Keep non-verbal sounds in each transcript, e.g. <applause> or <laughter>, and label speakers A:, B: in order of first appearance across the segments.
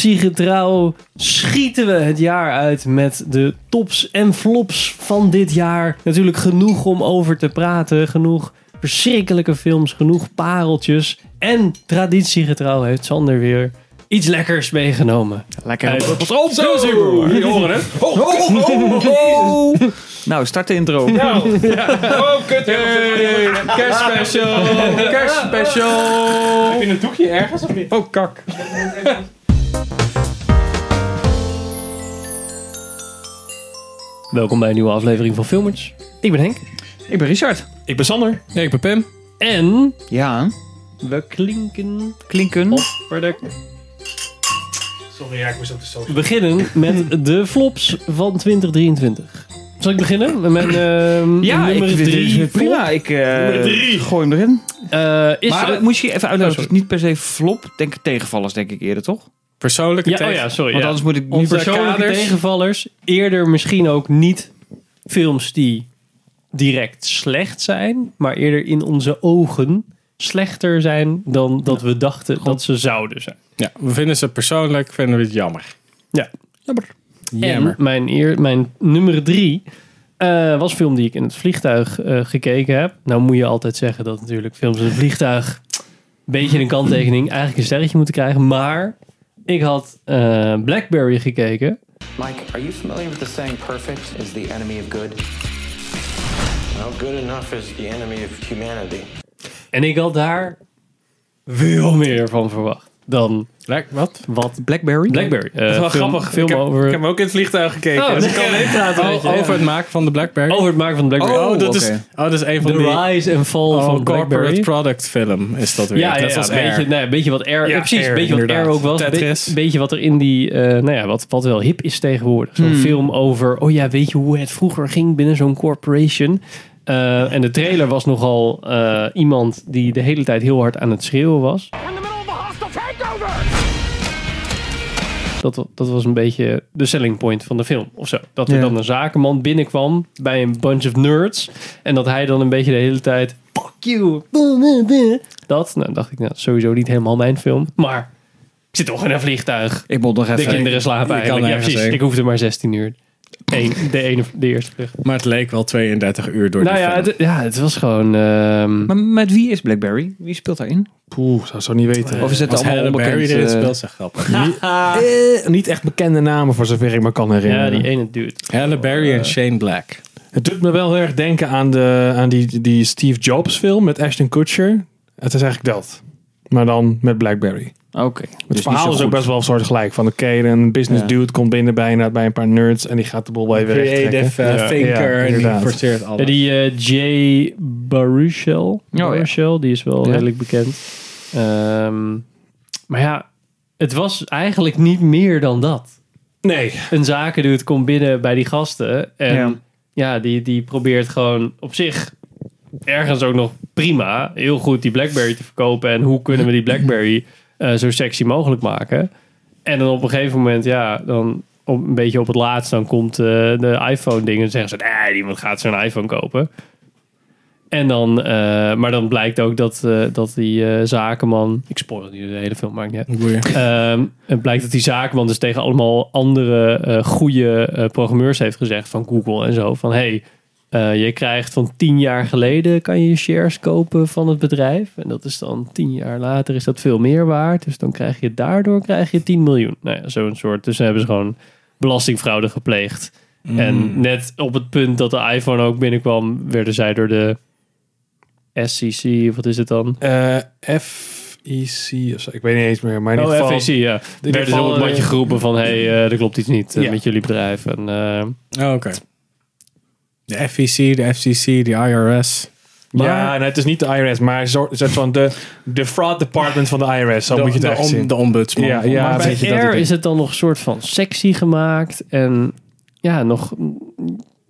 A: Traditiegetrouw schieten we het jaar uit met de tops en flops van dit jaar. Natuurlijk genoeg om over te praten, genoeg verschrikkelijke films, genoeg pareltjes. En traditiegetrouw heeft Sander weer iets lekkers meegenomen.
B: Lekker.
A: Uit-
C: Oh, zo! Jullie horen het. Ho, ho, ho, ho.
B: <laughs> Nou, start de intro.
C: <laughs> Ja.
B: Nou,
C: Oh, kut. Hey. Kerstspecial. Kerstspecial. Heb je een doekje ergens of niet? Oh, kak.
A: Welkom bij een nieuwe aflevering van Filmers. Ik ben Henk.
B: Ik ben Richard.
C: Ik ben Sander. Nee, ik ben Pim.
A: En
B: Ja.
A: we klinken
B: Klinken.
A: voor de
C: Sorry, ja, ik moest op de
A: We
C: social.
A: beginnen met de flops van 2023. Zal ik beginnen met mijn eh,
B: Ja,
A: nummer
B: ik,
A: drie
B: prima. Ik eh,
C: Nummer drie.
B: gooi hem erin.
A: flop? Eh, is
B: maar
A: er-
B: moet je even
C: Oh,
B: uitleggen.
C: sorry.
B: het is niet per se flop. Denk tegenvallers, denk ik eerder, toch?
C: Persoonlijke
A: ja, oh
C: tegen-
A: ja, sorry.
B: Want
A: ja.
B: anders moet ik nu
A: Onze
B: per
A: persoonlijke
B: kaders...
A: tegenvallers. Eerder misschien ook niet films die direct slecht zijn, maar eerder in onze ogen slechter zijn dan dat we dachten dat ze zouden zijn.
C: Ja, we vinden ze persoonlijk, vinden we het jammer.
A: Ja.
C: Jammer.
A: En mijn, eer, mijn nummer drie eh, was een film die ik in het vliegtuig eh, gekeken heb. Nou moet je altijd zeggen dat natuurlijk films in het vliegtuig een beetje een kanttekening, eigenlijk een sterretje moeten krijgen. Maar ik had eh, Blackberry gekeken.
D: Mike, are you familiar with the saying perfect is the enemy of good?
E: Well, good enough is the enemy of humanity.
A: En ik had daar veel meer van verwacht dan
C: Lek, wat?
A: wat
B: Blackberry?
A: Blackberry. eh,
C: Dat is wel
A: film-
C: grappig.
A: Film
C: ik, heb,
A: over,
C: ik heb hem ook in het vliegtuig gekeken.
A: Oh,
C: Dus ik
A: nee.
C: kan
A: <laughs>
C: meepraten
A: Oh,
C: weet je. over het maken van de Blackberry.
A: over het maken van Blackberry.
B: Oh,
C: dat,
B: oké.
C: is, oh, dat is een van
A: de
C: die...
A: rise and fall
C: Oh,
A: van
C: corporate
A: Blackberry.
C: product film is dat weer.
A: Ja, ja,
C: Net
A: ja
C: als
A: een beetje,
C: Air.
A: nee, een beetje wat Air,
C: Ja,
A: ja, precies,
C: Air,
A: een beetje wat Air
C: inderdaad.
A: ook was. Een
C: Tetris.
A: Be beetje wat er in die, eh, nou ja, wat, wat wel hip is tegenwoordig.
C: Hmm.
A: Zo'n film over, oh ja, weet je hoe het vroeger ging binnen zo'n corporation? Eh, en de trailer was nogal eh, iemand die de hele tijd heel hard aan het schreeuwen was. Dat, dat was een beetje de selling point van de film of zo. Dat er
B: Ja.
A: dan een zakenman binnenkwam bij een bunch of nerds. En dat hij dan een beetje de hele tijd. Fuck you. Dat. Nou, dacht ik, nou, sowieso niet helemaal mijn film. Maar ik zit toch in een vliegtuig.
B: Ik moet nog
A: De
B: even...
A: kinderen slapen
C: je kan
A: eigenlijk. Ja,
C: nergens
A: precies.
C: heen.
A: Ik hoefde maar 16 uur. Eén, de, ene, de eerste vlucht.
C: Maar het leek wel 32 uur door
A: Nou
C: die
A: ja,
C: film.
A: het, ja, het was gewoon... ehm,
B: Maar met wie is Blackberry? Wie speelt daarin?
C: Poeh, zou zo niet weten.
B: Of is het
C: Als
B: allemaal
C: Halle
B: onbekend,
C: Berry erin
B: eh,
C: speelt, zeg grappig.
F: Eh, niet echt bekende namen voor zover ik me kan herinneren.
A: ja, die e- ene duurt.
C: Halle Berry en Shane Black.
F: Het doet me wel heel erg denken aan, de, aan die, die Steve Jobs film met Ashton Kutcher. Het is eigenlijk dat. Maar dan met Blackberry. Het
B: Oké. dus
F: verhaal
B: niet
F: is
B: zo
F: ook
B: goed.
F: best wel soortgelijk. Van oké, een business
B: Ja.
F: dude komt binnen bijna bij een paar nerds en die gaat de bol bij weer rechttrekken.
C: Creative eh,
F: Ja,
C: thinker
F: ja,
C: en die
F: inderdaad.
C: forceert alles.
A: Ja, die eh, Jay Baruchel. Baruchel, die is wel
F: Ja.
A: redelijk bekend. Ehm, maar ja, het was eigenlijk niet meer dan dat.
F: Nee.
A: <laughs> Een zakendude komt binnen bij die gasten. En ja,
B: Ja.
A: die, die probeert gewoon op zich ergens ook nog prima... heel goed die Blackberry te verkopen. En hoe kunnen we die Blackberry eh, zo sexy mogelijk maken? En dan op een gegeven moment, ja, dan... Op, een beetje op het laatst, dan komt eh, de iPhone-ding en zeggen ze: nee, iemand gaat zo'n iPhone kopen. En dan, eh, maar dan blijkt ook dat, eh, dat die eh, zakenman. Ik spoil nu de hele film, maakt niet uit.
C: Boeien.
A: Ehm, het blijkt dat die zakenman dus tegen allemaal andere eh, goede eh, programmeurs heeft gezegd van Google en zo. Van hey, eh, je krijgt van tien jaar geleden kan je shares kopen van het bedrijf. En dat is dan tien jaar later is dat veel meer waard. Dus dan krijg je daardoor krijg je 10 miljoen. Nou ja, zo'n soort. Dus dan hebben ze gewoon belastingfraude gepleegd. En net op het punt dat de iPhone ook binnenkwam, werden zij door de SEC, of wat is het dan?
F: Eh, FEC of zo. Ik weet niet eens meer. Maar in
A: Oh,
F: ieder geval...
A: FEC, ja.
F: ieder
A: Werden ze
F: geval,
A: dus op het mandje
F: eh,
A: geroepen van, hé, hey, eh, er klopt iets niet eh,
F: Ja.
A: met jullie bedrijf. En, eh,
C: Oh, Oké. De FEC, de FCC, de IRS.
F: ja, nou, het is niet de IRS, maar zo- een soort van de, de fraud department van de IRS. Zo
C: de,
F: moet je het
C: de,
F: echt
C: om-
F: zien.
C: de ombudsman.
F: Ja, ja,
A: maar bij
F: weet je dat
A: Air
F: idee.
A: is het dan nog een soort van sexy gemaakt. En ja, nog...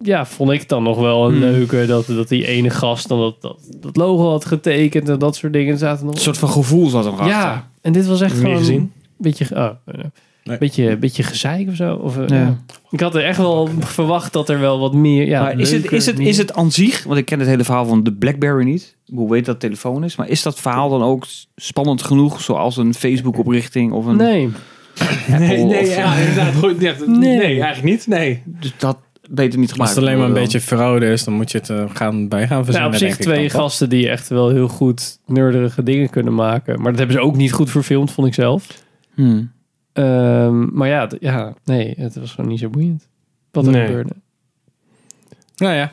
A: Ja, vond ik dan nog wel
F: Hmm.
A: een leuke dat, dat die ene gast dan dat, dat, dat logo had getekend en dat soort dingen. Er Zaten nog
B: Een soort van gevoel zat er nog achter.
A: Ja, en dit was echt
F: Heb je
A: gewoon
F: niet gezien?
A: beetje, ge- oh, eh,
C: Nee.
A: beetje, beetje gezeik of zo. Of, eh,
B: Ja.
A: ja. Ik had er echt wel verwacht dat er wel wat meer. Ja,
B: maar is het,
A: leuker,
B: is, het,
A: meer-
B: is het aan zich, want ik ken het hele verhaal van de Blackberry niet, hoe weet dat telefoon is, maar is dat verhaal dan ook spannend genoeg, zoals een Facebook-oprichting of een...
A: Nee.
B: Apple.
F: Nee, nee,
B: of-
F: ja, inderdaad. Goed, ja, nee.
A: Nee.
F: eigenlijk niet. Nee.
B: Dus dat beter niet
C: Als
B: gemaakt.
C: het alleen maar een
B: worden
C: beetje fraude is, dan moet je het eh, gaan, bij gaan
A: Nou,
C: verzinnen.
A: op zich
C: denk ik
A: twee
C: dan, toch?
A: gasten die echt wel heel goed nerderige dingen kunnen maken. Maar dat hebben ze ook niet goed verfilmd, vond ik zelf.
B: dan. Hmm.
A: Ehm, maar ja, d- ja, nee, het was gewoon niet zo boeiend. Wat er
F: Nee.
A: gebeurde.
C: Nou ja.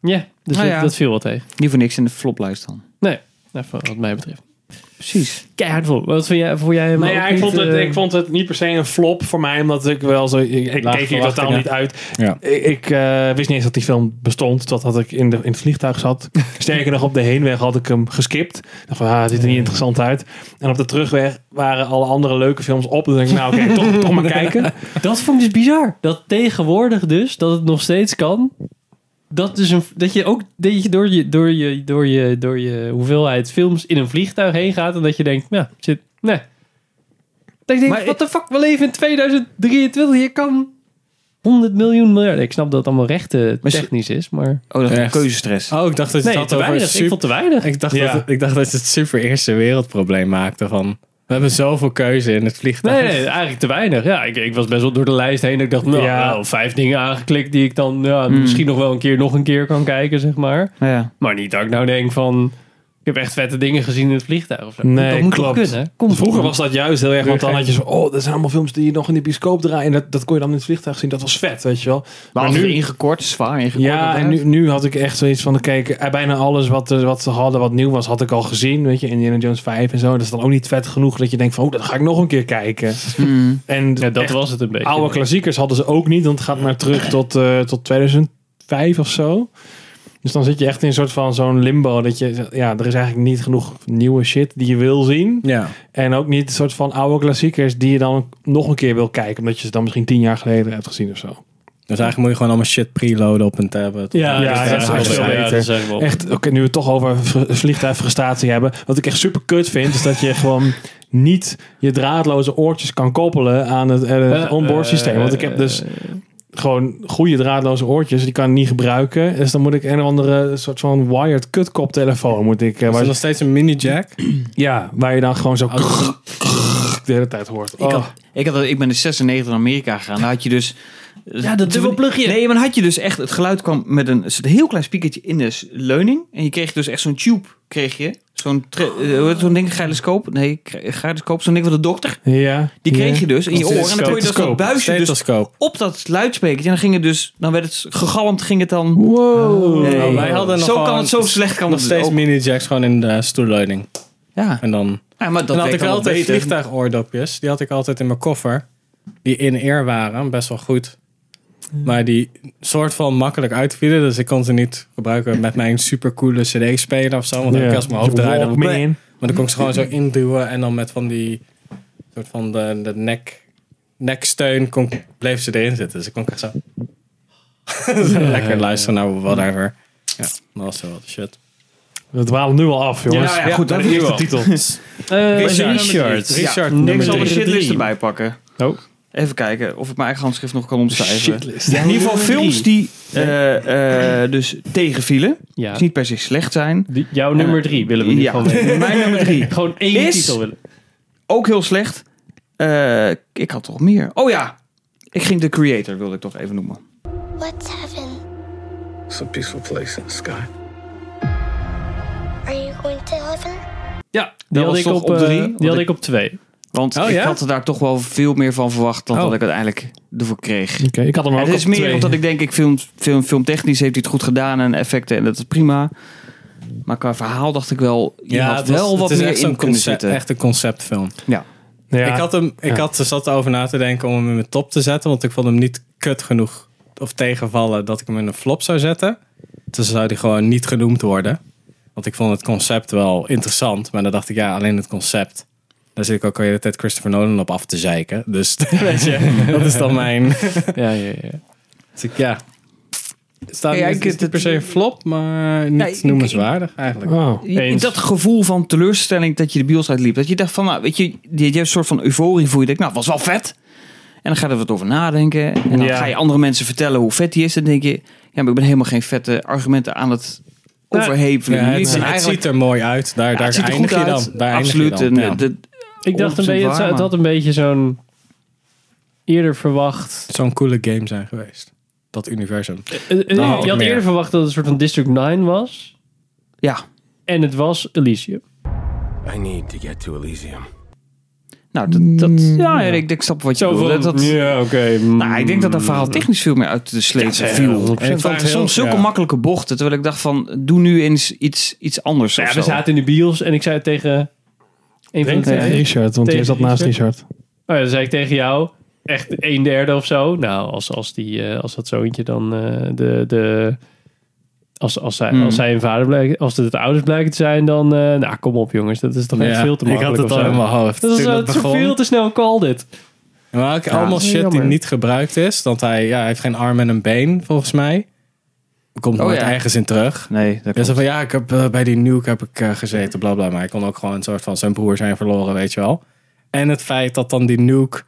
A: Ja, dus
B: Nou
A: dat,
B: ja.
A: dat viel wel tegen.
B: Niet voor niks in de floplijst dan.
A: Nou, van- wat mij betreft.
B: Precies.
A: Keihard vol. Wat vond jij, vond jij hem
F: Nee,
A: ook
F: Nou ja, ik,
A: niet,
F: vond het,
A: eh,
F: ik vond het niet per se een flop voor mij, omdat ik wel zo. Ik, ik
C: Laag
F: keek hier totaal
C: verwachtingen.
F: niet uit.
C: Ja.
F: Ik, ik, eh, wist niet eens dat die film bestond, totdat ik in, de, in het vliegtuig zat. Sterker nog, op de heenweg had ik hem geskipt. Ik dacht van, ah, het ziet er niet interessant uit. En op de terugweg waren alle andere leuke films op. En dan denk ik, nou oké, toch, toch maar kijken.
A: Dat vond ik dus bizar. Dat tegenwoordig dus, dat het nog steeds kan. Dat, dus een, dat je ook dat je door, je, door, je, door, je, door je hoeveelheid films in een vliegtuig heen gaat. En dat je denkt, nou, zit, nee. Dat je
B: Maar
A: denkt, wat de fuck, we leven in 2023. Je kan 100 miljoen miljard. Ik snap dat het allemaal rechten
B: Maar ze-
A: technisch is, maar...
B: Oh, dat is
C: Echt.
B: keuzestress.
C: Oh, ik dacht dat je
A: Nee,
C: het
A: te
C: had over
A: weinig. Ik
C: super...
A: vond te weinig.
C: Ik dacht,
F: Ja.
C: dat, ik dacht dat ze het super eerste wereldprobleem maakten van... We hebben zoveel keuze in het vliegtuig.
A: Nee, nee, eigenlijk te weinig. Ja, ik, ik was best wel door de lijst heen. Ik dacht, nou,
F: Ja.
A: nou, vijf dingen aangeklikt die ik dan ja,
B: Hmm.
A: misschien nog wel een keer nog een keer kan kijken, zeg maar.
B: Ja.
A: Maar niet dat ik nou denk van... Ik heb echt vette dingen gezien in het vliegtuig of zo.
F: Nee,
A: dat moet
F: klopt.
A: toch kunnen? Kom,
F: Vroeger was dat juist heel erg, want dan
C: Weer
F: had je zo... Oh, dat zijn allemaal films die je nog in de bioscoop draaien. En dat, dat kon je dan in het vliegtuig zien. Dat was vet, weet je wel.
B: Maar,
F: Maar
B: nu
F: nu-
B: ingekort, zwaar ingekort.
F: Ja, en nu,
B: inderdaad.
F: nu had ik echt zoiets van, kijk, eh, bijna alles wat, eh, wat ze hadden, wat nieuw was, had ik al gezien. Weet je, Indiana Jones 5 en zo. Dat is dan ook niet vet genoeg dat je denkt van, oh, dat ga ik nog een keer
A: <laughs>
F: kijken.
B: Hmm.
F: En
A: Ja, dat
F: echt
A: was het een beetje.
F: oude klassiekers hadden ze ook niet, want het gaat maar terug tot, eh, tot 2005 of zo. Dus dan zit je echt in een soort van zo'n limbo dat je, zegt, ja, er is eigenlijk niet genoeg nieuwe shit die je wil zien.
C: Ja.
F: En ook niet een soort van oude klassiekers die je dan nog een keer wil kijken, omdat je ze dan misschien tien jaar geleden hebt gezien of zo.
C: Dus eigenlijk moet je gewoon allemaal shit preloaden op een tablet.
A: Ja,
F: Ja,
A: dat
F: ja,
A: is
F: dat
A: echt
F: is
A: veel
F: wel
A: beter.
F: beter.
A: dat is echt wel-
F: Echt, oké, nu we het toch over v- vliegtuigfrustratie hebben. Wat ik echt super kut vind, is dat je gewoon niet je draadloze oortjes kan koppelen aan het, eh, het
A: Eh,
F: onboard systeem. Want ik heb dus
A: eh,
F: gewoon goede draadloze oortjes, die kan ik niet gebruiken. Dus dan moet ik een of andere soort van wired kutkoptelefoon moet ik. eh,
C: Was
F: waar,
C: er nog steeds een mini-jack?
F: ja, waar je dan gewoon zo de hele tijd hoort.
B: Ik,
F: Oh.
B: had, ik, had, dat- ik ben in 96 naar Amerika gegaan. Daar had je dus...
A: Ja, dat dubbel plugje.
B: Nee, maar dan had je dus echt... Het geluid kwam met een, een heel klein spiekertje in de s- leuning. En je kreeg dus echt zo'n tube, kreeg je. Zo'n tre- eh, hoe heet zo'n ding, gyroscoop. Nee, gry- gyroscoop, zo'n ding van de dokter.
F: Ja,
B: Die kreeg
F: ja.
B: je dus in je oor. En dan kon je dus dat
F: Stethoscoop.
B: buisje dus
C: Stethoscoop.
B: op dat luidsprekertje. En dan ging het dus... Dan werd het gegalmd, ging het dan...
F: Wow.
B: Nee.
C: Oh, wij hadden nog
B: zo kan
C: gewoon-
B: het, zo slecht kan
C: Nog
B: het dus
C: steeds
B: ook.
C: mini-jacks gewoon in de stoelleuning.
B: Ja.
C: En dan...
B: ja, maar dat
C: dan had ik
B: werkt dan
C: altijd
B: beter.
C: vliegtuigoordopjes. Die had ik altijd in mijn koffer. Die in-ear waren, best wel goed. Maar die soort van makkelijk uitvielen. Dus ik kon ze niet gebruiken met mijn supercoole cd-speler of zo. Want dan
F: Ja.
C: heb ik als mijn hoofd draaide. dan-
F: Walkman.
C: Maar dan kon ik ze gewoon zo induwen. En dan met van die soort van de, de nek, neksteun kon, ik- bleef ze erin zitten. Dus ik kon echt zo... <laughs> zo lekker luisteren naar whatever. Ja, dat was wel wat shit.
F: We dwalen nu al af, jongens.
A: Ja, ja, goed,
F: naar
A: dat
F: de
A: is nu
F: eerste
A: al.
F: titel.
A: eh, Richard.
C: Richard. Richard. Richard
A: Ja,
C: nummer
A: niks
B: Ik zal
A: over
B: mijn
A: shit
B: shitlist
A: erbij.
B: erbij pakken.
A: Oh.
B: Even kijken of ik mijn eigen handschrift nog kan omschrijven.
A: Ja,
B: In ieder geval films die eh, eh, dus tegenvielen.
A: Ja,
B: Dus niet per se slecht zijn.
A: die- jouw nummer drie willen we nu
B: Ja.
A: gewoon
B: <laughs>
A: weten.
B: Mijn nummer drie.
A: Gewoon één
B: Is-
A: titel willen.
B: Ook heel slecht. Eh, ik had toch meer. Oh ja. Ik ging de creator, wilde ik toch even noemen.
G: What's heaven?
E: It's a peaceful place in the sky.
G: Are you going to heaven?
A: Ja, die had
B: was
A: ik
B: toch
A: op
B: op drie?
A: eh, Die
B: Want
A: had
B: ik-
A: ik op twee.
B: Want
C: Oh
B: ik
C: ja?
B: had er daar toch wel veel meer van verwacht dan
C: Oh.
B: dat ik uiteindelijk ervoor kreeg.
F: Oké, ik had hem ook
B: Het is
F: op
B: meer
F: twee.
B: omdat ik denk, ik film, film, filmtechnisch heeft hij het goed gedaan en effecten en dat is prima. Maar qua verhaal dacht ik wel, je had
C: het was-
B: wel wat
C: het is
B: meer
C: echt
B: in
C: zo'n
B: kunnen
C: concept,
B: zitten.
C: echt een conceptfilm.
F: Ja.
C: Ik, had hem, ik
F: Ja.
C: had, zat erover na te denken om hem in mijn top te zetten. Want ik vond hem niet kut genoeg of tegenvallen dat ik hem in een flop zou zetten. Dus zou die gewoon niet genoemd worden. Want ik vond het concept wel interessant. Maar dan dacht ik, ja, alleen het concept. Daar zit ik ook al de hele tijd Christopher Nolan op af te zeiken. Dus <laughs> weet je, dat is dan mijn...
A: Ja, ja, ja.
C: Dus ik, ja. Het staat
B: Ja,
C: ja,
B: ik-
C: is niet
B: het-
C: per se een flop, maar niet
B: Nee, ik-
C: noemenswaardig eigenlijk.
F: Oh.
B: Je-
A: Eens.
B: Dat gevoel van teleurstelling dat je de bios uitliep. Dat je dacht van, nou, weet je, je, je hebt een soort van euforie voor je. denkt, nou, was wel vet. En dan ga je er wat over nadenken. En dan
F: Ja.
B: ga je andere mensen vertellen hoe vet die is. En dan denk je, ja, maar ik ben helemaal geen vette argumenten aan het
A: Nee.
B: overhevelen.
C: Ja,
B: nu. Ik
C: het,
B: ben
C: het
B: eigenlijk-
C: ziet er mooi uit. Daar,
B: ja,
C: daar
B: het ziet er
C: eindig
B: goed
C: je
B: uit.
C: dan. Daar eindig je
B: Absoluut. En,
C: dan. Ja.
B: eh, dat-
A: Ik dacht een
B: 100%
A: beetje, het,
B: waar,
A: het had een beetje zo'n eerder verwacht.
C: Het zou een coole game zijn geweest. Dat universum.
A: Eh, eh,
C: had ik
A: je had
C: meer.
A: eerder verwacht dat het een soort van District 9 was.
B: Ja.
A: En het was Elysium.
H: I need to get to Elysium.
B: Nou, dat, dat, ja, ik, ik snap wat je bedoelt. Dat, dat-
F: Ja, oké. mm.
B: Nou, ik denk dat dat verhaal technisch veel meer uit de sleet viel.
C: En ik
B: Ik vond soms zulke
C: ja.
B: makkelijke bochten, terwijl ik dacht van, doe nu eens iets, iets anders of
A: Ja,
B: zo.
A: we zaten in de bios en ik zei tegen een van de
F: Denk tegen
A: twee.
F: Richard, want
A: Tegen
F: jij zat naast Richard.
A: Oh ja, dan zei ik tegen jou, echt een derde of zo. Nou, als, als, die, eh, als dat zoontje dan eh, de... de als, als, zij,
B: Hmm.
A: als zij een vader blijkt, als het de ouders blijken te zijn, dan... eh, nou, kom op jongens, dat is toch echt
C: Ja,
A: veel te makkelijk.
C: Ik had het
A: of
C: al
A: zo.
C: in mijn hoofd.
A: Dat is
C: toen
A: eh,
C: dat
A: het is
C: begon.
A: veel te snel call dit.
C: Maar ook
A: dat
C: allemaal
A: is wel
C: shit die
A: jammer.
C: niet gebruikt is. Dat hij, ja, hij heeft geen arm en een been, volgens mij. Er komt
B: Oh,
C: nooit
B: ja.
C: ergens in terug.
B: Nee, dat
C: Ja,
B: klopt.
C: zo van, ja, ik heb, eh, bij die nuke heb ik eh, gezeten, bla bla. Maar hij kon ook gewoon een soort van zijn broer zijn verloren, weet je wel. En het feit dat dan die nuke,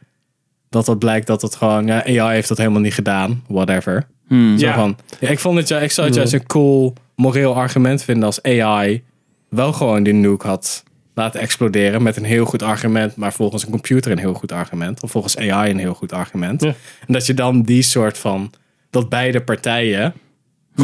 C: dat dat blijkt dat het gewoon, ja, AI heeft dat helemaal niet gedaan, whatever.
B: Hmm.
C: Zo
F: Ja.
C: van, ja, ik, vond het, ju- ik zou het juist een cool moreel argument vinden als AI wel gewoon die nuke had laten exploderen met een heel goed argument, maar volgens een computer een heel goed argument, of volgens AI een heel goed argument.
A: Ja.
C: En dat je dan die soort van, dat beide partijen,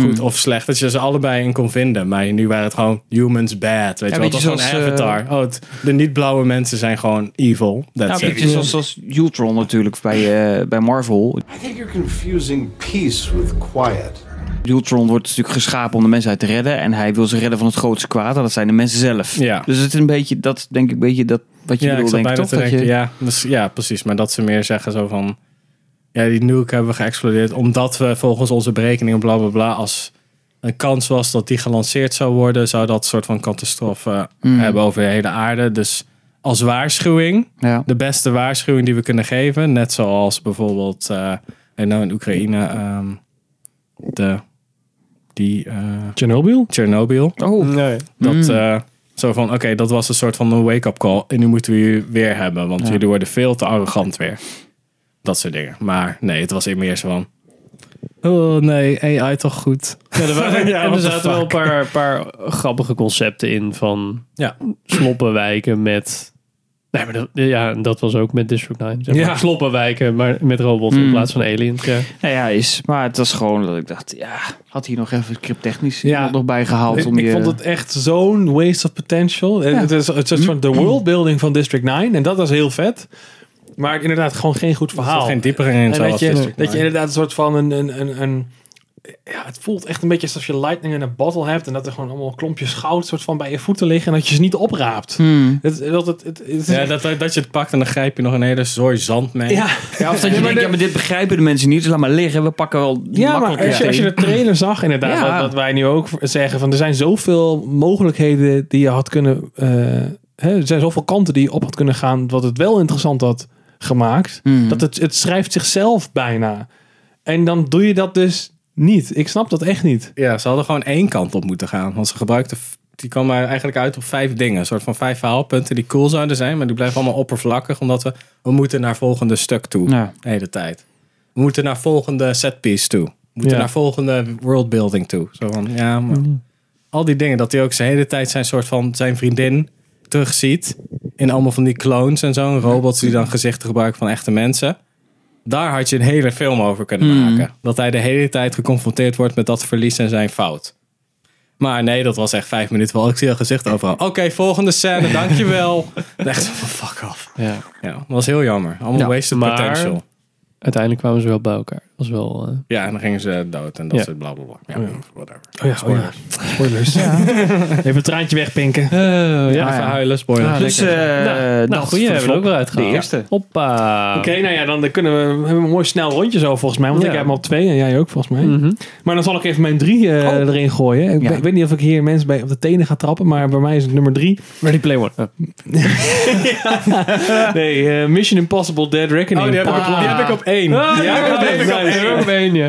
C: goed of slecht, dat je ze allebei in kon vinden. Maar nu waren het gewoon humans bad, weet je wel.
B: beetje
C: Het was gewoon
B: zoals, eh,
C: Avatar. Oh, het- de niet-blauwe mensen zijn gewoon evil.
B: Ja,
C: That's
B: een
C: it.
B: beetje zoals, zoals Ultron natuurlijk bij, eh, bij Marvel.
H: I think you're confusing peace with quiet.
B: Ultron wordt natuurlijk geschapen om de mensheid te redden. En hij wil ze redden van het grootste kwaad. En dat zijn de mensen zelf.
C: Ja.
B: Dus het is een beetje, dat denk ik, een beetje dat wat je
C: Ja, ik
B: bedoelt,
C: zat
B: denk ik, toch?
C: bijna te
B: Dat
C: denken,
B: je,
C: ja, dus, ja, precies. Maar dat ze meer zeggen zo van... Ja, die nuke hebben we geëxplodeerd omdat we volgens onze berekeningen bla bla bla... als een kans was dat die gelanceerd zou worden... zou dat soort van catastrofe
B: Hmm.
C: hebben over de hele aarde. Dus als waarschuwing,
B: Ja.
C: de beste waarschuwing die we kunnen geven... net zoals bijvoorbeeld eh, en nou in Oekraïne ehm, de, die eh
F: Chernobyl?
C: Tsjernobyl...
B: Oh,
A: Nee.
C: Dat,
F: Mm.
C: eh, zo van, oké, dat was een soort van een wake-up call. En nu moeten we je weer hebben, want jullie worden veel te arrogant weer. Dat soort dingen. Maar nee, het was meer zo van... Oh nee, AI toch goed.
A: Ja, er waren,
C: <laughs> Ja,
A: en er
C: what the
A: zaten wel een
C: fuck.
A: paar, paar grappige concepten in van
C: Ja.
A: sloppenwijken met... Nee, maar dat, ja, en dat was ook met District 9. Zeg maar.
C: Ja.
A: Sloppenwijken, maar met robots in
B: Mm.
A: plaats van aliens. Ja.
B: nou ja, is. Maar het was gewoon dat ik dacht, ja, had hier nog even scripttechnisch
F: Ja.
B: iemand nog bij gehaald.
F: Ik,
B: om
F: ik
B: je,
F: vond het echt zo'n waste of potential. En Het is het is van de
B: Mm-hmm.
F: worldbuilding van District 9. En dat was heel vet. Maar inderdaad, gewoon geen goed
C: Er zat
F: verhaal.
C: geen diepering in.
F: En
C: zoals
F: dat je,
C: District
F: dat je
C: Nine.
F: inderdaad een soort van een, een, een, een- Ja, het voelt echt een beetje alsof je lightning in een bottle hebt. En dat er gewoon allemaal klompjes goud soort van bij je voeten liggen. En dat je ze niet opraapt.
B: Hmm.
F: Het, dat, het, het, het is
C: ja, dat, dat- dat je het pakt en dan grijp je nog een hele zooi zand mee.
F: ja,
B: Ja, of dat je denkt, ja, maar dit begrijpen de mensen niet. Dus laat maar liggen, we pakken wel die
F: ja maar
B: makkelijke
F: als je, als je de trailer zag inderdaad,
B: Ja.
F: dat, dat wij nu ook zeggen van er zijn zoveel mogelijkheden die je had kunnen, eh, hè, er zijn zoveel kanten die je op had kunnen gaan, wat het wel interessant had gemaakt,
B: Hmm.
F: dat het, het schrijft zichzelf bijna. En dan doe je dat dus niet. Ik snap dat echt niet.
C: Ja, ze hadden gewoon één kant op moeten gaan. Want ze gebruikten... f- Die kwam er eigenlijk uit op vijf dingen. Een soort van vijf verhaalpunten die cool zouden zijn. Maar die blijven allemaal oppervlakkig. Omdat we... We moeten naar volgende stuk toe.
B: Ja.
C: De hele tijd. We moeten naar volgende setpiece toe. We moeten
F: Ja.
C: naar volgende worldbuilding toe. Zo van, ja, maar... Al die dingen. Dat hij ook zijn hele tijd zijn soort van... Zijn vriendin terugziet. In allemaal van die clones en zo. En robots die dan gezichten gebruiken van echte mensen. Daar had je een hele film over kunnen maken. Dat hij de hele tijd geconfronteerd wordt met dat verlies en zijn fout. Maar nee, dat was echt vijf minuten. Wel, ik zie al gezicht overal. Oké, volgende scène, dankjewel. Echt zo van fuck off.
A: Ja.
C: Ja, dat was heel jammer. Allemaal
B: Ja,
C: wasted
A: maar-
C: potential.
A: Uiteindelijk kwamen ze wel bij elkaar. Dat was wel... eh,
C: Ja, en dan gingen ze dood en dat
A: Ja.
C: soort blablabla. Ja, whatever.
F: Oh ja, spoilers. spoilers. Even een traantje wegpinken.
C: Oh, ja,
B: ja.
C: even huilen, spoiler.
B: Ah,
C: dus,
B: lekker.
C: eh,
B: Eh,
A: nou,
B: dat
A: nou goed,
B: voor de
A: hebben we
B: flop.
A: ook weer uitgehaald.
B: De eerste.
A: Hoppa.
F: Oké, nou ja, dan kunnen we, we hebben een mooi snel rondje zo volgens mij. Want
A: Ja.
F: ik heb hem al twee en jij ook volgens mij.
A: Mhm.
F: Maar dan zal ik even mijn drie eh, erin gooien. Ik,
B: Oh. Ja.
F: weet- ik weet niet of ik hier mensen bij op de tenen ga trappen, maar bij mij is het nummer drie.
A: Ready Play One. Ah.
F: Nee, eh, Mission Impossible Dead Reckoning.
C: oh, die heb, ik op, die heb ik op één. Oh,
F: Ah,
C: Die heb ik op
F: ja,
C: één.
F: ja, ja, ja.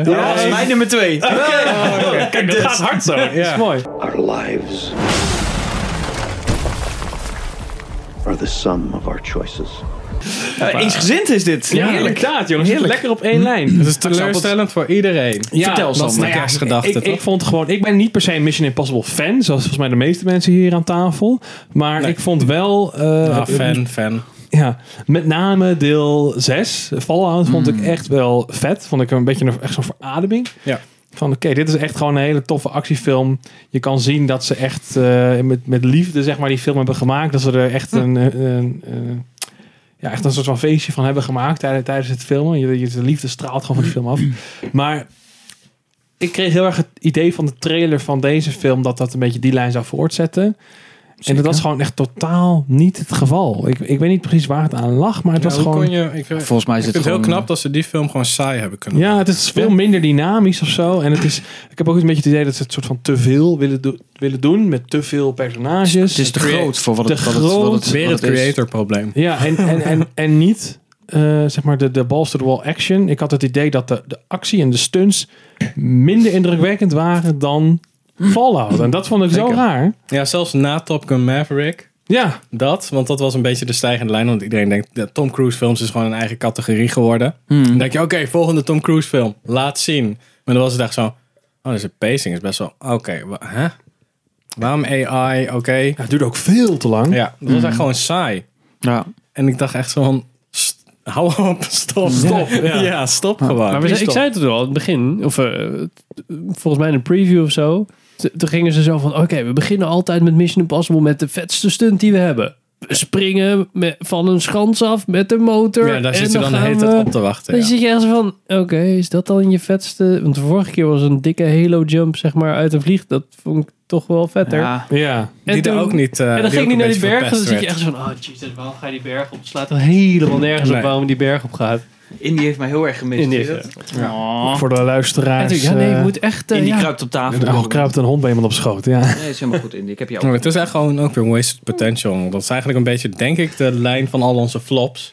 B: Dat was mijn nummer twee.
F: Kijk, dat gaat hard zo. Dat is mooi.
I: Our lives are the sum of our choices.
B: Eh, Eensgezind is dit.
F: Ja,
B: Heerlijk.
F: inderdaad jongens. Het zit Lekker op één lijn.
C: Het is teleurstellend voor iedereen.
F: Ja,
B: Vertel,
F: dat is
B: Sander.
F: de
C: Nou ja,
F: kerstgedachte.
C: ik-
F: Ik,
C: ik
F: ik vond gewoon, ik ben niet per se een Mission Impossible fan, zoals volgens mij de meeste mensen hier aan tafel. Maar
C: Nee.
F: ik vond wel. eh,
C: Ah,
F: het-
C: fan, fan.
F: Ja, met name deel 6, Fallout, vond ik echt wel vet. Vond ik een beetje een, echt zo'n verademing.
C: Ja.
F: Van oké, dit is echt gewoon een hele toffe actiefilm. Je kan zien dat ze echt eh, met, met liefde zeg maar, die film hebben gemaakt. Dat ze er echt een, eh, een, eh, ja, echt een soort van feestje van hebben gemaakt tij- tijdens het filmen. Je, je, de liefde straalt gewoon van die film af. Maar ik kreeg heel erg het idee van de trailer van deze film dat dat een beetje die lijn zou voortzetten. En dat was gewoon echt totaal niet het geval. Ik, ik weet niet precies waar het aan lag, maar het
C: Ja,
F: was
C: hoe
F: gewoon...
C: kon je, ik, eh,
B: Volgens mij is
C: ik vind
B: het
C: het heel
B: gewoon-
C: knap dat ze die film gewoon saai hebben kunnen
F: Ja, het is veel minder dynamisch of zo. En het is, ik heb ook een beetje het idee dat ze het soort van te veel willen, do- willen doen met te veel personages.
B: Het is te
C: Create-
B: groot voor wat het,
F: te
B: wat het, wat het,
F: groot.
C: Weer het
B: wat is.
C: creator probleem.
F: Ja, en, en, <laughs> en, en niet eh, zeg maar de, de balls to the wall action. Ik had het idee dat de, de actie en de stunts minder indrukwekkend waren dan Fallout. En dat vond ik zo
B: Zeker.
F: raar.
C: Ja, zelfs na Top Gun Maverick.
F: Ja,
C: Dat, want dat was een beetje de stijgende lijn. Want iedereen denkt, de Tom Cruise films is gewoon een eigen categorie geworden. Dan denk je, oké, volgende Tom Cruise film. Laat zien. Maar dan was het echt zo, oh, dus de pacing is best wel, oké, wa- hè? Waarom AI, oké?
F: Ja, het duurde ook veel te lang.
C: Ja, dat was echt gewoon saai.
B: Ja.
C: En ik dacht echt zo van, st- hou op, stop, stop. Ja, stop gewoon.
A: Maar we zei- ik zei het al aan het begin, of eh, t- volgens mij in een preview of zo. t- Toen gingen ze zo van: oké, we beginnen altijd met Mission Impossible met de vetste stunt die we hebben. We springen met, van een schans af met de motor.
C: ja, daar
A: en
C: zit je dan de
A: gaan
C: hele
A: we-
C: tijd op te wachten.
A: Dan
C: ja.
A: zit je echt zo van: oké, is dat dan je vetste? Want de vorige keer was een dikke halo jump, zeg maar, uit een vlieg. Dat vond ik toch wel vetter.
B: Ja.
F: Ja.
A: En
C: Die
A: toen-
C: er ook niet... eh,
A: en dan ging
C: ook
A: ik niet
C: een
A: naar die
C: beetje
A: bergen. Dan
C: verpest
A: zit je
C: werd.
A: echt zo van: oh jezus, waarom ga je die berg op? Het slaat er helemaal nergens
C: Nee.
A: op waarom die berg op gaat.
B: Indy heeft mij heel erg gemist.
A: Indy
B: zie je
A: heeft-
B: dat? Oh.
F: Voor de
A: En
F: luisteraars.
A: toen, ja, nee,
F: eh,
A: ik moet echt. eh,
B: Indy
A: ja.
B: kruipt op tafel.
F: Oh, kruipt een hond bij iemand op schoot. Ja.
B: Nee, is helemaal goed, Indy. <laughs> Ik heb jou
C: Maar
B: ook.
C: het is echt gewoon ook weer wasted potential. Dat is eigenlijk een beetje, denk ik, de lijn van al onze
A: <laughs>
C: flops.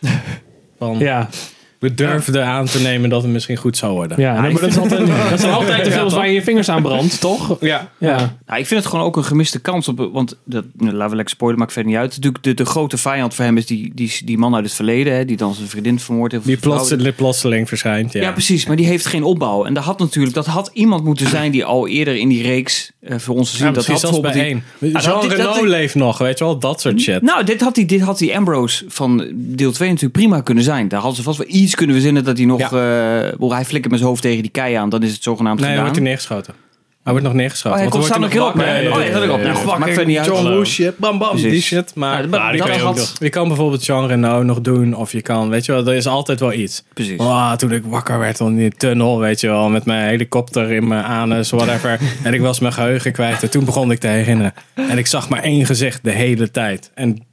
C: Van,
F: Ja,
C: We durfden aan te nemen dat het misschien goed zou worden.
F: ja. Nee, maar <laughs> dat, is altijd, dat zijn altijd de
C: Ja,
F: films
C: toch?
F: waar je je vingers aan <laughs> brandt, toch?
C: Ja.
F: Ja.
B: Nou, ik vind het gewoon ook een gemiste kans. Op, want dat, nou, laten we lekker spoilen, maakt verder niet uit. Natuurlijk, de, de grote vijand voor hem is die, die, die man uit het verleden. Hè, die dan zijn vriendin vermoord heeft. of
C: Die
B: zijn vrouw.
C: plotseling, plotseling verschijnt. Ja.
B: Nou, Ja, precies. Maar die heeft geen opbouw. En dat had natuurlijk, dat had iemand moeten zijn die al eerder in die reeks eh, voor ons te zien.
C: Ja,
B: dat
C: misschien
B: had
C: zelfs bij
B: bijvoorbeeld die- Ah,
C: één.
B: dat
C: Jean
B: had die-
C: Reno
B: dat die-
C: leeft nog, weet je wel. Dat soort shit.
B: Nou, dit had, die, dit had die Ambrose van deel 2 natuurlijk prima kunnen zijn. Daar hadden ze vast wel iets kunnen verzinnen dat hij nog... eh, wel, hij flikkert met zijn hoofd tegen die kei aan, dan is het zogenaamd
C: nee, hij
B: gedaan.
C: wordt hij neergeschoten. Hij wordt nog
B: Oh,
C: neergeschoten.
B: hij
C: want
B: komt
C: dan
B: samen
C: wordt
B: op.
C: hij nog
B: Nee,
C: wakker.
B: nee, nee, nee, nee, nee. Maakt verder niet uit.
C: John
B: Hallo.
C: Woo shit, bam bam,
B: Precies.
C: die shit.
B: Ja,
C: Maar
B: dat- dat
C: kan je
B: had-
C: ook nog. Je kan bijvoorbeeld Jean Reno nog doen. Of je kan, weet je wel, er is altijd wel iets.
B: Precies.
C: Ah, toen ik wakker werd in die tunnel, weet je wel, met mijn helikopter in mijn anus,
B: <laughs>
C: whatever. en ik was mijn geheugen kwijt en toen begon ik te herinneren. En ik zag maar één gezicht de hele tijd. En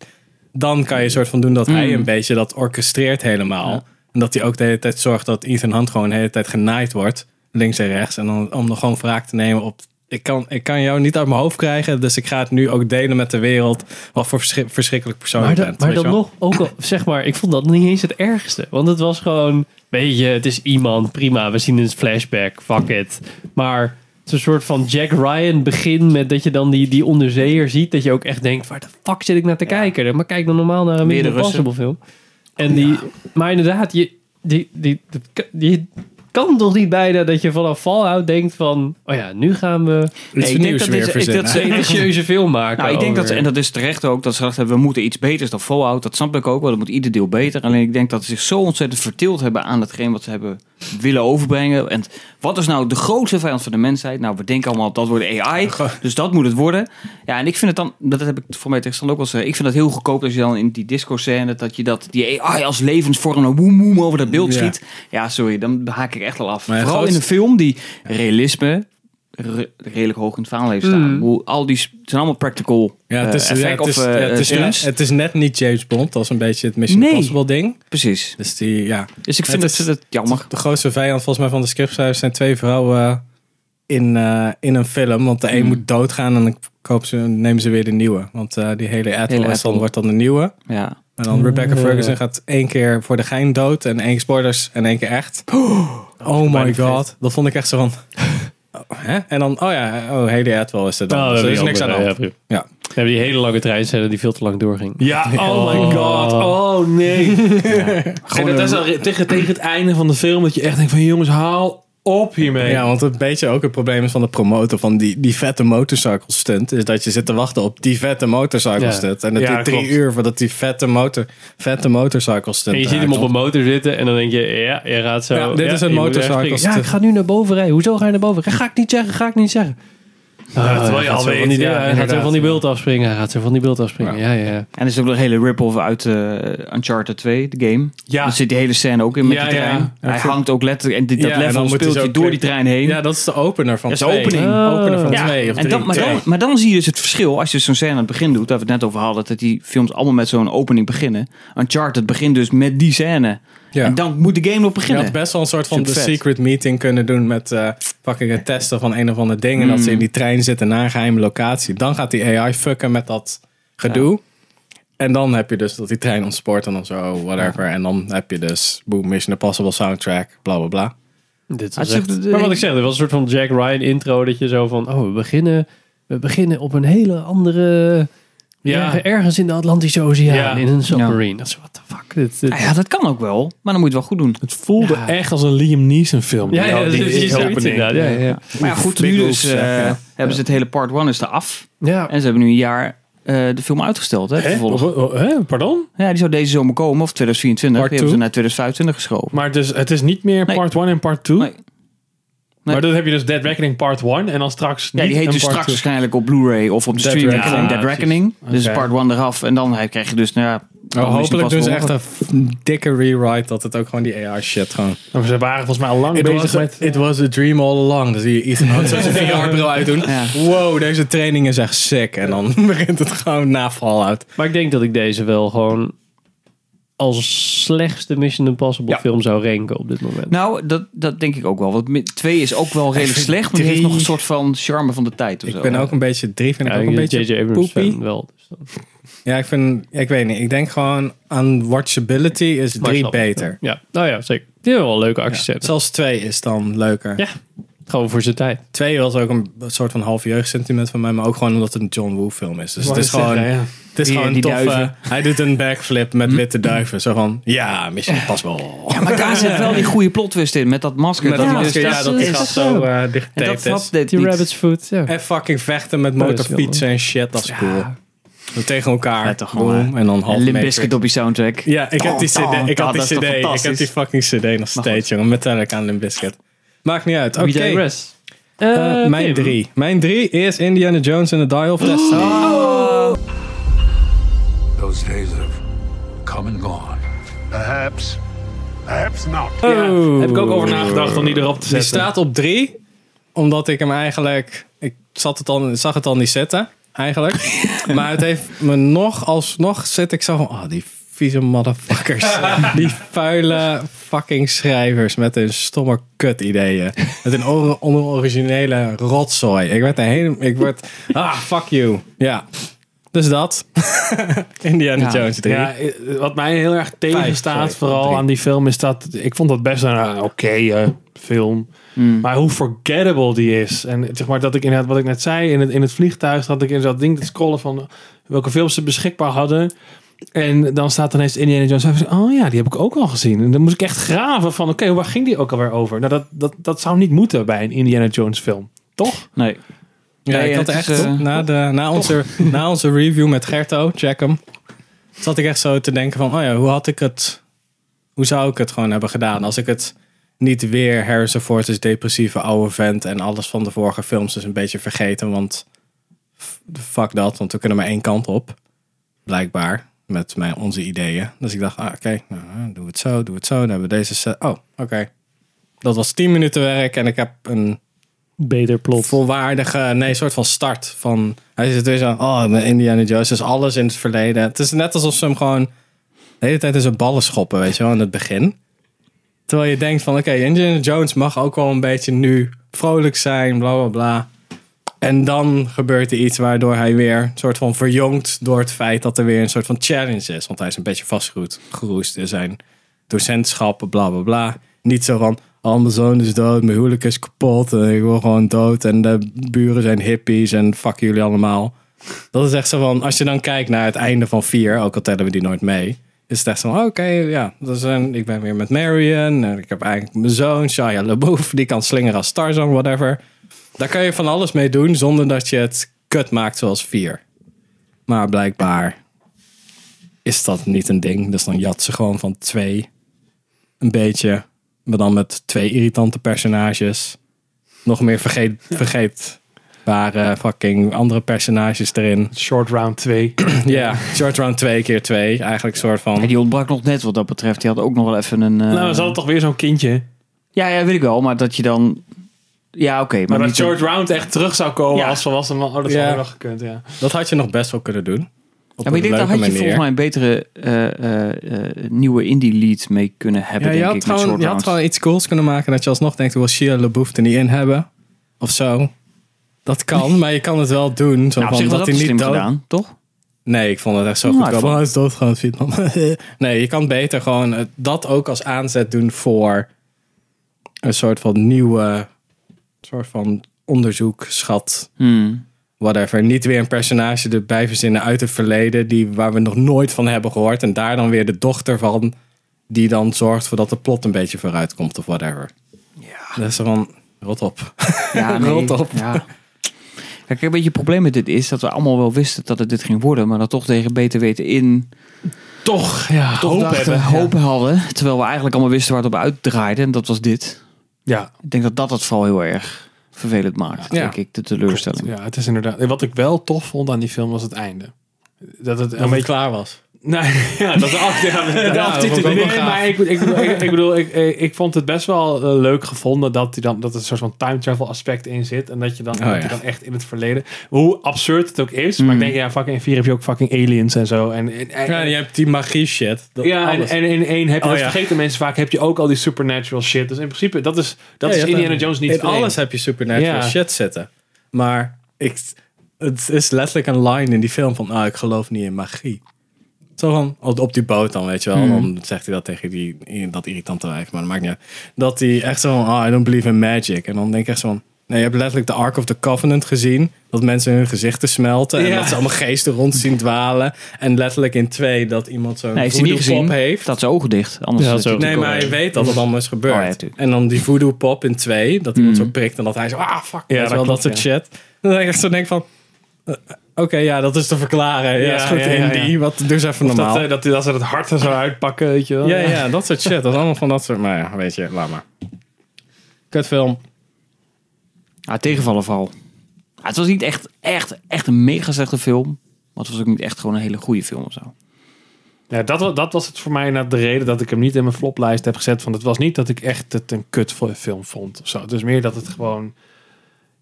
C: dan kan je soort van doen dat
B: Hmm.
C: hij een beetje dat orchestreert helemaal. En dat hij ook de hele tijd zorgt dat Ethan Hunt gewoon de hele tijd genaaid wordt, links en rechts. En dan, om dan gewoon wraak te nemen op... Ik kan, ik kan jou niet uit mijn hoofd krijgen, dus ik ga het nu ook delen met de wereld. Wat voor verschri- verschrikkelijk persoon
A: Maar,
C: je
A: da-
C: bent.
A: maar
C: weet
A: dan
C: je wel.
A: nog, ook al,
B: <laughs>
A: zeg maar, ik vond dat niet eens het ergste. Want het was gewoon, weet je, het is iemand, prima, we zien een flashback, fuck it. Maar het is een soort van Jack Ryan begin met dat je dan die, die onderzeeër ziet. Dat je ook echt denkt, waar de fuck zit ik naar te kijken? Maar kijk dan normaal naar een
B: Weer de
A: Mission Impossible film.
B: Oh,
A: En die, Maar inderdaad, je, die, die, die, die kan toch niet bijna dat je vanaf Fallout denkt van... Oh ja, nu gaan
B: <laughs>
A: we
B: Nee,
C: Iets
B: ik denk
C: nieuws
B: dat
C: weer
B: dit- ik- dat
C: verzinnen.
B: ze-
A: een ambitieuze film maken.
B: Nou, ik denk dat, ze-
A: over-
B: en dat is terecht ook, dat ze gedacht hebben, we moeten iets beters dan Fallout. Dat snap ik ook wel, dat moet ieder deel beter. Alleen ik denk dat ze zich zo ontzettend verteeld hebben aan hetgeen wat ze hebben willen overbrengen. En wat is nou de grootste vijand van de mensheid? Nou, we denken allemaal, dat wordt AI, dus dat moet het worden. Ja, en ik vind het dan, dat heb ik voor mij tegenstand ook wel eens gezegd, ik vind dat heel goedkoop als je dan in die disco-scène, dat je dat, die AI als levensvorm, een woem woem over dat beeld
C: Ja.
B: schiet. Ja, sorry, dan haak ik echt al af.
C: Maar
B: Vooral
C: grootste-
B: in een film die realisme re- redelijk hoog in het vaandel heeft staan. Hoe al die sp- het zijn allemaal practical.
C: Ja, het
B: eh,
C: is, ja,
B: effect
C: het is,
B: of,
C: ja,
B: eh,
C: het, is net,
B: stunts.
C: het is net niet James Bond. Dat is een beetje het Mission
B: Nee.
C: Impossible ding.
B: Precies.
C: Dus die, ja.
B: Dus ik vind
C: Het
B: het,
C: is-
B: dat, jammer.
C: De grootste vijand volgens mij van de scriptschrijvers zijn twee vrouwen in, eh, in een film. Want
B: Hmm.
C: de een moet doodgaan en dan kopen ze, nemen ze weer de nieuwe. Want eh, die hele Ethel
B: Hele
C: is dan
B: Ethel.
C: wordt dan de nieuwe.
B: Ja.
C: En dan Rebecca Ferguson gaat één keer voor de gein dood. En één keer spoilers en één keer echt. Oh, my god. Dat vond ik echt zo
B: <laughs>
C: van... oh, hè? En dan, oh ja, oh, hele Ethel is er dan.
A: Oh,
B: Nou,
C: Dus
A: dat
C: er
A: is
C: is niks aan de hand.
A: Ja, prima.
C: Ja.
A: We hebben die hele lange treinscène die veel te lang doorging.
F: Ja, oh my god. Oh nee. En dat is al re- tegen, tegen het einde van de film dat je echt denkt van jongens, haal op hiermee.
C: Ja, want een beetje ook het probleem is van de promotor van die, die vette motorcycle stunt. Is dat je zit te wachten op die vette motorcycle
A: Ja.
C: stunt. En dat
F: Ja,
C: duurt drie
F: klopt.
C: uur voordat die vette, motor, vette motorcycle stunt
A: En je ziet hem op een motor zitten en dan denk je, ja, je gaat zo.
C: Ja, dit is een
A: je moet echt
C: motorcycle
A: springen.
C: stunt.
A: Ja, ik ga nu naar boven rijden. Hoezo ga je naar boven? Ga ik niet zeggen, ga ik niet zeggen. Ah,
F: terwijl je
A: hij gaat
F: al
A: zo van
F: weet,
A: die-
F: ja,
A: hij gaat zo
F: inderdaad.
A: van die beeld afspringen. Hij gaat zo van die beeld afspringen. Ja, ja. ja.
B: En er is ook nog een hele rip-off uit eh, Uncharted 2, de game.
F: Ja.
B: Daar zit die hele scène ook in met
F: Ja,
B: die trein.
F: ja.
B: Hij hangt ook letterlijk, en dit, dat
C: Ja, en dan
B: level
C: moet hij
B: speelt
C: zo
B: hij door die
C: klikken.
B: trein heen.
C: Ja, dat is de opener van
B: Dat is de
C: twee.
B: opening. Oh.
A: Ah.
C: Opener van
B: Ja,
C: twee
B: en
C: of drie.
B: dan, maar,
C: Twee.
B: dan, maar dan zie je dus het verschil als je zo'n scène aan het begin doet, waar we het net over hadden, dat die films allemaal met zo'n opening beginnen. Uncharted begint dus met die scène.
C: Ja.
B: En dan moet de game nog
C: Je
B: beginnen.
C: had best wel een soort van de
B: Supervet.
C: secret meeting kunnen doen met eh fucking het testen van een of ander ding. En dat ze in die trein zitten naar een geheime locatie. Dan gaat die AI fucken met dat gedoe. En dan heb je dus dat die trein ontspoort en dan zo, whatever. En dan heb je dus, boom, Mission Impossible soundtrack, bla bla bla.
A: Dit
B: Hij
A: was
B: zegt het,
A: echt,
B: eh,
A: maar wat ik zeg, er was een soort van Jack Ryan intro dat je zo van, oh, we beginnen, we beginnen op een hele andere,
F: Ja.
A: erg- ergens in de Atlantische Oceaan,
F: Ja.
A: in een submarine. Dat is, what the fuck, dit, dit-
B: Ah ja, dat kan ook wel, maar dan moet je het wel goed doen.
F: Het voelde
A: Ja.
F: echt als een Liam Neeson film.
A: ja, ja,
F: die-
A: dat
F: die
A: is zoiets
F: opening.
A: inderdaad. Ja, ja.
B: Maar ja, goed, nu dus eh, hebben ze het hele part 1 is eraf.
A: Ja.
B: En ze hebben nu een jaar eh, de film uitgesteld, hè,
F: Hè?
B: vervolgens.
F: Oh, oh, hè? Pardon?
B: Ja, die zou deze zomer komen, of 2024.
C: Part
B: die hebben ze
C: two?
B: naar 2025 geschoven.
F: Maar dus, het is niet meer
B: Nee.
F: part 1 en part 2?
B: Nee. Nee.
F: Maar dan heb je dus Dead Reckoning part 1 en dan straks
B: Ja, die
F: niet
B: heet
F: een
B: dus
F: part
B: straks
F: 2.
B: waarschijnlijk op Blu-ray of op de
C: Dead
B: streaming.
C: Reckoning.
B: gewoon
F: Ja,
B: Dead
F: precies.
B: Reckoning. Dus
F: Oké.
B: part 1 eraf. En dan krijg je dus, nou ja... dan is die
C: hopelijk
B: pas
C: doen ze
B: wel
C: echt
B: mogelijk.
C: een f- dikke rewrite dat het ook gewoon die AI shit gewoon.
F: Maar Ze waren volgens mij al lang
C: It
F: bezig
C: was,
F: met...
C: it was a dream all along. Dan zie je Ethan Hunt <laughs> zijn VR-bril uitdoen.
B: Ja.
C: Wow, deze training is echt sick. En dan <laughs> begint het gewoon na Fallout.
A: Maar ik denk dat ik deze wel gewoon als slechtste Mission Impossible film zou ranken op dit moment.
B: Nou, dat, dat denk ik ook wel. Want mi- twee is ook wel redelijk
C: vind
B: slecht, maar die
C: drie-
B: heeft nog een soort van charme van de tijd. Of
C: Ik
B: zo.
C: ben ook een beetje, drie vind ik
A: ja,
C: ook
A: ik
C: een
A: ben
C: beetje
A: J.J. Abrams
C: poepie.
A: fan wel. Dus dan-
C: Ja, ik vind, ik weet niet. Ik denk gewoon aan watchability is
A: Maar
C: drie
A: snap ik.
C: beter.
A: Ja, nou ja, zeker. Die hebben wel een leuke acties. zetten.
C: Zelfs twee is dan leuker.
A: Ja. Gewoon voor zijn tijd.
C: Twee was ook een soort van half jeugdsentiment van mij, maar ook gewoon omdat het een John Woo film is. Dus het
F: Wou
C: is
F: ik zeggen,
C: gewoon,
F: ja.
C: het is
B: Die-
C: gewoon
B: die
C: tof. eh,
B: duiven.
C: hij doet een backflip met witte duiven. Zo van, ja, Mission Impossible.
B: Ja, maar daar zit wel die goede plot twist in met dat masker.
C: Met <laughs> dat
B: hij dus
C: masker, ja,
B: dat-
C: dat
A: is-
C: die
A: is-
C: gast zo eh dicht
B: en dat had
C: is.
B: dit
A: Die
B: niet.
A: rabbit's foot, ja.
C: En fucking vechten met
A: is
C: motorfietsen en shit, dat is cool. Dan Tegen elkaar.
B: Vet toch, man,
C: boom, en eh, dan half
B: En Limp
C: Matrix.
B: Bizkit op die soundtrack.
C: Ja, ik heb die
B: Tan, tan,
C: CD. Ik
B: tan,
C: had die
B: Oh, dat is toch
C: CD. Ik heb
B: fantastisch?
C: die fucking CD nog steeds, jongen. Metallic aan Limp Bizkit. Maakt niet uit. Oké.
A: BJ Rest. Eh,
C: Eh, mijn
A: Tim.
C: drie. Mijn drie is Indiana Jones en de Die Ah,
B: <gasps>
C: of Destiny.
H: Those days have come and gone. Perhaps. Perhaps not.
F: Ja, heb ik ook over nagedacht om die erop te
C: Die
F: zetten.
C: staat op drie, omdat ik hem eigenlijk... Ik zat het al, zag het al niet zitten,
F: <laughs>
C: eigenlijk. maar het heeft me nog, alsnog zit ik zo van... Oh, die vieze
F: <laughs>
C: motherfuckers. die vuile fucking schrijvers met hun stomme kut ideeën. Met hun or- onoriginele rotzooi. Ik werd een hele... Ik werd... Ah, fuck you. Ja. Dus dat. <laughs> Indiana
B: Ja.
C: Jones 3.
F: Ja, eh, wat mij heel erg tegenstaat,
C: sorry,
F: vooral
C: drie.
F: aan die film, is dat ik vond dat best een eh, oké eh, film. Maar hoe forgettable die is. En zeg maar dat ik inderdaad, wat ik net zei, in het, in het vliegtuig had ik in dat ding te scrollen van welke films ze beschikbaar hadden. En dan staat ineens Indiana Jones. En ik zeg, Oh ja, die heb ik ook al gezien. En dan moest ik echt graven van, oké, waar ging die ook alweer over? Nou, dat, dat, dat zou niet moeten bij een Indiana Jones film. Toch?
B: Nee.
C: Ja,
B: Nee,
C: ik had
B: het
C: echt
B: is, eh,
C: na, de, na, onze, na onze review met Gerto, check hem. Zat ik echt zo te denken van, oh ja, hoe had ik het, hoe zou ik het gewoon hebben gedaan als ik het niet weer Harrison Ford is depressieve oude vent en alles van de vorige films is een beetje vergeten, want f- fuck dat, want we kunnen maar één kant op, blijkbaar, met mijn, onze ideeën. Dus ik dacht, ah, oké, nou, doe het zo, doe het zo, dan hebben we deze set. Oh, oké. Dat was 10 minuten werk en ik heb een
A: Beter plot.
C: volwaardige, nee, soort van start. Van, hij zit weer zo, oh, ik ben Indiana Jones, dus alles in het verleden. Het is net alsof ze hem gewoon de hele tijd in zijn ballen schoppen, weet je wel, in het begin. Terwijl je denkt van, oké, Indiana Jones mag ook wel een beetje nu vrolijk zijn, bla bla bla. En dan gebeurt er iets waardoor hij weer een soort van verjongt door het feit dat er weer een soort van challenge is. Want hij is een beetje vastgeroest in zijn docentschap, bla bla bla. Niet zo van, al mijn zoon is dood, mijn huwelijk is kapot, en ik wil gewoon dood en de buren zijn hippies en fuck jullie allemaal. Dat is echt zo van, als je dan kijkt naar het einde van 4, ook al tellen we die nooit mee, is het echt zo, oké, ja, dat is een, ik ben weer met Marion. En ik heb eigenlijk mijn zoon, Shia LaBeouf. Die kan slingeren als Tarzan, whatever. Daar kan je van alles mee doen zonder dat je het kut maakt zoals vier. Maar blijkbaar is dat niet een ding. Dus dan jat ze gewoon van twee een beetje. Maar dan met twee irritante personages. Nog meer vergeet, vergeetbare fucking andere personages erin. <clears throat>
F: Short round <clears throat> 2.
C: Ja, short round 2 keer 2. Eigenlijk een soort
B: Ja,
C: van.
B: die ontbrak nog net wat dat betreft. Die had ook nog wel even een... eh,
F: nou, dan zat het toch weer zo'n kindje.
B: ja, ja, weet ik wel. Maar dat je dan... Ja, oké. maar
F: Maar dat
B: niet zo-
F: short round echt terug zou komen
B: Ja.
F: als volwassen man. Oh, dat
C: Ja.
F: zou nog gekund, ja.
C: Dat had je nog best wel kunnen doen. Op
B: Ja, maar ik
C: een
B: denk, daar had
C: leuke
B: je volgens
C: manier.
B: mij een betere eh, eh, eh, nieuwe indie lead mee kunnen hebben,
C: Ja, je,
B: denk
C: had
B: ik, met
C: gewoon,
B: short
C: je had
B: rounds.
C: gewoon iets cools kunnen maken dat je alsnog denkt, wil Shia LaBeouf er niet in hebben? Of zo.
B: <laughs>
C: Dat kan, maar je kan het wel doen. Zo
B: Nou, op
C: van,
B: zich was dat
C: hij niet
B: slim
C: dood-
B: gedaan, toch?
C: Nee, ik vond het echt zo
B: Nou,
C: goed.
B: ik
C: komen.
B: vond-
C: Hij is doodgegaan, Vietnam. nee, je kan beter gewoon eh, dat ook als aanzet doen voor een soort van nieuwe soort van onderzoek, schat,
B: Hmm.
C: whatever. Niet weer een personage erbij verzinnen uit het verleden, die, waar we nog nooit van hebben gehoord. En daar dan weer de dochter van, die dan zorgt voor dat de plot een beetje vooruit komt of whatever. Ja. Dat is zo van, rot op.
B: Ja,
C: Rot op.
B: Ja. Kijk, een beetje het probleem met dit is dat we allemaal wel wisten dat het dit ging worden, maar dat toch tegen beter weten in
F: Toch, ja.
B: toch
F: hoop
B: dachten,
F: hebben.
B: hoop hadden, terwijl we eigenlijk allemaal wisten waar het op uitdraaide en dat was dit.
F: Ja.
B: Ik denk dat dat het vooral heel erg vervelend maakt,
C: Ja.
B: denk ik, de teleurstelling.
F: ja, het is inderdaad. en Wat ik wel tof vond aan die film was het einde. Dat het een beetje.
C: klaar was.
F: Nee, <laughs> ja, dat de af, ja, de aftiteling.
C: vond ik ook wel
F: Nee,
C: gaaf.
F: maar ik, ik, bedoel- ik, ik bedoel, ik, ik, ik vond het best wel eh, leuk gevonden dat, die dan, dat er een soort van time travel aspect in zit. En dat je dan,
C: Oh,
F: dat
C: ja.
F: je dan echt in het verleden. Hoe absurd het ook is. Maar ik denk, ja, fucking in 4 heb je ook fucking aliens en zo. En, en, en-
C: Ja, je hebt die magie shit. Dat
F: ja, en,
C: alles.
F: en in één heb je,
C: Oh,
F: dat
C: ja.
F: vergeten mensen vaak, heb je ook al die supernatural shit. Dus in principe, dat is, dat
C: Ja, je
F: is
C: hebt
F: Indiana
C: een-
F: Jones niet
C: In
F: vreemd.
C: alles heb je supernatural
F: Ja.
C: shit zitten. Maar ik, het is letterlijk een line in die film van, ah, ik geloof niet in magie. Zo van, op, op die boot dan, weet je wel.
F: Hmm.
C: Dan zegt hij dat tegen die, dat irritante wijf, maar dat maakt niet uit. Dat hij echt zo van, ah, I don't believe in magic. En dan denk ik echt zo van, nee, je hebt letterlijk de Ark of the Covenant gezien. Dat mensen hun gezichten smelten. En
F: Ja.
C: dat ze allemaal geesten rond zien dwalen. En letterlijk in twee, dat iemand zo'n
B: Nee, heeft hij niet
C: voodoo-pop
B: gezien?
C: heeft.
B: Dat zijn ogen dicht. Anders
A: Ja,
B: is het
A: zo.
C: Nee,
B: natuurlijk
C: maar
B: ook-
C: hij weet dat het allemaal is gebeurd.
B: Oh ja, tuurlijk.
C: en dan die voodoo pop in twee, dat iemand zo prikt en dat hij zo, ah fuck, Mm. ja,
F: dat
C: wel, dat
F: klopt,
C: soort shit. Dan denk ik echt zo denk van, eh, oké, ja, dat is te verklaren. Ja,
F: Ja,
C: is goed,
F: ja, ja,
C: Indy, wat, doe eens even
F: Of
C: normaal.
F: dat, eh, dat, dat ze het hart er zo uitpakken, weet je wel.
C: oh, ja,
F: <laughs>
C: ja, dat soort shit. Dat is allemaal van dat soort, maar ja, weet je, laat maar. Kutfilm.
B: Ja, tegenvallen vooral. Ja, het was niet echt, echt, echt een mega slechte film. Maar het was ook niet echt gewoon een hele goede film of zo.
F: Ja, dat, wa- dat was het voor mij inderdaad de reden dat ik hem niet in mijn floplijst heb gezet. Want het was niet dat ik echt het een kut voor- film vond of zo. Het is meer dat het gewoon...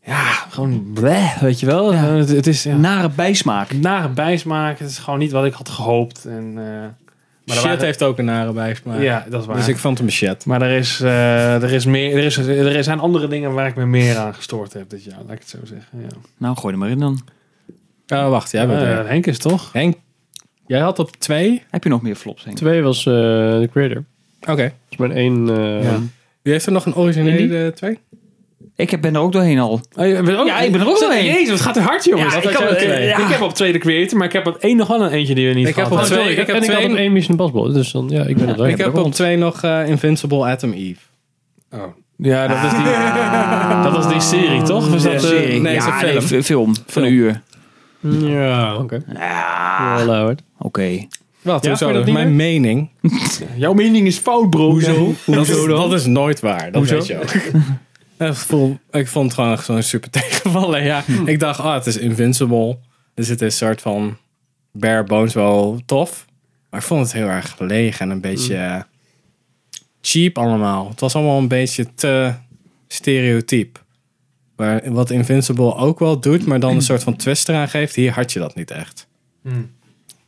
F: Ja, gewoon bleh, weet je wel. Eh, Het, het is ja,
B: Nare bijsmaak.
F: nare bijsmaak. Het is gewoon niet wat ik had gehoopt. En, eh, maar er
C: shit
F: waren-
C: heeft ook een nare bijsmaak.
F: Ja, dat is waar.
C: Dus ik vond hem shit.
F: Maar er, is, eh, er, is meer, er, is, er zijn andere dingen waar ik me meer aan gestoord heb dit jaar. Laat ik het zo zeggen. Ja.
B: Nou, gooi er maar in dan.
C: Oh, wacht, jij bent
F: Eh,
C: er.
F: Henk is toch?
C: Henk, jij had op twee?
B: Heb je nog meer flops, Henk?
A: Twee was eh The Creator.
C: Oké.
A: Dat is mijn één... eh,
F: Ja.
C: Wie heeft er nog een originele twee?
B: Ik heb- ben er ook doorheen al. Ja, ik ben er Oh, ook
F: Zo,
B: doorheen.
F: Jezus, het gaat er hard, jongens.
B: Ja,
F: Dat
B: ik
F: had
B: heb
F: jij-
B: op twee.
F: eh, Ik heb op tweede creator, maar ik heb op één nog wel een eentje die we niet
C: Ik heb
F: gehad
C: op
A: Oh,
F: hadden.
A: sorry,
C: twee- ik heb
A: en ik
C: twee-
A: had op één Mission Impossible. Dus dan, ja, ik ben er
F: Oh
A: doorheen.
C: Ik heb
A: Daarom.
C: op twee nog eh, Invincible Atom Eve.
F: Ja, dat is die, dat was die
C: Ah,
F: serie, toch? Was
B: Ja,
F: dat, eh,
B: serie.
C: nee,
B: ja,
C: is een
B: nee,
C: film.
B: f- film. Van een uur.
A: eh, Ja, oké. Ja, wel, eh, Howard.
B: Oké.
C: Wat,
F: Ja,
C: hoezo?
F: vind je dat niet
C: Mijn mening
F: Jouw mening is fout, bro.
C: Dat is, dat is nooit waar. Dat
F: Hoezo?
C: weet je ook. <laughs> ik, voel, ik vond het gewoon echt zo'n super <laughs> tegenvallen. Ja. Ik dacht, ah, het is Invincible. Dus het is een soort van bare bones wel tof. Maar ik vond het heel erg leeg en een beetje eh, cheap allemaal. Het was allemaal een beetje te stereotyp. Maar wat Invincible ook wel doet, maar dan een soort van twist eraan geeft. Hier had je dat niet echt.
F: Hmm.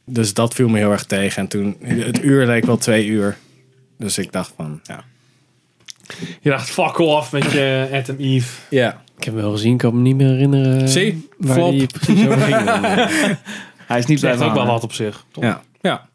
C: Dus dat viel me heel erg tegen. En toen, het uur leek wel twee uur. Dus ik dacht van, ja.
F: Je dacht, fuck off met je <laughs> Adam Eve.
C: Ja.
A: Ik heb hem wel gezien, ik kan me niet meer herinneren
C: Zie,
A: waar
C: flop.
A: die precies over ging.
B: Hij is niet
F: Zegt
B: blijven
F: ook wel
B: hangen.
F: wat op zich.
C: Ja. ja.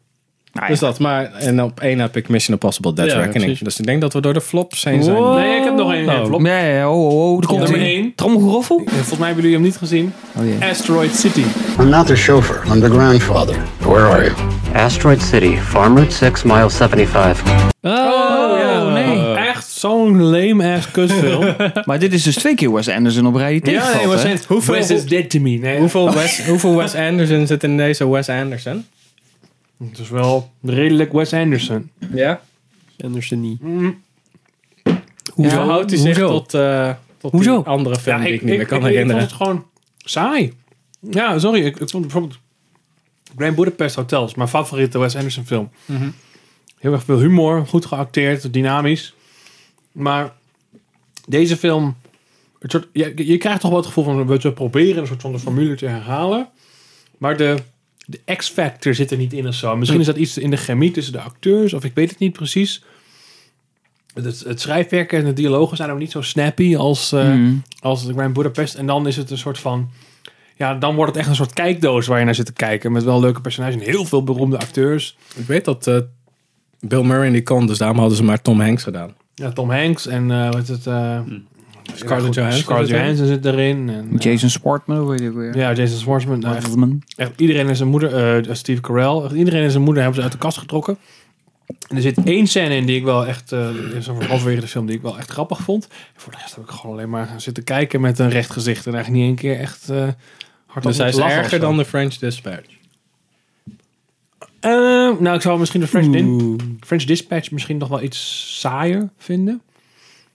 B: ja.
C: Dus dat, maar en op één heb ik Mission Impossible Dead
A: Ja,
C: Reckoning.
A: precies.
C: Dus ik denk dat we door de flops heen zijn.
F: Nee, ik heb nog één.
A: Oh.
F: eh, flop.
B: Ja, ja, ja, oh, oh, oh, er komt
F: Nummer
B: een-
F: één.
B: Tromgeroffel?
F: Eh, Volgens mij hebben jullie hem niet gezien.
B: Oh, jee.
F: Asteroid City.
I: I'm not the chauffeur. I'm the grandfather. Where are you?
J: Asteroid City, Farm Route 6, Mile 75.
A: Oh,
F: ja,
B: nee.
F: Echt zo'n
B: <laughs>
F: lame-ass kutfilm.
B: Maar dit is dus twee keer Wes Anderson op rij die
F: ja, nee,
B: tegenvalt,
F: maar
B: hè?
F: sinds hoeveel
C: Wes
F: is
C: is
F: dit to me? Nee,
C: Hoeveel Wes, hoeveel Wes Anderson zit in deze Wes Anderson?
F: het is wel redelijk Wes Anderson. Mm.
C: Ja.
A: <laughs> Anderson niet.
C: Hoezo houdt hij zich
A: Hoezo?
C: tot, eh, tot
A: Hoezo?
C: die andere film die ik, niet meer kan herinneren?
F: vond het gewoon saai. Ja, sorry. Ik, ik vond bijvoorbeeld Grand Budapest Hotel is mijn favoriete Wes Anderson film.
C: Mhm.
F: Heel erg veel humor, goed geacteerd, dynamisch. Maar deze film, het soort, je, je krijgt toch wel het gevoel van we te proberen een soort van de formule te herhalen. Maar de, de X-factor zit er niet in of zo. Misschien is dat iets in de chemie tussen de acteurs of ik weet het niet precies. Het, het schrijfwerk en de dialogen zijn ook niet zo snappy als, eh
B: Mhm.
F: als de Grand Budapest. En dan is het een soort van... Ja, dan wordt het echt een soort kijkdoos waar je naar zit te kijken. Met wel leuke personages en heel veel beroemde acteurs.
C: Ik weet dat eh, Bill Murray die kon, dus daarom hadden ze maar Tom Hanks gedaan.
F: Ja, Tom Hanks en eh, wat is het... eh,
C: Scarlett Johansson.
F: Scarlett Johansson zit erin. En, eh,
B: Jason Sportman, hoe heet die ook weer?
F: ja, Jason Schwartzman. Nou, echt,
B: Sportman.
F: echt iedereen en zijn moeder, eh, Steve Carell, echt iedereen en zijn moeder hebben ze uit de kast getrokken. En er zit één scène in die ik wel echt, eh is over halverwege de film, die ik wel echt grappig vond. En voor de rest heb ik gewoon alleen maar gaan zitten kijken met een recht gezicht. En eigenlijk niet één keer echt eh hard
C: Dus hij is erger dan
F: de...
C: de French Dispatch.
F: nou, ik zou misschien de French, Din- French Dispatch misschien nog wel iets saaier vinden.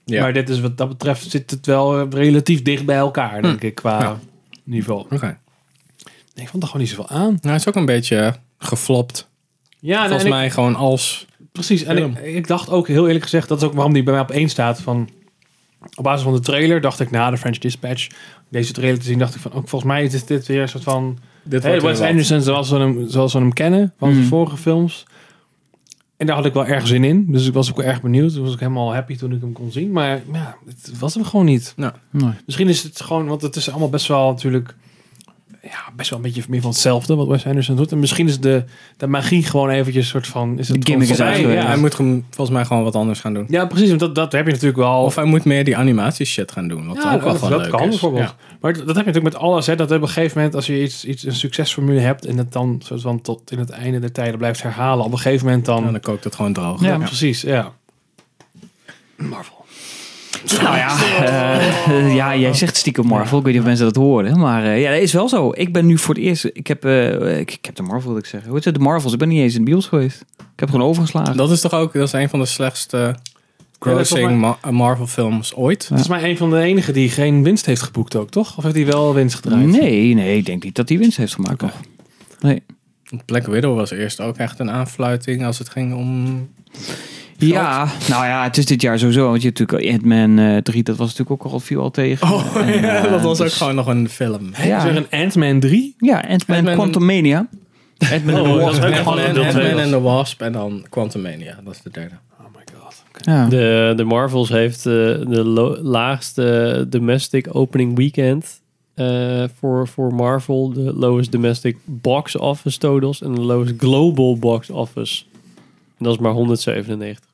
C: Ja.
F: Maar dit is wat dat betreft zit het wel eh, relatief dicht bij elkaar, denk ik, qua niveau.
C: Oké.
F: Nee, ik vond er gewoon niet zoveel aan.
C: Nou, hij is ook een beetje eh, geflopt.
F: Ja, nee, en
C: Volgens
F: ik-
C: mij gewoon als...
F: Precies, en ik, ik dacht ook heel eerlijk gezegd, dat is ook waarom die bij mij op één staat. Van, op basis van de trailer dacht ik na de French Dispatch, deze trailer te zien, dacht ik van, ook volgens mij is dit weer een soort van
C: Dit
F: hey,
C: wordt Mhm.
F: Wes
C: weer wat.
F: Anderson zoals we, hem, zoals we hem kennen van zijn vorige films. En daar had ik wel erg zin in, dus ik was ook wel erg benieuwd. Toen was ik helemaal happy toen ik hem kon zien, maar ja, het was hem gewoon niet.
C: Nou,
F: Misschien is het gewoon, want het is allemaal best wel natuurlijk... Ja, best wel een beetje meer van hetzelfde wat Wes Anderson doet. En misschien is de, de magie gewoon eventjes soort van... Is het
B: De gimmick is
F: gewoon voorbij,
B: uitgewerkt.
F: ja.
C: hij moet gewoon- volgens mij gewoon wat anders gaan doen.
F: Ja, precies. Want dat, dat heb je natuurlijk wel.
C: Of hij moet meer die animatie shit gaan doen. Wat
F: ja,
C: ook wel
F: dat,
C: gewoon
F: dat
C: leuk
F: kan
C: is.
F: bijvoorbeeld.
C: Ja.
F: Maar dat, dat heb je natuurlijk met alles. Hè, dat op een gegeven moment, als je iets, iets een succesformule hebt en dat dan soort van tot in het einde der tijden blijft herhalen, op een gegeven moment dan.
C: En
F: Ja,
C: dan kookt het gewoon droog.
F: precies. Ja.
B: Nou ja, eh, ja, jij zegt stiekem Marvel. Ik weet niet of mensen dat horen, maar eh, ja, dat is wel zo. Ik ben nu voor het eerst, ik heb, eh, ik, ik heb de Marvel, wil ik zeggen. Hoe is het, de Marvels? Ik ben niet eens in de bios geweest. Ik heb gewoon overgeslagen.
C: Dat is toch ook dat is een van de slechtste grossing
F: volgens
C: Ma- Marvel films ooit.
F: Dat is maar een van de enige die geen winst heeft geboekt ook, toch? Of heeft hij wel winst gedraaid?
B: nee, nee, ik denk niet dat hij winst heeft gemaakt nog. Nee.
C: Black Widow was eerst ook echt een aanfluiting als het ging <laughs> om...
B: Ja, nou ja, het is dit jaar sowieso. Want je hebt natuurlijk Ant-Man eh, 3, dat was natuurlijk ook al viel al tegen. En, eh,
C: dat was ook
B: dus-
C: gewoon nog een film.
F: Is
B: Ja,
F: er een Ant-Man 3?
B: ja Ant-Man
C: Ant-Man-
B: Quantumania. Ant-Man
C: Oh,
B: and the Wasp.
A: dat is ook
C: Ant-Man
A: gewoon deel
C: Ant-Man
A: twee was.
C: and the Wasp en dan Quantumania. Dat is de derde.
B: Ja.
A: De, de Marvels heeft eh, de lo- laagste domestic opening weekend eh, voor, voor Marvel. De lowest domestic box office totals en de lowest global box office. En dat is maar 197.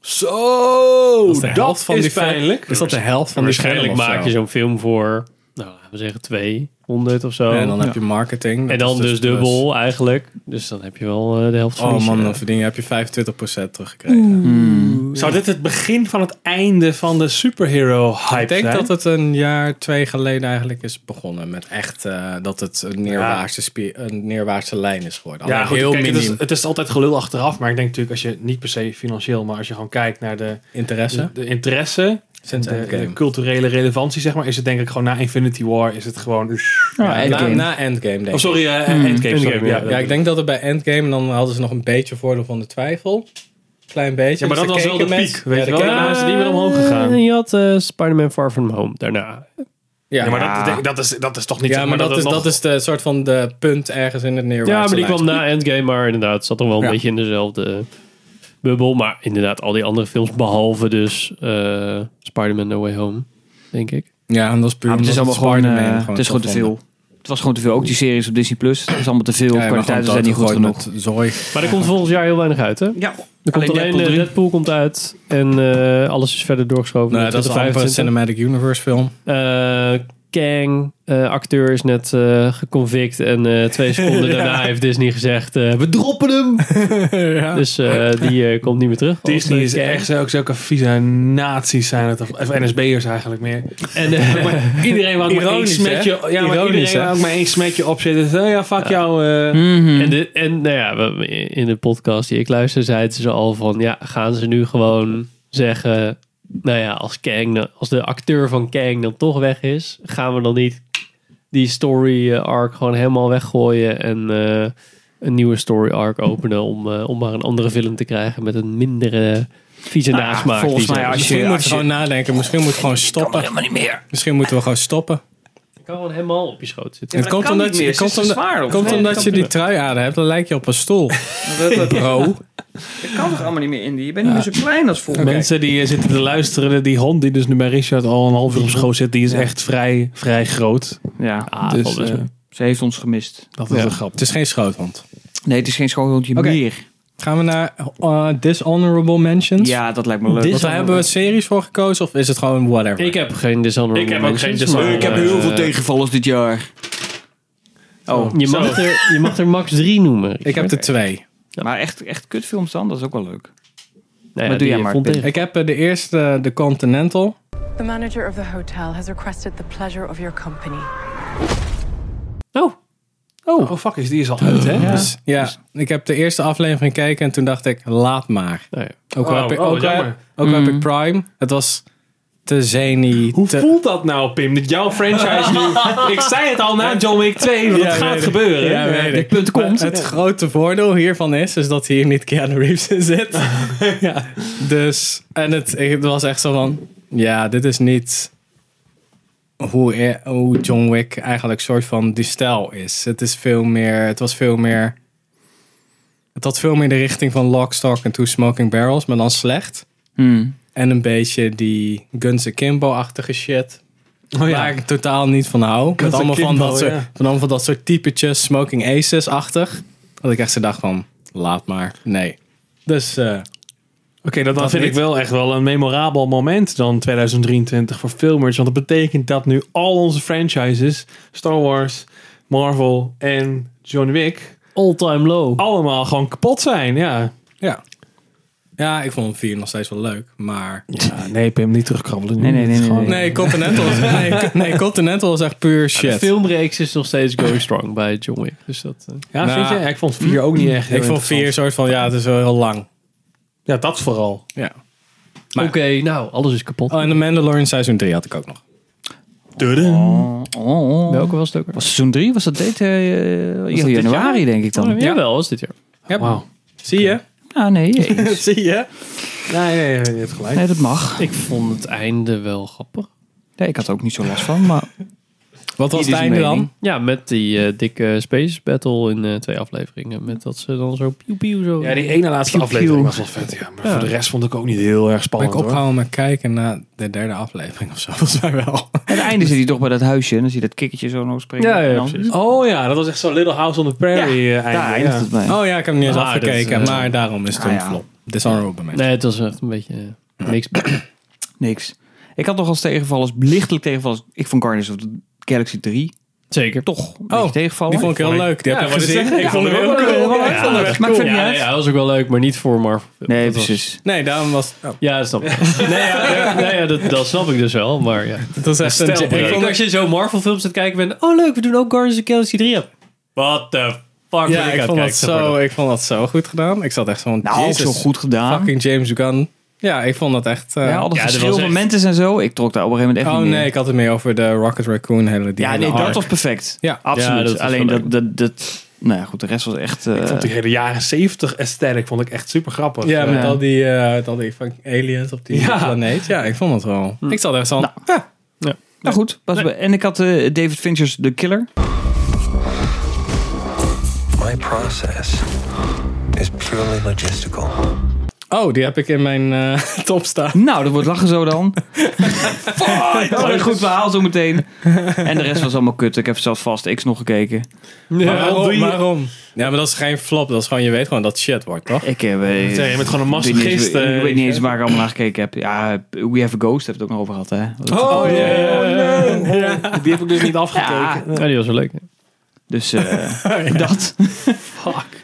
F: Zo!
C: is de helft van die film. Is dat de helft van die
A: Waarschijnlijk
C: film of
A: maak
C: zo?
A: je zo'n film voor, nou, laten we zeggen 200 of zo.
C: en dan heb je marketing.
A: En
C: dat
A: dan
C: is
A: dus
C: plus.
A: dubbel eigenlijk. Dus dan heb je wel eh, de helft van
C: Oh
A: die
C: man,
A: shit.
C: dan verdien je, heb je 25% teruggekregen.
F: Zou dit het begin van het einde van de superhero hype
C: Ik denk
F: zijn?
C: dat het een jaar, twee geleden eigenlijk is begonnen. Met echt eh, dat het een neerwaartse, spie- een neerwaartse lijn is geworden.
F: Ja,
C: Alleen
F: goed,
C: heel
F: kijk, het, is,
C: minim
F: het is altijd gelul achteraf, maar ik denk natuurlijk als je niet per se financieel, maar als je gewoon kijkt naar de,
C: interesse.
F: de, de interesse,
C: Sinds
F: de,
C: Endgame.
F: de eh, culturele relevantie, zeg maar, is het denk ik gewoon na Infinity War is het gewoon.
B: Ja,
C: na,
B: Endgame.
C: na Endgame denk ik.
F: Oh, sorry, eh, Endgame. sorry.
A: Endgame,
F: ja,
A: ja.
F: dat-
C: Ja, ik denk dat het bij Endgame, dan hadden ze nog een beetje voordeel van de twijfel. Klein beetje.
F: Ja, maar
C: Dus
F: dat
C: er
F: was wel
C: keken
F: de
C: mensen-
F: piek, weet
C: ja,
F: je
C: er
F: wel.
C: keken-
F: Ja.
A: Ah,
F: is het niet meer omhoog gegaan.
A: En je had eh, Spider-Man Far From Home daarna.
C: Ja,
F: Ja,
C: maar,
F: maar dat- dat, dat, is, dat is toch niet.
C: ja,
F: zeg
C: maar dat, is,
F: het nog-
C: dat is de soort van de punt ergens in het neerwaartse
A: Ja, maar die
C: lijn.
A: kwam na Endgame, maar inderdaad, het zat toch wel een
C: Ja.
A: beetje in dezelfde bubbel. Maar inderdaad, al die andere films, behalve dus eh, Spider-Man No Way Home, denk ik.
C: Ja, en dat is puur
B: Ja, maar het is
C: omdat
B: allemaal gewoon,
C: Spider-Man
B: eh, het is gewoon te
C: tof
B: veel.
C: vonden.
B: Het was gewoon te veel. Ook die series op Disney Plus. Het is allemaal te veel.
C: Ja, je mag
B: Kwaliteiten
C: gewoon
B: zijn niet goed
C: doodgegooid
B: genoeg.
C: met Zooi.
A: Maar er komt volgend jaar heel weinig uit, hè? Er
B: Ja,
A: komt alleen, Deadpool,
B: Deadpool 3.
A: Deadpool komt uit en eh, alles is verder doorgeschoven.
C: Nou,
A: naar
C: dat is allemaal voor een
A: 2025.
C: Cinematic Universe film.
A: Eh, Kang, eh, acteur, is net eh geconvict. En eh,
C: <laughs>
A: twee seconden daarna heeft Disney gezegd: eh, We droppen hem! Dus eh, die eh, komt niet meer terug.
F: Disney
A: Als,
F: is
A: eh, Kang.
F: echt zo- ook zulke vieze nazi's zijn het. Of of NSB'ers eigenlijk meer.
A: En, eh, <laughs>
F: Maar iedereen wou ook maar één
C: Ironisch,
F: smetje,
C: hè?
F: ja, maar
C: Ironisch,
F: iedereen
C: hè?
F: wou ook maar één smetje opzetten. Zo, "Oh ja, fuck jou. eh.
B: Mhm.
A: en, de- en nou ja, we- in de podcast die ik luister, zeiden ze al van: Ja, gaan ze nu gewoon zeggen. Nou ja, als, Kang, dan- als de acteur van Kang dan toch weg is, gaan we dan niet die story eh, arc gewoon helemaal weggooien en eh, een nieuwe story arc openen om, eh, om maar een andere film te krijgen met een mindere vieze
B: Nou ja,
A: nasmaak.
B: volgens
A: die ze
B: mij
A: hebben.
B: als je-
C: Misschien
B: als
C: moeten we gewoon nadenken. Misschien moeten we gewoon stoppen.
B: Helemaal niet meer.
C: Misschien moeten we gewoon stoppen.
A: Ik kan gewoon helemaal op je schoot zitten.
B: maar dat kan niet meer.
C: je,
B: Ze is
C: komt
B: te
C: omdat,
B: zwaar op.
C: komt
B: Nee,
C: omdat
B: dat
C: je
B: kan
C: die trui aan hebt. Dan lijk je op een <laughs> stoel. Bro.
B: Dat kan toch allemaal niet meer, Indy? Je bent niet meer zo klein als vroeger.
F: Mensen die eh, zitten te luisteren, die hond die dus nu bij Richard al een half uur op schoot zit, die is echt vrij, vrij groot.
B: Ja,
A: Ah,
F: dus
A: valt best
F: eh,
A: mee.
B: ze heeft ons gemist.
F: dat is een grap.
C: Het is geen schoothond.
B: Nee, het is geen schoonhondje
C: Oké.
B: meer.
C: Gaan we naar eh, Dishonorable Mentions?
B: Ja, dat lijkt me leuk.
C: Want daar hebben we series voor gekozen of is het gewoon whatever?
A: ik heb geen dishonorable
F: Ik heb ook geen
A: mentions, maar,
F: dishonorable
B: Ik heb heel
A: eh,
B: veel tegenvallers dit jaar. Oh,
A: Je mag, er, je mag er max drie noemen.
C: Ik heb er twee.
B: maar echt, echt kutfilms dan? Dat is ook wel leuk.
A: Nou ja,
B: Wat doe
A: die
B: jij, Mark?
A: vond tegen.
C: Ik heb eh, de eerste, eh, de Continental.
K: The manager of the hotel has requested the pleasure of your company.
A: Oh,
F: Oh, fuck, is die is al uit, hè?
C: Dus, ja, ik heb de eerste aflevering gekeken en toen dacht ik, laat maar.
A: nou ja.
C: Ook al
F: Oh,
C: heb ik,
F: oh,
C: ook al-
F: jammer.
C: ook al heb ik Prime. Het was te zeni.
F: Hoe
C: te-
F: voelt dat nou, Pim? Dat jouw <laughs> franchise nu... ik zei het al na John Wick 2, want
C: Ja,
F: het gaat
C: weet ik.
F: gebeuren.
C: Ja, weet ik.
F: dit punt komt.
C: Maar <laughs> Het grote voordeel hiervan is, is dat hier niet Keanu Reeves in zit. ja. Dus, en het, het was echt zo van, ja, dit is niet hoe, e- hoe John Wick eigenlijk soort van die stijl is. Het is veel meer, het was veel meer, het had veel meer de richting van Lock, Stock and Two Smoking Barrels, maar dan slecht.
B: Hmm.
C: En een beetje die Guns Akimbo-achtige shit.
F: Oh
C: Waar ik totaal niet van hou. Met allemaal van,
F: Akimbo,
C: dat soort,
F: ja.
C: van allemaal van dat soort typetjes, Smoking Aces-achtig. Dat ik echt zo dacht van, laat maar. Nee. Dus eh,
F: Oké, dat, dan
C: Dat
F: vind
C: niet.
F: ik wel echt wel een memorabel moment dan 2023 voor filmers. Want dat betekent dat nu al onze franchises, Star Wars, Marvel en John Wick,
A: all time low.
F: allemaal gewoon kapot zijn. Ja.
C: ja. Ja, ik vond 4 nog steeds wel leuk, maar...
F: nee, Pim, niet terugkrabbelen.
B: Nee, nee, nee, nee, nee.
C: Nee, Continental is, nee,
F: <laughs>
C: nee, Continental is echt puur
A: De
C: shit.
A: filmreeks is nog steeds going strong bij John Wick. Dus dat, eh,
F: Ja,
C: Nou,
F: vind je? Ja, ik vond vier ook niet echt. heel
C: Ik vond 4 een
F: interessant.
C: soort van, ja, het is wel heel lang.
F: Ja, dat vooral.
C: Ja.
A: Oké, nou, alles is kapot.
C: Oh, en The Mandalorian seizoen 3 had ik ook nog.
B: Oh, oh, oh.
A: Welke was het ook?
B: Was seizoen 3? Was dat dit, eh,
A: dit
B: januari,
A: jaar?
B: denk ik dan?
A: ja, wel, Oh, was dit jaar.
F: Wauw.
C: Zie je?
B: Ah, <laughs> nee, jezus.
C: Zie je?
F: Nee, nee, nee, je hebt gelijk.
B: nee, dat mag.
A: Ik vond het einde wel grappig.
B: Nee, ik had er ook niet zo last van, maar...
C: Wat was het
B: Ieder zijn
C: einde
B: mening.
C: dan?
A: Ja, met die eh, dikke space battle in eh, twee afleveringen. Met dat ze dan zo piu piu zo...
F: Ja, die ene laatste
A: Pew,
F: aflevering
A: pew.
F: was wel vet. Ja, maar voor de rest vond ik ook niet heel erg
C: Ben
F: spannend.
C: ik
F: hoor.
C: opgehouden met kijken naar de derde aflevering of zo, <laughs> volgens mij wel.
B: Aan <laughs> het einde zit hij toch bij dat huisje en dan zie je dat kikkertje zo nog springen.
A: Ja, ja,
B: En dan-
A: precies.
F: Oh ja, dat was echt zo'n Little House on the Prairie eh, einde.
B: Daar eindigt
F: ja.
B: het mee.
C: Oh ja, ik heb hem niet eens
A: Ah,
C: afgekeken,
A: dat is, eh,
C: maar daarom is het
B: ah,
C: een
B: ja.
C: flop. Dishonorable mention.
A: Nee, het was echt een beetje eh, niks.
B: Niks. Ik had nog als tegenvallers, lichtelijk tegenvallers... Ik vond Guardians of the Galaxy 3
A: Zeker.
B: toch een beetje tegenvallen.
C: Die vond ik heel leuk. Die
F: Ja,
C: heb ik
A: dus-
F: ik wou
A: <laughs>
C: gezien.
F: net zeggen,
C: Ik vond hem heel
F: ook
C: cool.
F: leuk.
C: Ja, ik vond hem echt
B: Maar ik
C: cool.
B: vind
A: Ja,
B: het niet uit.
A: ja, dat was ook wel leuk, maar niet voor Marvel.
B: Nee,
A: Dat was-
B: precies.
C: Nee, daarom was oh,
A: Ja, snap ik. nee, ja, ja, nee, ja, dat, dat snap ik dus wel, maar ja.
C: het was echt een...
A: Stel,
C: Ik vond
A: als
C: het-
A: je zo Marvel films aan het kijken bent. Oh leuk, we doen ook Guardians of the Galaxy 3 op. What the fuck ben
C: Ja, ik
A: aan
C: vond dat
A: het kijken, zeg maar
C: zo- ik vond dat zo goed gedaan. Ik zat echt zo van,
B: Nou,
C: jezus,
B: zo goed gedaan.
C: fucking James Gunn. Ja, ik vond dat echt... eh,
B: ja, al dat
A: Ja, dat
B: verschil
A: was
B: van
A: echt-
B: mentes en zo. Ik trok daar op een gegeven moment echt
C: oh
B: niet meer.
C: nee, ik had het meer over de Rocket Raccoon hele die
B: Ja,
C: hele
B: nee,
C: arc.
B: dat was perfect.
C: Ja.
B: absoluut.
A: Ja, dat was
B: Alleen
A: wel
B: dat, dat, dat... Nou ja, goed, de rest was echt... eh,
F: Ik vond die hele jaren 70 aesthetic vond ik echt super grappig.
C: Ja, met
B: Ja.
C: al die, eh, met al die fucking aliens op die
F: Ja.
C: planeet. Ja, ik vond het wel.
B: Hm.
C: Ik zat echt zo van, ja,
B: Nou goed, was be- en ik had eh, David Fincher's The Killer.
E: My process is purely logistical.
C: Oh, die heb ik in mijn eh, <laughs> top staan.
B: Nou, dat wordt lachen zo dan. Fight! Wat een goed verhaal zo meteen. En de rest was allemaal kut. Ik heb zelfs vast X nog gekeken.
C: waarom, Oh, waarom? Ja, maar dat is geen flop. Dat is gewoon, je weet gewoon dat het shit wordt, toch?
B: Ik heb... eh,
F: Zeg, je bent gewoon een
B: ik weet niet eens-
F: massagist. eh,
B: Ik weet niet eens waar ik allemaal naar gekeken heb. Ja, We Have a Ghost heb ik het ook nog over gehad, hè? Dat-
F: Oh, ja, ja, ja.
B: Die heb ik dus niet afgekeken.
A: Ja, die was wel leuk.
B: Dus
C: <laughs>
B: eh, <laughs> dat.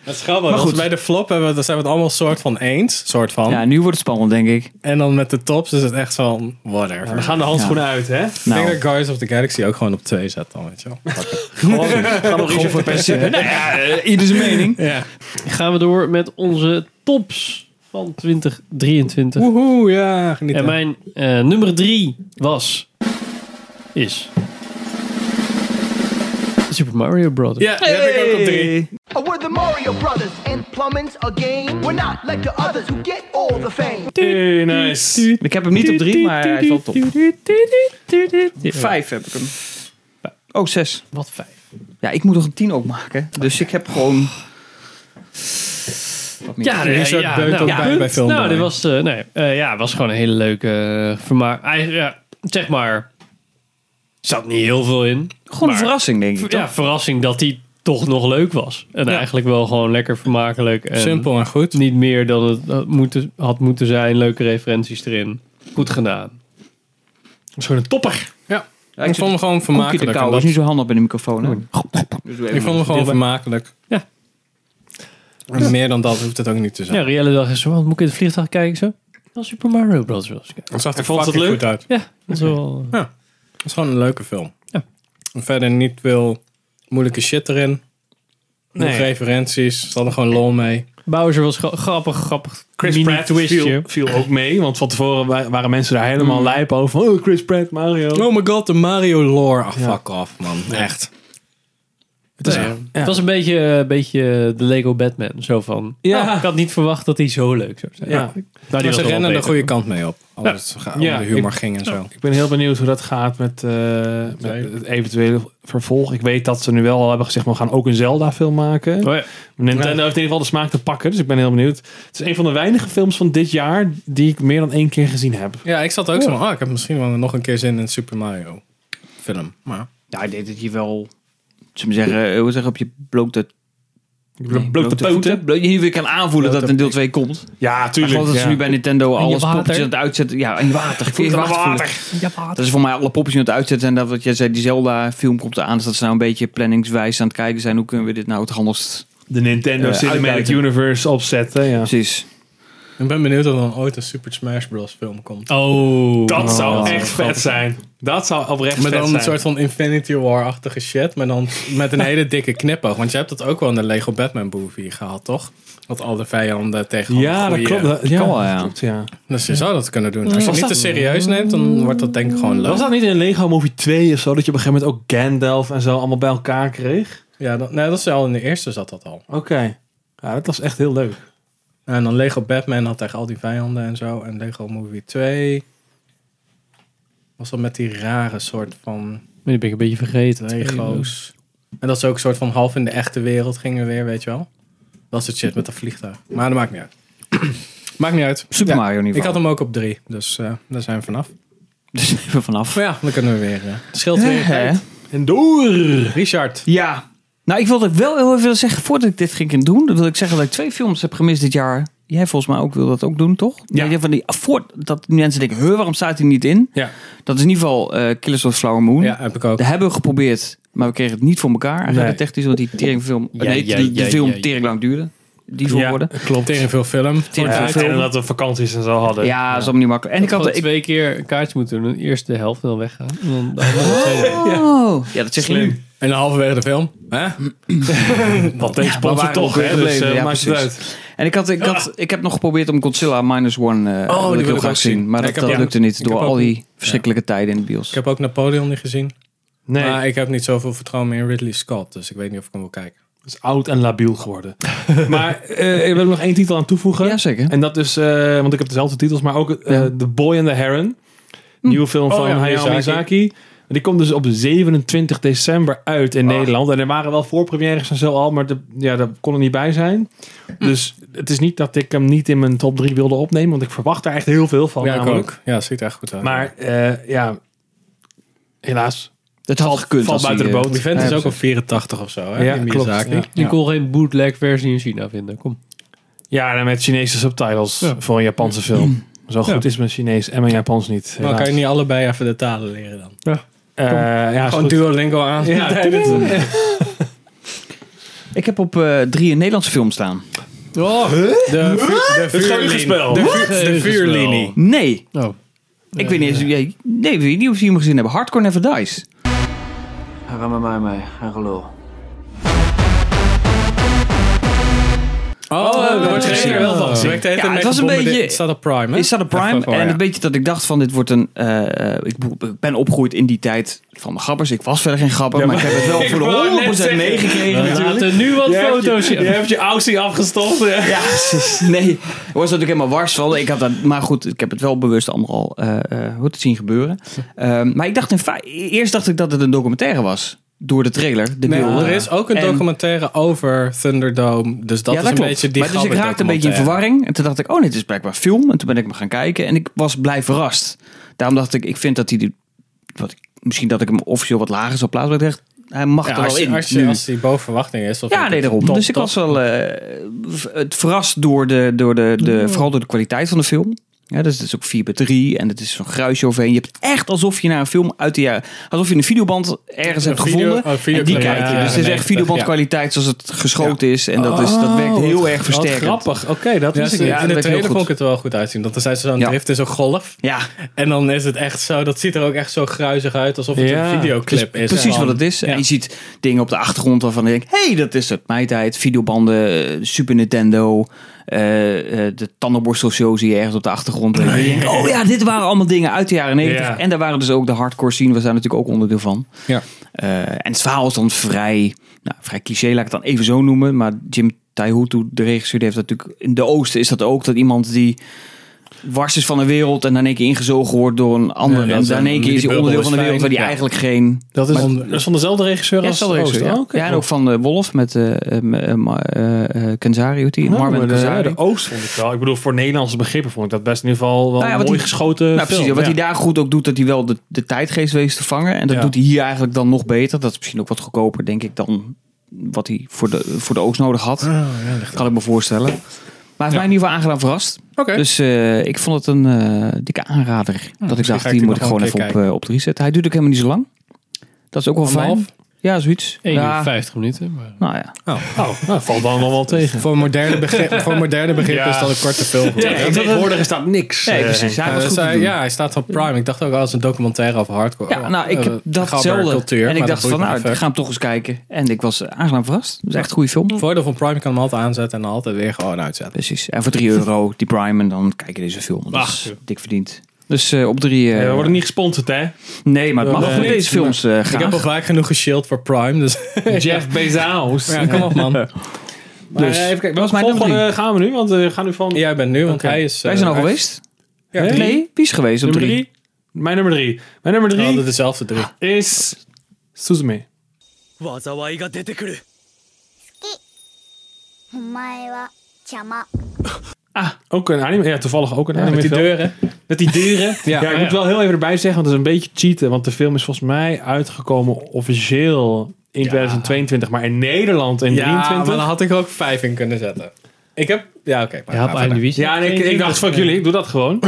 C: Dat is grappig. Maar goed, bij de flop hebben we, dan zijn we het allemaal soort van eens. Soort van.
B: Ja, nu wordt het spannend, denk ik.
C: En dan met de tops is het echt van, whatever.
F: We gaan de handschoenen uit, hè?
C: Ik
B: Nou,
C: denk dat Guardians of the Galaxy ook gewoon op 2 zet dan, weet je <laughs> wel.
F: Gaan nog over persen.
B: nou ja, eh, ieders <laughs> mening.
C: ja.
A: Gaan we door met onze tops van 2023.
C: Woehoe, ja, geniet.
A: En mijn eh, nummer drie was... Is... Super Mario Bros.
C: Ja, die heb ik ook op 3.
L: We're the Mario Brothers, and plumbing's a game. We're not like the others who get all the fame.
A: eh,
F: Hey, nice.
B: Ik heb hem niet op drie, maar hij is wel top. Vijf heb ik hem. Oh, zes.
A: Wat vijf.
B: Ja, ik moet nog een tien ook maken. Dus ik heb gewoon... Wat meer.
A: Ja, nee,
C: Richard
A: ja,
C: beukt
A: nou,
C: ook
A: ja,
C: bij bij film.
A: Nou, dit was, eh, nee, eh, ja, was gewoon een hele leuke eh, vermaak. Eigenlijk, ja, zeg maar, er zat niet heel veel in.
B: Gewoon een
A: maar-
B: verrassing, denk ik.
A: Ja,
B: toch?
A: verrassing dat die toch nog leuk was. En eigenlijk wel gewoon lekker vermakelijk. En
C: Simpel en goed.
A: Niet meer dan het had moeten, had moeten zijn. Leuke referenties erin. Goed gedaan.
F: Dat is gewoon een topper.
C: Ja.
B: Ja,
C: ik vond hem gewoon
B: Koekie de
C: vermakelijk.
B: kou
C: en
B: is
C: dat-
B: niet zo handig bij de microfoon. Hè? Dus doe even
C: Ik vond hem gewoon vermakelijk.
A: Ja.
C: En meer dan dat hoeft het ook niet te zijn.
A: Ja, Rielle dacht eens, want moet ik in het vliegtuig kijken? Zo, wel Super Mario Bros. was.
C: Het zag er
F: vond het
C: fucking
F: leuk.
C: goed uit.
A: Ja, dat is wel...
C: Het is gewoon een leuke film.
A: Ja.
C: En verder niet veel moeilijke shit erin. Nee.
F: Nee.
C: referenties. Ze hadden gewoon lol mee.
A: Bowser was gra- grappig, grappig.
F: Chris
A: mini
F: Pratt viel, viel ook mee, want van tevoren wa- waren mensen daar helemaal lijp over. van, Oh, Chris Pratt, Mario.
C: Oh my god, de Mario lore. Ah, fuck off, man. Echt. Dus
A: Het, is- het was een beetje, eh, een beetje de Lego Batman. Zo van, "Oh,
F: Ja.
A: ik had niet verwacht dat hij zo leuk zou zijn.
F: Ja.
A: Nou, die
C: Maar
A: was
C: ze
A: wel
C: rennen de
A: beter.
C: goede kant mee op. Als het om
F: Ja,
C: de humor
F: ik-
C: ging en zo.
F: Ik ben heel benieuwd hoe dat gaat met, eh, met het eventuele vervolg. Ik weet dat ze nu wel al hebben gezegd, we gaan ook een Zelda-film maken.
A: Oh ja.
F: Nintendo heeft in ieder geval de smaak te pakken, dus ik ben heel benieuwd. Het is een van de weinige films van dit jaar die ik meer dan één keer gezien heb.
C: Ja, ik zat ook zo van, ah, ik heb misschien wel nog een keer zin in een Super Mario film. Maar
B: Ja, ik denk dat je wel... Zullen we zeggen, eh, hoe zeggen, op je blote... nee,
F: blote poten.
B: Blote, je weer kan aanvoelen dat het in deel 2 komt.
F: Ja,
B: Ik
F: tuurlijk.
B: geloof dat
F: Ja.
B: ze nu bij Nintendo alles
A: water.
B: poppetjes aan het uitzetten. Ja, in water. Ik
F: het aan
B: water.
F: mijn
B: voelen. Dat is voor mij alle poppetjes aan het uitzetten. En dat wat jij zei, die Zelda-film komt eraan. Dus dat ze nou een beetje planningswijs aan het kijken zijn. Hoe kunnen we dit nou het handigst...
F: De Nintendo
B: Eh,
F: Cinematic
B: uitbuiten.
F: Universe opzetten. Ja.
B: Precies.
C: ik ben benieuwd of er dan ooit een Super Smash Bros. film komt.
A: Oh.
F: Dat zou
B: Oh,
F: echt vet zijn. Dat zou oprecht
C: Maar
F: vet
C: dan
F: zijn.
C: een soort van Infinity War-achtige shit. Maar dan met
F: <laughs>
C: een hele dikke knipoog. Want je hebt dat ook wel in de Lego Batman movie gehad, toch? Dat al de vijanden tegen
F: ja,
C: alle
F: dat
C: goeie-
F: klopt. Dat, ja,
B: Kan wel, ja.
F: dat klopt, ja.
C: Dus je zou dat kunnen doen. Als je
F: Was
C: het niet te
F: dat-
C: serieus neemt, dan wordt dat denk ik gewoon leuk.
F: Was dat niet in Lego Movie 2 of zo? Dat je op een gegeven moment ook Gandalf en zo allemaal bij elkaar kreeg?
C: Ja, dat, nee, dat is al in de eerste zat dat al.
F: Oké. Ja, dat was echt heel leuk.
C: En dan Lego Batman had tegen al die vijanden en zo. En Lego Movie 2 was dat met die rare soort van
A: Die ben ik een beetje vergeten.
C: Lego's. En dat is ook een soort van half in de echte wereld gingen weer, weet je wel. Dat soort shit met dat vliegtuig. Maar dat maakt niet uit. <clears throat> maakt niet uit.
B: Super
C: Ja,
B: Mario niveau.
C: Ik had hem ook op drie, dus eh, daar zijn we vanaf.
B: <laughs> Dus even vanaf.
C: Maar ja, dan kunnen we weer. eh, Het scheelt weer.
B: Hè?
F: En door!
C: Richard.
B: Ja. Nou, ik wilde wel heel even zeggen, voordat ik dit ging doen, wil ik zeggen dat ik twee films heb gemist dit jaar. Jij volgens mij ook wil dat ook doen, toch?
F: Ja.
B: Nee, Van die, voor, dat mensen denken, "Huh, waarom staat hij niet in?
F: Ja.
B: Dat is in ieder geval eh Killers of the Flower Moon.
C: Ja, heb ik ook.
B: Dat hebben we geprobeerd, maar we kregen het niet voor elkaar.
F: Nee.
B: Nee. Technisch, want die teringfilm,
A: Ja,
B: nee,
A: ja,
B: die,
A: ja,
B: film
A: ja, ja.
B: tering lang duurde. Die voor worden.
C: Klopt. Tegen veel film.
F: Ja, en dat we vakanties en zo hadden.
B: Ja, dat is allemaal niet makkelijk. En ik had...
A: had
B: Ik,
A: twee keer een kaartje moeten doen. Eerst de helft en dan weggaan. En dan de andere tweede.
B: oh, ja, dat zeg je nu.
C: En halverwege de film. Hè?
F: Want deze
B: we
F: sponsor
B: waren
F: toch,
B: ook
F: hè?
B: gebleven,
F: Dus eh,
B: ja,
F: maakt het
B: precies.
F: uit.
B: En ik, had, ik, had, ik heb nog geprobeerd om Godzilla Minus One eh
C: Oh, die
B: wil ik
C: wil
B: heel
C: ik ook
B: graag zien.
C: zien.
B: Maar
C: Ja,
B: dat,
C: ik heb
B: dat
C: ook-
B: lukte niet
C: ik
B: door
C: heb
B: al
C: ook-
B: die verschrikkelijke tijden in de bios.
C: Ik heb ook Napoleon niet gezien.
F: Nee,
C: Maar
F: het
C: ik heb niet zoveel vertrouwen meer in Ridley Scott. Dus ik weet niet of ik hem wil kijken.
F: is oud en labiel geworden. <laughs> maar eh ik wil er nog één titel aan toevoegen.
B: Jazeker.
F: En dat is, eh, want ik heb dezelfde titels, maar ook eh, The Boy and the Heron. Nieuwe film
C: Oh
F: van
C: ja,
F: Hayao
C: Miyazaki.
F: Miyazaki. Die komt dus op 27 december uit in
C: Ah.
F: Nederland. En er waren wel voorpremières en zo al, maar de, ja, daar kon er niet bij zijn. Dus het is niet dat ik hem niet in mijn top 3 wilde opnemen, want ik verwacht daar echt heel veel van.
C: Ja, ik
F: namelijk.
C: ook. Ja, ziet er echt goed uit.
F: Maar eh, ja, helaas.
B: Het had gekund
F: Valt
B: als
F: buiten de
B: hij, eh,
F: boot.
C: die vent is ook al
F: op
C: 84 of zo, hè?
F: Ja,
C: die
F: klopt.
C: Miyazaki.
F: Ja.
A: Je kon geen bootleg versie in China vinden. Kom.
F: Ja, en met Chinese subtitles
A: Ja.
F: voor een Japanse film. Zo goed is mijn Chinees en mijn Japans niet.
C: Maar kan
F: helaas.
C: je niet allebei even de talen leren dan?
F: Eh, ja, is
C: Gewoon
F: goed.
C: Duolingo aan. <laughs>
F: Ja,
C: Nee, dit-
B: Ik heb op eh, drie een Nederlandse film staan.
A: Oh,
C: De, vu- de vuurlin-
F: geuzenspel.
C: de vu-
A: Wat?
C: de vuurlinie.
B: Nee.
A: Oh.
B: Ik weet niet eens... jij- Nee, weet je niet of je hem gezien hebben. Hardcore Never Dies.
C: Oh, dat wordt
B: gezien.
C: er wel van.
B: Ja, het was een beetje-
C: Is dat een prime? hè?
B: Is dat een prime?
C: Even- oh,
B: en
C: ja.
B: een beetje dat ik dacht van dit wordt een... eh, eh, ik bo- ik ben opgegroeid in die tijd van de grappers. Ik was verder geen grapper, maar, ik heb het wel voor
F: wou net
B: de 100%
F: zeggen.
B: meegekregen.
A: We laten nu wat foto's
F: Je
A: zien.
F: hebt je oudste afgestopt. Ja.
B: Ja, <laughs> nee. Ik was er natuurlijk helemaal wars van. Ik had dat, maar goed, ik heb het wel bewust allemaal al eh, eh, hoe te zien gebeuren. Ehm, maar ik dacht in fe- eerst dacht ik dat het een documentaire was. Door de trailer, de
C: Nee,
B: beelden.
C: er is ook een
B: En-
C: documentaire over Thunderdome. Dus dat
B: ja,
C: is
B: dat
C: een
B: klopt.
C: beetje die
B: maar dus ik raakte een beetje in verwarring. En toen dacht ik, oh, dit is blijkbaar film. En toen ben ik me gaan kijken. En ik was blij verrast. Daarom dacht ik, ik vind dat hij... die- Wat, ik- misschien dat ik hem officieel wat lager zou plaatsen. Maar ik dacht, hij mag er
C: Ja,
B: wel
C: als,
B: in.
C: je, als, je,
B: nu.
C: als die boven verwachting is. dan vind
B: Ja,
C: ik
B: nee,
C: het
B: daarom.
C: top,
B: dus ik
C: top.
B: was wel eh, v- het verrast door de, door de, de,
C: Mm-hmm.
B: vooral door de kwaliteit van de film. Ja, dus het is ook 4 bij 3 en het is zo'n gruisje overheen. Je hebt echt alsof je naar een film uit de jaren... Alsof je een videoband ergens
C: Een
B: hebt
C: video-
B: gevonden
C: een
B: en eh, die
C: videoclip uit
B: kijkt
C: de
B: je. Dus het is
C: jaren
B: echt
C: 90,
B: videobandkwaliteit zoals het geschoten is. En dat, is, dat
F: Oh,
B: werkt heel
F: wat-
B: erg versterkend.
F: Grappig. Oké, dat
C: Ja,
F: wist ik
C: ze-
F: niet.
B: ja, dat werkt
C: in de
B: heel
C: trailer
B: goed.
C: vond ik het wel goed uitzien. Want dan zijn ze zo'n
B: Ja.
C: drift in zo'n golf.
B: Ja,
C: En dan is het echt zo. Dat ziet er ook echt zo gruizig uit. Alsof het
F: Ja.
C: een videoclip is.
B: Dus precies
C: Gewoon.
B: wat het is.
C: Ja.
B: En je ziet dingen op de achtergrond waarvan je denkt... hey, dat is het. Mijn tijd, videobanden, eh, Super Nintendo... eh, eh, de tandenborstelshow zie je ergens op de achtergrond. En je denkt, oh ja, dit waren allemaal dingen uit de jaren 90.
F: Ja.
B: En daar waren dus ook de hardcore scene. We zijn natuurlijk ook onderdeel van.
C: Ja.
B: Eh, en het verhaal is dan vrij, nou, vrij cliché, laat ik het dan even zo noemen. Maar Jim Taihutu, de regisseur, die heeft dat natuurlijk... In de Oosten is dat ook, dat iemand die wars is van de wereld... en in één keer ingezogen wordt door een ander.
C: Ja, dat
B: en
C: is
B: dan in
C: een-
B: één keer
C: die
B: is hij
C: bubbel
B: onderdeel
C: is
B: van de wereld...
C: fijn.
B: waar die
C: Ja.
B: eigenlijk geen...
F: Dat is,
C: Maar-
F: dat is van dezelfde regisseur
B: Ja,
F: als
B: dat
F: Oost,
B: ja.
F: Oh, oké.
B: ja, en ook van de Wolf met eh eh, eh, Ma- eh, eh, Kenzari, hoe heet die?
F: Nou,
B: Marvin
F: maar
B: Kenzari.
F: de, de Oost vond ik wel. Ik bedoel, voor Nederlandse begrippen vond ik dat best in ieder geval wel
B: Nou ja,
F: een
B: wat
F: mooi
B: die-
F: geschoten
B: nou, precies.
F: film.
B: Wat
F: Ja.
B: hij daar goed ook doet, dat hij wel de, de tijdgeest weet te vangen. En dat
F: Ja.
B: doet hij hier eigenlijk dan nog beter. Dat is misschien ook wat goedkoper, denk ik, dan wat hij voor de, voor de Oost nodig had.
F: Oh,
B: kan ik me voorstellen. Maar hij heeft mij in ieder geval aangenaam verrast.
C: Oké.
B: Dus eh, ik vond het een eh, dikke aanrader. dat ik
C: ga
B: dacht,
C: ik
B: die
C: die
B: moet ik
C: nog
B: gewoon
C: wel een
B: even op,
C: keer
B: eh, op drie zetten. Hij duurt ook helemaal niet zo lang. Dat is ook wel fijn.
C: Anderhalf?
B: Ja, zoiets.
A: 1 uur
B: ja,
A: 50 minuten. Maar...
B: nou ja.
F: Oh, nou, valt dan nog
B: <laughs>
F: wel tegen.
C: Voor moderne begrip, voor moderne begrip
F: Ja.
C: is dat een korte film.
B: ik vond het-
F: Tegenwoordig is dat niks.
B: Nee, precies. Ja,
F: Eh,
B: dat is
C: Dus
B: goed te
C: hij-
B: doen.
C: ja, hij staat op Prime. Ik dacht ook al als een documentaire over hardcore.
B: Ja, nou, ik
C: eh,
B: heb dat
C: gabber
B: hetzelfde.
C: cultuur,
B: en ik
C: maar
B: dacht
C: dat
B: van,
C: boeit
B: nou,
C: me niet
B: ik ga hem toch eens kijken. En ik was eh, aangenaam verrast. Het is echt een goede film.
C: Het voordeel van Prime, je kan hem altijd aanzetten en altijd weer gewoon uitzetten.
B: Precies. En voor
F: <laughs>
B: 3 euro, die Prime, en dan kijk je deze film. Dat
F: Ach,
B: is
F: joh.
B: dik verdiend. Dus eh, op drie... eh,
F: we worden niet gesponsord, hè?
B: nee, maar het mag
F: Nee.
B: wel voor deze films eh
C: Ik heb
B: graag.
C: al vaak genoeg geshield voor Prime.
B: <laughs>
C: Dus
F: Jeff Bezos.
C: ja, kom op man.
F: Maar
B: Dus.
F: eh, even kijken. Wat
B: mijn
F: volgende
B: nummer
F: gaan we nu? Want eh, we gaan nu van...
C: Jij bent nu, want
F: Oké.
C: hij is...
B: Wij
C: eh,
B: zijn al
C: hij-
B: geweest.
C: Ja,
F: Hè?
C: drie.
B: Nee, wie is geweest op
F: nummer
B: drie?
F: drie. Mijn nummer drie. Mijn nummer
C: We
F: drie
C: hadden dezelfde drie.
F: is... Suzume.
M: 災いが出てくる
G: お前は邪魔。
F: Ook een anime. Ja, toevallig ook een anime
C: met die
F: film.
C: deuren.
F: Met die dieren. <laughs> ja, ik
C: ja.
F: moet wel heel even erbij zeggen, want dat is een beetje cheaten. Want de film is volgens mij uitgekomen officieel in 2022, maar in Nederland in
C: Ja, maar
F: 23.
C: dan had ik er ook vijf in kunnen zetten. Ik heb... Ja, oké. maar
A: Ja,
C: ga
A: op
C: verder.
A: einde
F: Ja, en ik, ik dacht, fuck jullie, ik doe dat <laughs> gewoon.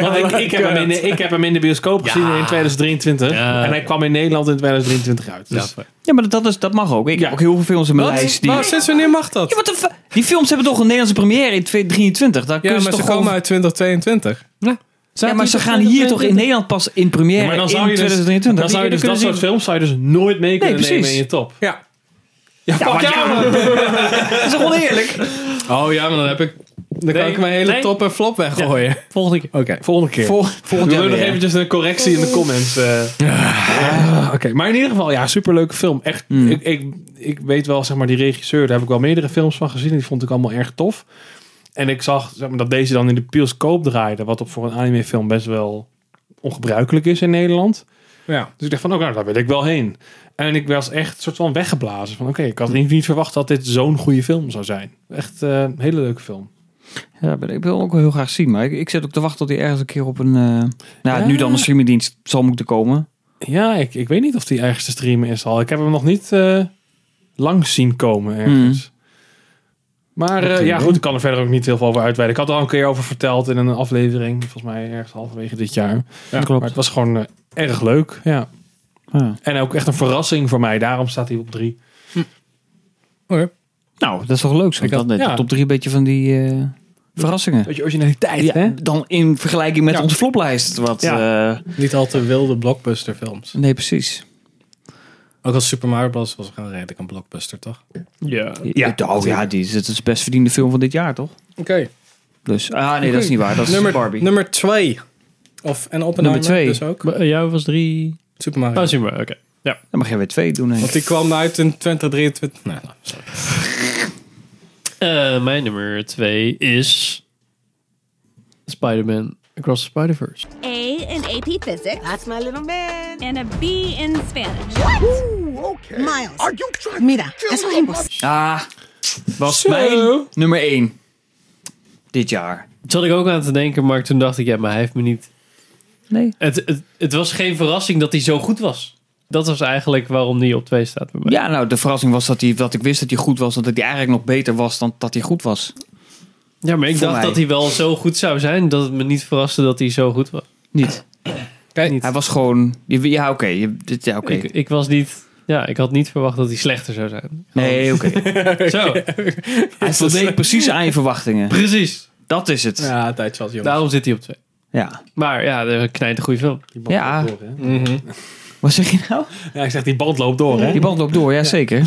F: Want ik, ik, heb hem in, de- ik heb hem in de bioscoop gezien in 2023.
A: Ja.
F: En hij kwam in Nederland in 2023 uit. Dus,
B: Ja, maar dat, is, dat mag ook. Ik
F: Ja.
B: heb ook heel veel films in mijn
C: Wat?
B: lijst. Die...
C: Maar sinds wanneer mag dat?
B: Ja, what the fu- die films hebben toch een Nederlandse première in 2023. Daar
C: Ja,
B: kunnen
C: maar
B: ze
C: ze
B: toch
C: komen
B: gewoon...
C: uit 2022.
B: Ja, maar ze gaan hier toch in Nederland pas in première
F: maar dan
B: in
F: zou je dus,
B: 2023.
F: dan zou je dus dat soort films zou je dus nooit mee kunnen nemen
B: precies.
F: in je top.
C: Ja.
F: Ja, fuck
B: maar-
F: jou, man.
B: Dat is toch oneerlijk?
C: Oh ja, maar dan heb ik... Dan kan
F: Nee,
C: ik mijn hele
F: nee.
C: top en flop weggooien.
F: Volgende
C: <laughs>
F: keer.
C: Oké.
F: Volgende keer.
B: Vol- volgend
F: We
B: jaar
F: willen nog
B: weer.
F: eventjes een correctie in de comments. eh. Ah, Oké, maar in ieder geval, ja, superleuke film. Echt, ik, ik, ik weet wel, zeg maar, die regisseur, daar heb ik wel meerdere films van gezien. en Die vond ik allemaal erg tof. En ik zag zeg maar, dat deze dan in de bioscoop draaide, wat op voor een animefilm best wel ongebruikelijk is in Nederland.
C: Ja.
F: Dus ik dacht van, oké, daar wil ik wel heen. En ik was echt soort van weggeblazen. Van oké, ik had niet, niet verwacht dat dit zo'n goede film zou zijn. Echt eh, een hele leuke film.
B: Ja, ben- ik wil hem ook wel heel graag zien. Maar ik, ik zit ook te wachten tot hij ergens een keer op een... eh, nou,
F: Ja.
B: nu dan een streamingdienst zal moeten komen.
F: Ja, ik, ik weet niet of die ergens te streamen is al. Ik heb hem nog niet eh langs zien komen ergens. Maar eh,
B: Hmm. Oké.
F: ja, goed, ik kan er verder ook niet heel veel over uitweiden. Ik had er al een keer over verteld in een aflevering. Volgens mij ergens halverwege dit jaar.
B: Ja, klopt.
F: Maar het was gewoon eh, erg leuk, ja.
B: Ja.
F: En ook echt een verrassing voor mij. Daarom staat hij op drie.
B: Nou, dat is toch leuk zo.
F: Ik had-
B: Dan net
F: ja.
B: de top drie een beetje van die eh, verrassingen.
F: Beetje originaliteit,
B: Ja,
F: hè?
B: Dan in vergelijking met onze floplijst. Wat,
C: Ja.
B: eh,
C: Niet al te wilde blockbusterfilms.
B: nee, precies.
C: Ook als Super Mario Bros. was gewoon redelijk een blockbuster, toch?
F: Ja.
B: Ja, oh, ja die is, het is de best verdiende film van dit jaar, toch?
C: Oké.
B: Dus, ah nee, dat is niet waar. Dat is
C: nummer,
B: Barbie.
C: Nummer twee. Of, en Oppenheimer
B: Nummer twee.
C: dus ook.
A: Maar, eh, Jou was drie.
C: Super Mario.
A: Oh, Super Mario, oké. Ja.
B: Dan mag jij weer twee doen, Henk.
C: Want Nou, die kwam uit in 2023. Nee, nou, sorry.
A: Eh, mijn nummer twee is Spider-Man Across the Spider-Verse.
N: A in AP Physics. That's my little man. And a B in Spanish.
L: What? okay. Miles. Are you trying Mira, eso es imposible.
B: Ah, was
A: Zo.
B: mijn nummer één. Dit jaar.
A: Dat zat ik ook aan te denken, maar toen dacht ik, ja, maar hij heeft me niet...
B: Nee.
A: Het, het, het was geen verrassing dat hij zo goed was. Dat was eigenlijk waarom hij op twee staat bij mij.
B: Ja, nou, de verrassing was dat, hij, dat ik wist dat hij goed was. En dat hij eigenlijk nog beter was dan dat hij goed was.
A: Ja, maar ik
B: Voor
A: dacht
B: mij.
A: dat hij wel zo goed zou zijn dat het me niet verraste dat hij zo goed was.
B: Niet.
A: Niet.
B: Hij was gewoon... je- Ja, oké. je- dit- Ja, oké.
A: Ik, ik was niet... Ja, ik had niet verwacht dat hij slechter zou zijn.
B: Nee, oké.
A: Zo,
B: Hij voldeed precies aan je verwachtingen.
A: precies.
B: Dat is het. Ja.
C: Ja, tijd was jongens.
A: Daarom zit hij op twee.
B: Ja.
A: Maar ja, een knijt een goede film.
B: Wat zeg je nou?
F: Ja, ik zeg, die band loopt door, hè?
B: Die band loopt door, ja, zeker.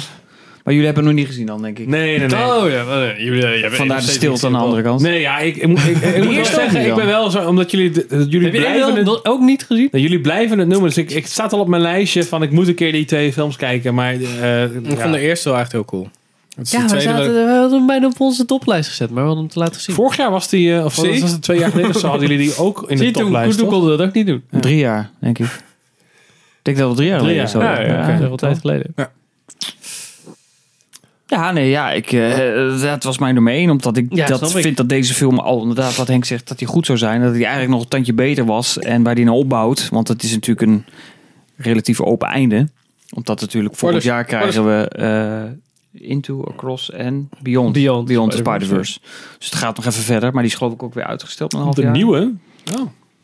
B: Maar jullie hebben hem nog niet gezien dan, denk ik.
F: Nee, nee, nee.
A: Oh ja, maar nee, jullie, jij bent
B: Vandaar de
A: steeds
B: stilte aan
A: niet
B: de andere kant.
F: Nee, ja, ik, ik, moet- ik, ik moet wel
B: eerste
F: zeggen,
B: ook niet
F: ik ben wel zo, omdat jullie, de- dat jullie
A: Heb je
F: blijven...
A: Alien
F: het-
A: dan ook niet gezien?
F: Nou, jullie blijven het noemen, dus ik, ik staat al op mijn lijstje van ik moet een keer die twee films kijken, maar eh,
C: Nou, Ik
F: ja.
C: vond de eerste wel echt heel cool. Het is de
A: Ja, we,
C: tweede
A: zaten,
C: wel-
A: we hadden hem bijna op onze toplijst gezet, maar we hadden hem te laten gezien.
F: vorig jaar was die, eh, of
C: Zie?
F: dat was het twee jaar geleden, of zo hadden jullie die ook in de
A: Zie je, toen,
F: toplijst.
A: toen
F: toch?
A: konden we dat ook niet doen.
B: Drie jaar, denk ik. Ik denk dat we drie jaar
F: Drie
B: geleden
F: jaar.
B: zo.
A: ja, ja, dat is wel tijd geleden.
B: Ja, nee, ja, ik, eh, dat was mijn nummer één. Omdat ik
A: Ja,
B: dat
A: snap ik.
B: vind dat deze film al inderdaad, wat Henk zegt, dat hij goed zou zijn. Dat hij eigenlijk nog een tandje beter was. En waar hij naar opbouwt. Want het is natuurlijk een relatief open einde. Omdat natuurlijk volgend jaar
C: Spoilers,
B: krijgen we eh, Into, Across en Beyond.
A: Beyond,
B: Beyond the
A: Spider-Verse.
B: Spider-Verse. Dus het gaat nog even verder. Maar die is geloof ik ook weer uitgesteld met een half
F: De
B: jaar.
F: nieuwe?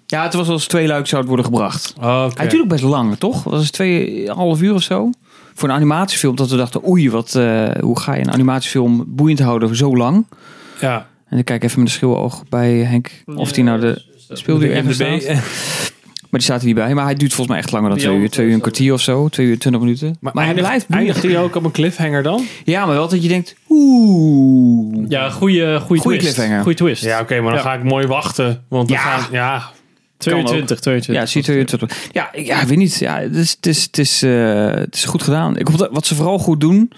B: Ja, het was als twee luik zou het worden gebracht.
F: Oh, oké.
B: Hij duurde ook best lang, toch? Dat was tweeënhalf uur of zo. Voor een animatiefilm dat we dachten, oei, wat, eh, hoe ga je een animatiefilm boeiend houden zo lang?
F: Ja.
B: En ik kijk even met een schilloog bij Henk of die nou de speelduur ergens staat.
F: MDB.
B: Maar die staat er niet bij. Maar hij duurt volgens mij echt langer dan
A: Die
B: twee uur.
A: andere
B: Twee uur een
A: staat er.
B: kwartier of zo. Twee uur twintig minuten. Maar, hij
F: eindigt-
B: blijft boeiend.
F: Eindigt hij ook op een cliffhanger dan?
B: Ja, maar wel dat je denkt, oeh.
A: Ja, goede, goede
B: Goeie
A: twist.
B: cliffhanger.
A: Goeie twist.
F: Ja, oké, maar dan
A: Ja.
F: ga ik mooi wachten. Want
B: Ja.
F: we gaan, ja,
A: 22, 22.
B: Ja, zie je het. Ja, ik- ja, ik weet niet. Ja, het is, het is, het is, eh, het is goed gedaan. Ik hoop dat, wat ze vooral goed doen,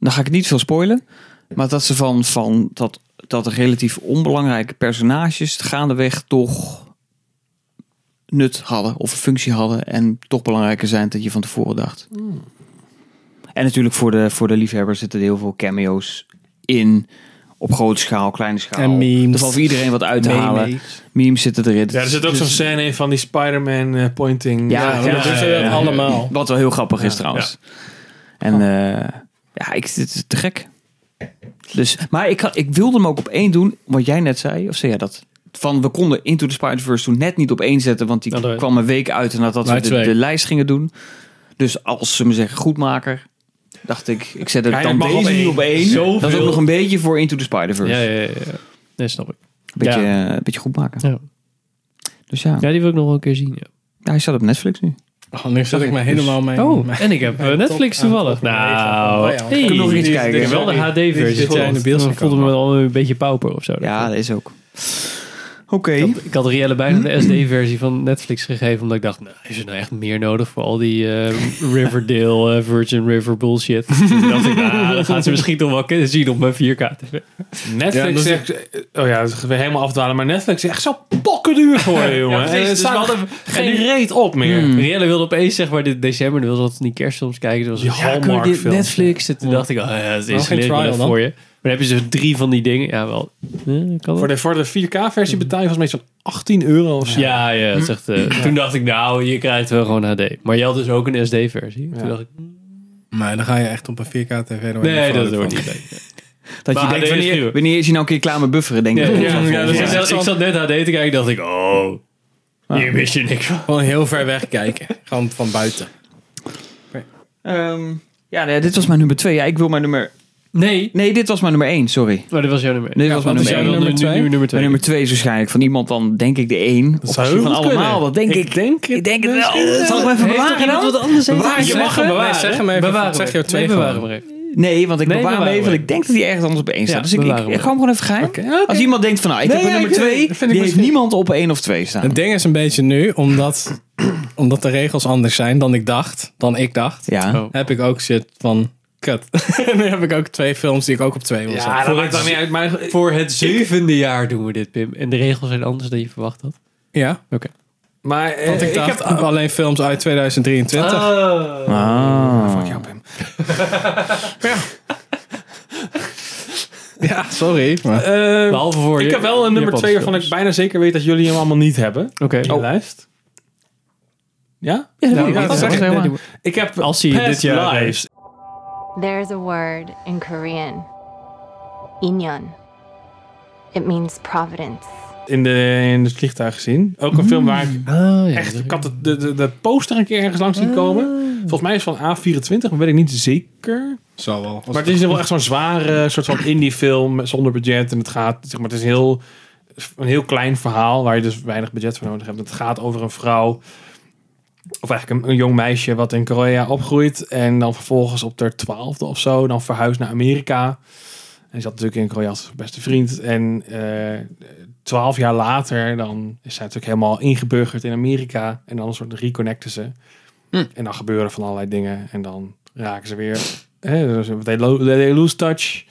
B: dan ga ik niet veel spoilen, maar dat ze van, van dat, dat er relatief onbelangrijke personages gaandeweg toch nut hadden of een functie hadden en toch belangrijker zijn dan je van tevoren dacht. Hmm. En natuurlijk voor de, voor de liefhebbers zitten er heel veel cameo's in. Op grote schaal, kleine schaal.
C: En memes.
B: Er valt voor iedereen wat uit te halen. Memes zitten erin.
F: ja, er zit ook zo'n
C: Dus-
F: scène in van die Spider-Man eh, pointing.
B: Dus- Ja, ja,
C: dat doen ze
F: ja, ja.
C: allemaal.
B: Wat wel heel grappig is trouwens. En eh, ja, ik, het is te gek. Dus, maar ik, had- ik wilde hem ook op één doen, wat jij net zei. Of zei jij dat? Van we konden Into the Spider-Verse toen net niet op één zetten. Want die
A: Nou, dat-
B: kwam een week uit nadat we
A: Maar
B: de,
A: twee.
B: de lijst gingen doen. Dus als ze me zeggen goedmaker, dacht ik, ik zet het
F: Hij
B: dan
F: mag op
B: deze nu
F: één.
B: op één.
A: Zoveel.
B: Dat is ook nog een beetje voor Into the Spider-Verse.
A: Ja, ja, ja, ja. Nee, snap ik.
B: Een beetje,
A: Ja.
B: eh, een beetje goedmaken.
A: Ja.
B: Dus ja.
A: Ja, die wil ik nog wel een keer zien, ja.
B: Ja, hij staat op Netflix nu.
C: Oh, nu zit ik me helemaal mee.
A: Oh, en ik heb eh, Netflix
C: top aan
A: toevallig.
C: het opnemen.
A: Nou,
C: Oh ja,
A: hey.
B: ik heb nog iets kijken.
A: Ik heb wel de
C: Sorry,
A: HD-versie.
C: dit zit jij in de bioscoop
A: voelde me al een beetje pauper of zo.
B: Ja, dat is ook.
A: Ik, had- ik had Rielle bijna de SD-versie van Netflix gegeven, omdat ik dacht, nou, is er nou echt meer nodig voor al die eh, Riverdale, eh, Virgin River <laughs> bullshit? Toen dacht ik, ah, dat gaat ze misschien toch wel kunnen zien op mijn 4K-tv.
F: Netflix
A: Ja, dat is-
F: zegt... Oh ja, dat is weer helemaal afdwalen. Maar Netflix is echt zo pokkenduur geworden, jongen.
A: Ja,
F: En
A: precies.
F: er
A: Dus
F: staat
A: we hadden Hmm.
F: geen reet op meer.
A: Rielle wilde opeens zeg maar dit december, dan wilde ze altijd die kerstfilms kijken. Toen was het,
F: Die
A: ja, kunnen we dit
F: Hallmark-films.
A: Netflix. En toen dacht ik, oh ja, dat
F: geen
A: is geen
F: trial
A: trial
F: dan?
A: voor je. Maar dan heb je dus drie van die dingen. Ja, wel.
F: Voor de, voor de 4K-versie betaal je volgens mij zo'n 18 euro of zo.
A: Ja, ja, dat is echt, eh, toen dacht ik, nou, je krijgt wel gewoon HD. Maar je had dus ook een SD-versie. Toen dacht ik,
C: Maar dan ga je echt op een 4K tv.
A: nee, dat wordt niet leuk.
B: Dat
A: Maar
B: je denkt,
A: HD is
B: wanneer,
A: duur.
B: wanneer is hij nou een keer klaar met bufferen? Denk
A: Ja,
B: ik.
A: ja, ja, dat is echt zo- ik zat net HD te kijken, dacht ik, oh, hier mis je niks van.
C: Gewoon heel ver weg kijken. Gewoon van buiten.
B: Ehm, ja, nee, dit was mijn nummer twee. Ja, ik wil mijn nummer...
A: Nee.
B: Nee, dit was mijn nummer één, sorry.
A: Maar dit was jouw nummer
B: Dit was mijn
A: wat is
B: nummer
A: jouw
B: één.
A: nummer
B: Nu-
A: twee?
B: nu- nu nummer twee. Mijn nummer twee is waarschijnlijk van iemand dan, denk ik, de één. Of
F: zou
B: misschien
F: heel
B: van
F: goed
B: allemaal,
F: kunnen.
B: dat denk ik.
F: denk het.
B: Ik denk het wel.
F: misschien.
B: Zal ik hem even
F: Heeft
B: bewaren
F: toch iemand
B: dan?
F: wat anders heeft?
B: Bewaren,
F: Je
B: je
F: mag
B: mag
F: hem
B: hem
F: bewaren.
C: Zeg hem even.
F: Bewaren
C: zeg
F: we.
C: jouw twee
F: Nee, bewaren
C: gewoon.
B: Nee, want ik
F: Nee,
B: bewaar hem
F: bewaren
B: even.
F: we.
B: want Ik denk dat hij ergens anders op één staat. dus ik, ik,
F: bewaren we.
B: ik ga hem gewoon even gaan. Als iemand denkt van, nou, ik
F: Nee,
B: heb
F: ja,
B: mijn nummer
F: ik-
B: twee.
F: vind ik
B: Die heeft
F: misschien-
B: niemand op één of twee staan.
F: Nou.
C: Het ding is een beetje nu, omdat, omdat de regels anders zijn dan ik dacht, dan ik dacht,
B: Ja.
C: heb ik ook shit van kut. <laughs> nu heb ik ook twee films die ik ook op twee wil zetten.
A: voor, het,
F: uit, maar-
A: voor het zevende jaar doen we dit, Pim. En de regels zijn anders dan je verwacht had.
C: Ja, oké.
F: Maar eh,
C: Want ik
F: ik
C: dacht ah,
F: heb...
C: alleen films uit 2023.
F: Oh,
B: Ah.
C: Ja, sorry. Maar.
F: eh,
A: Behalve voor
F: ik
A: je-
F: heb wel een nummer
A: Japanse
F: 2 waarvan ik bijna zeker weet dat jullie hem allemaal niet hebben. Oké. In de lijst. Ja?
B: Ja,
F: Nou,
B: ja,
F: ik-
B: dat
F: zeg
B: mag
F: ik-
B: ik helemaal.
F: nee, die- Ik heb
A: Als hij
F: Past
A: dit jaar
F: Lives.
O: There's a word in Korean, inyeon. It means providence.
F: in, de, in het vliegtuig gezien. Ook een film waar ik
A: Oh,
F: echt... Ik had de, de, de poster een keer ergens langs zien komen. Volgens mij is het van A24, maar weet ik niet zeker.
C: Zou wel.
F: eh, Maar het is wel echt zo'n zware soort van indie film zonder budget. En het gaat, zeg maar, het is heel, een heel klein verhaal waar je dus weinig budget voor nodig hebt. Het gaat over een vrouw, of eigenlijk een, een jong meisje wat in Korea opgroeit. En dan vervolgens op haar twaalfde of zo, dan verhuist naar Amerika. En zat natuurlijk in Korea als haar beste vriend. En eh, twaalf jaar later, dan is zij natuurlijk helemaal ingeburgerd in Amerika. En dan een soort reconnecten ze. En dan gebeuren van allerlei dingen. En dan raken ze weer. Hè, dus they, lo- they lose touch.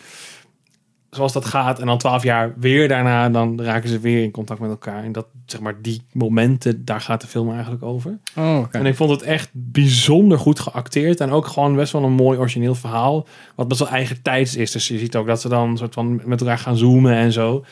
F: Zoals dat gaat. En dan twaalf jaar weer daarna. Dan raken ze weer in contact met elkaar. En dat, zeg maar, die momenten. Daar gaat de film eigenlijk over.
C: Oh, oké.
F: En ik vond het echt bijzonder goed geacteerd. En ook gewoon best wel een mooi origineel verhaal. Wat best wel eigen tijds is. Dus je ziet ook dat ze dan soort van met elkaar gaan zoomen en zo.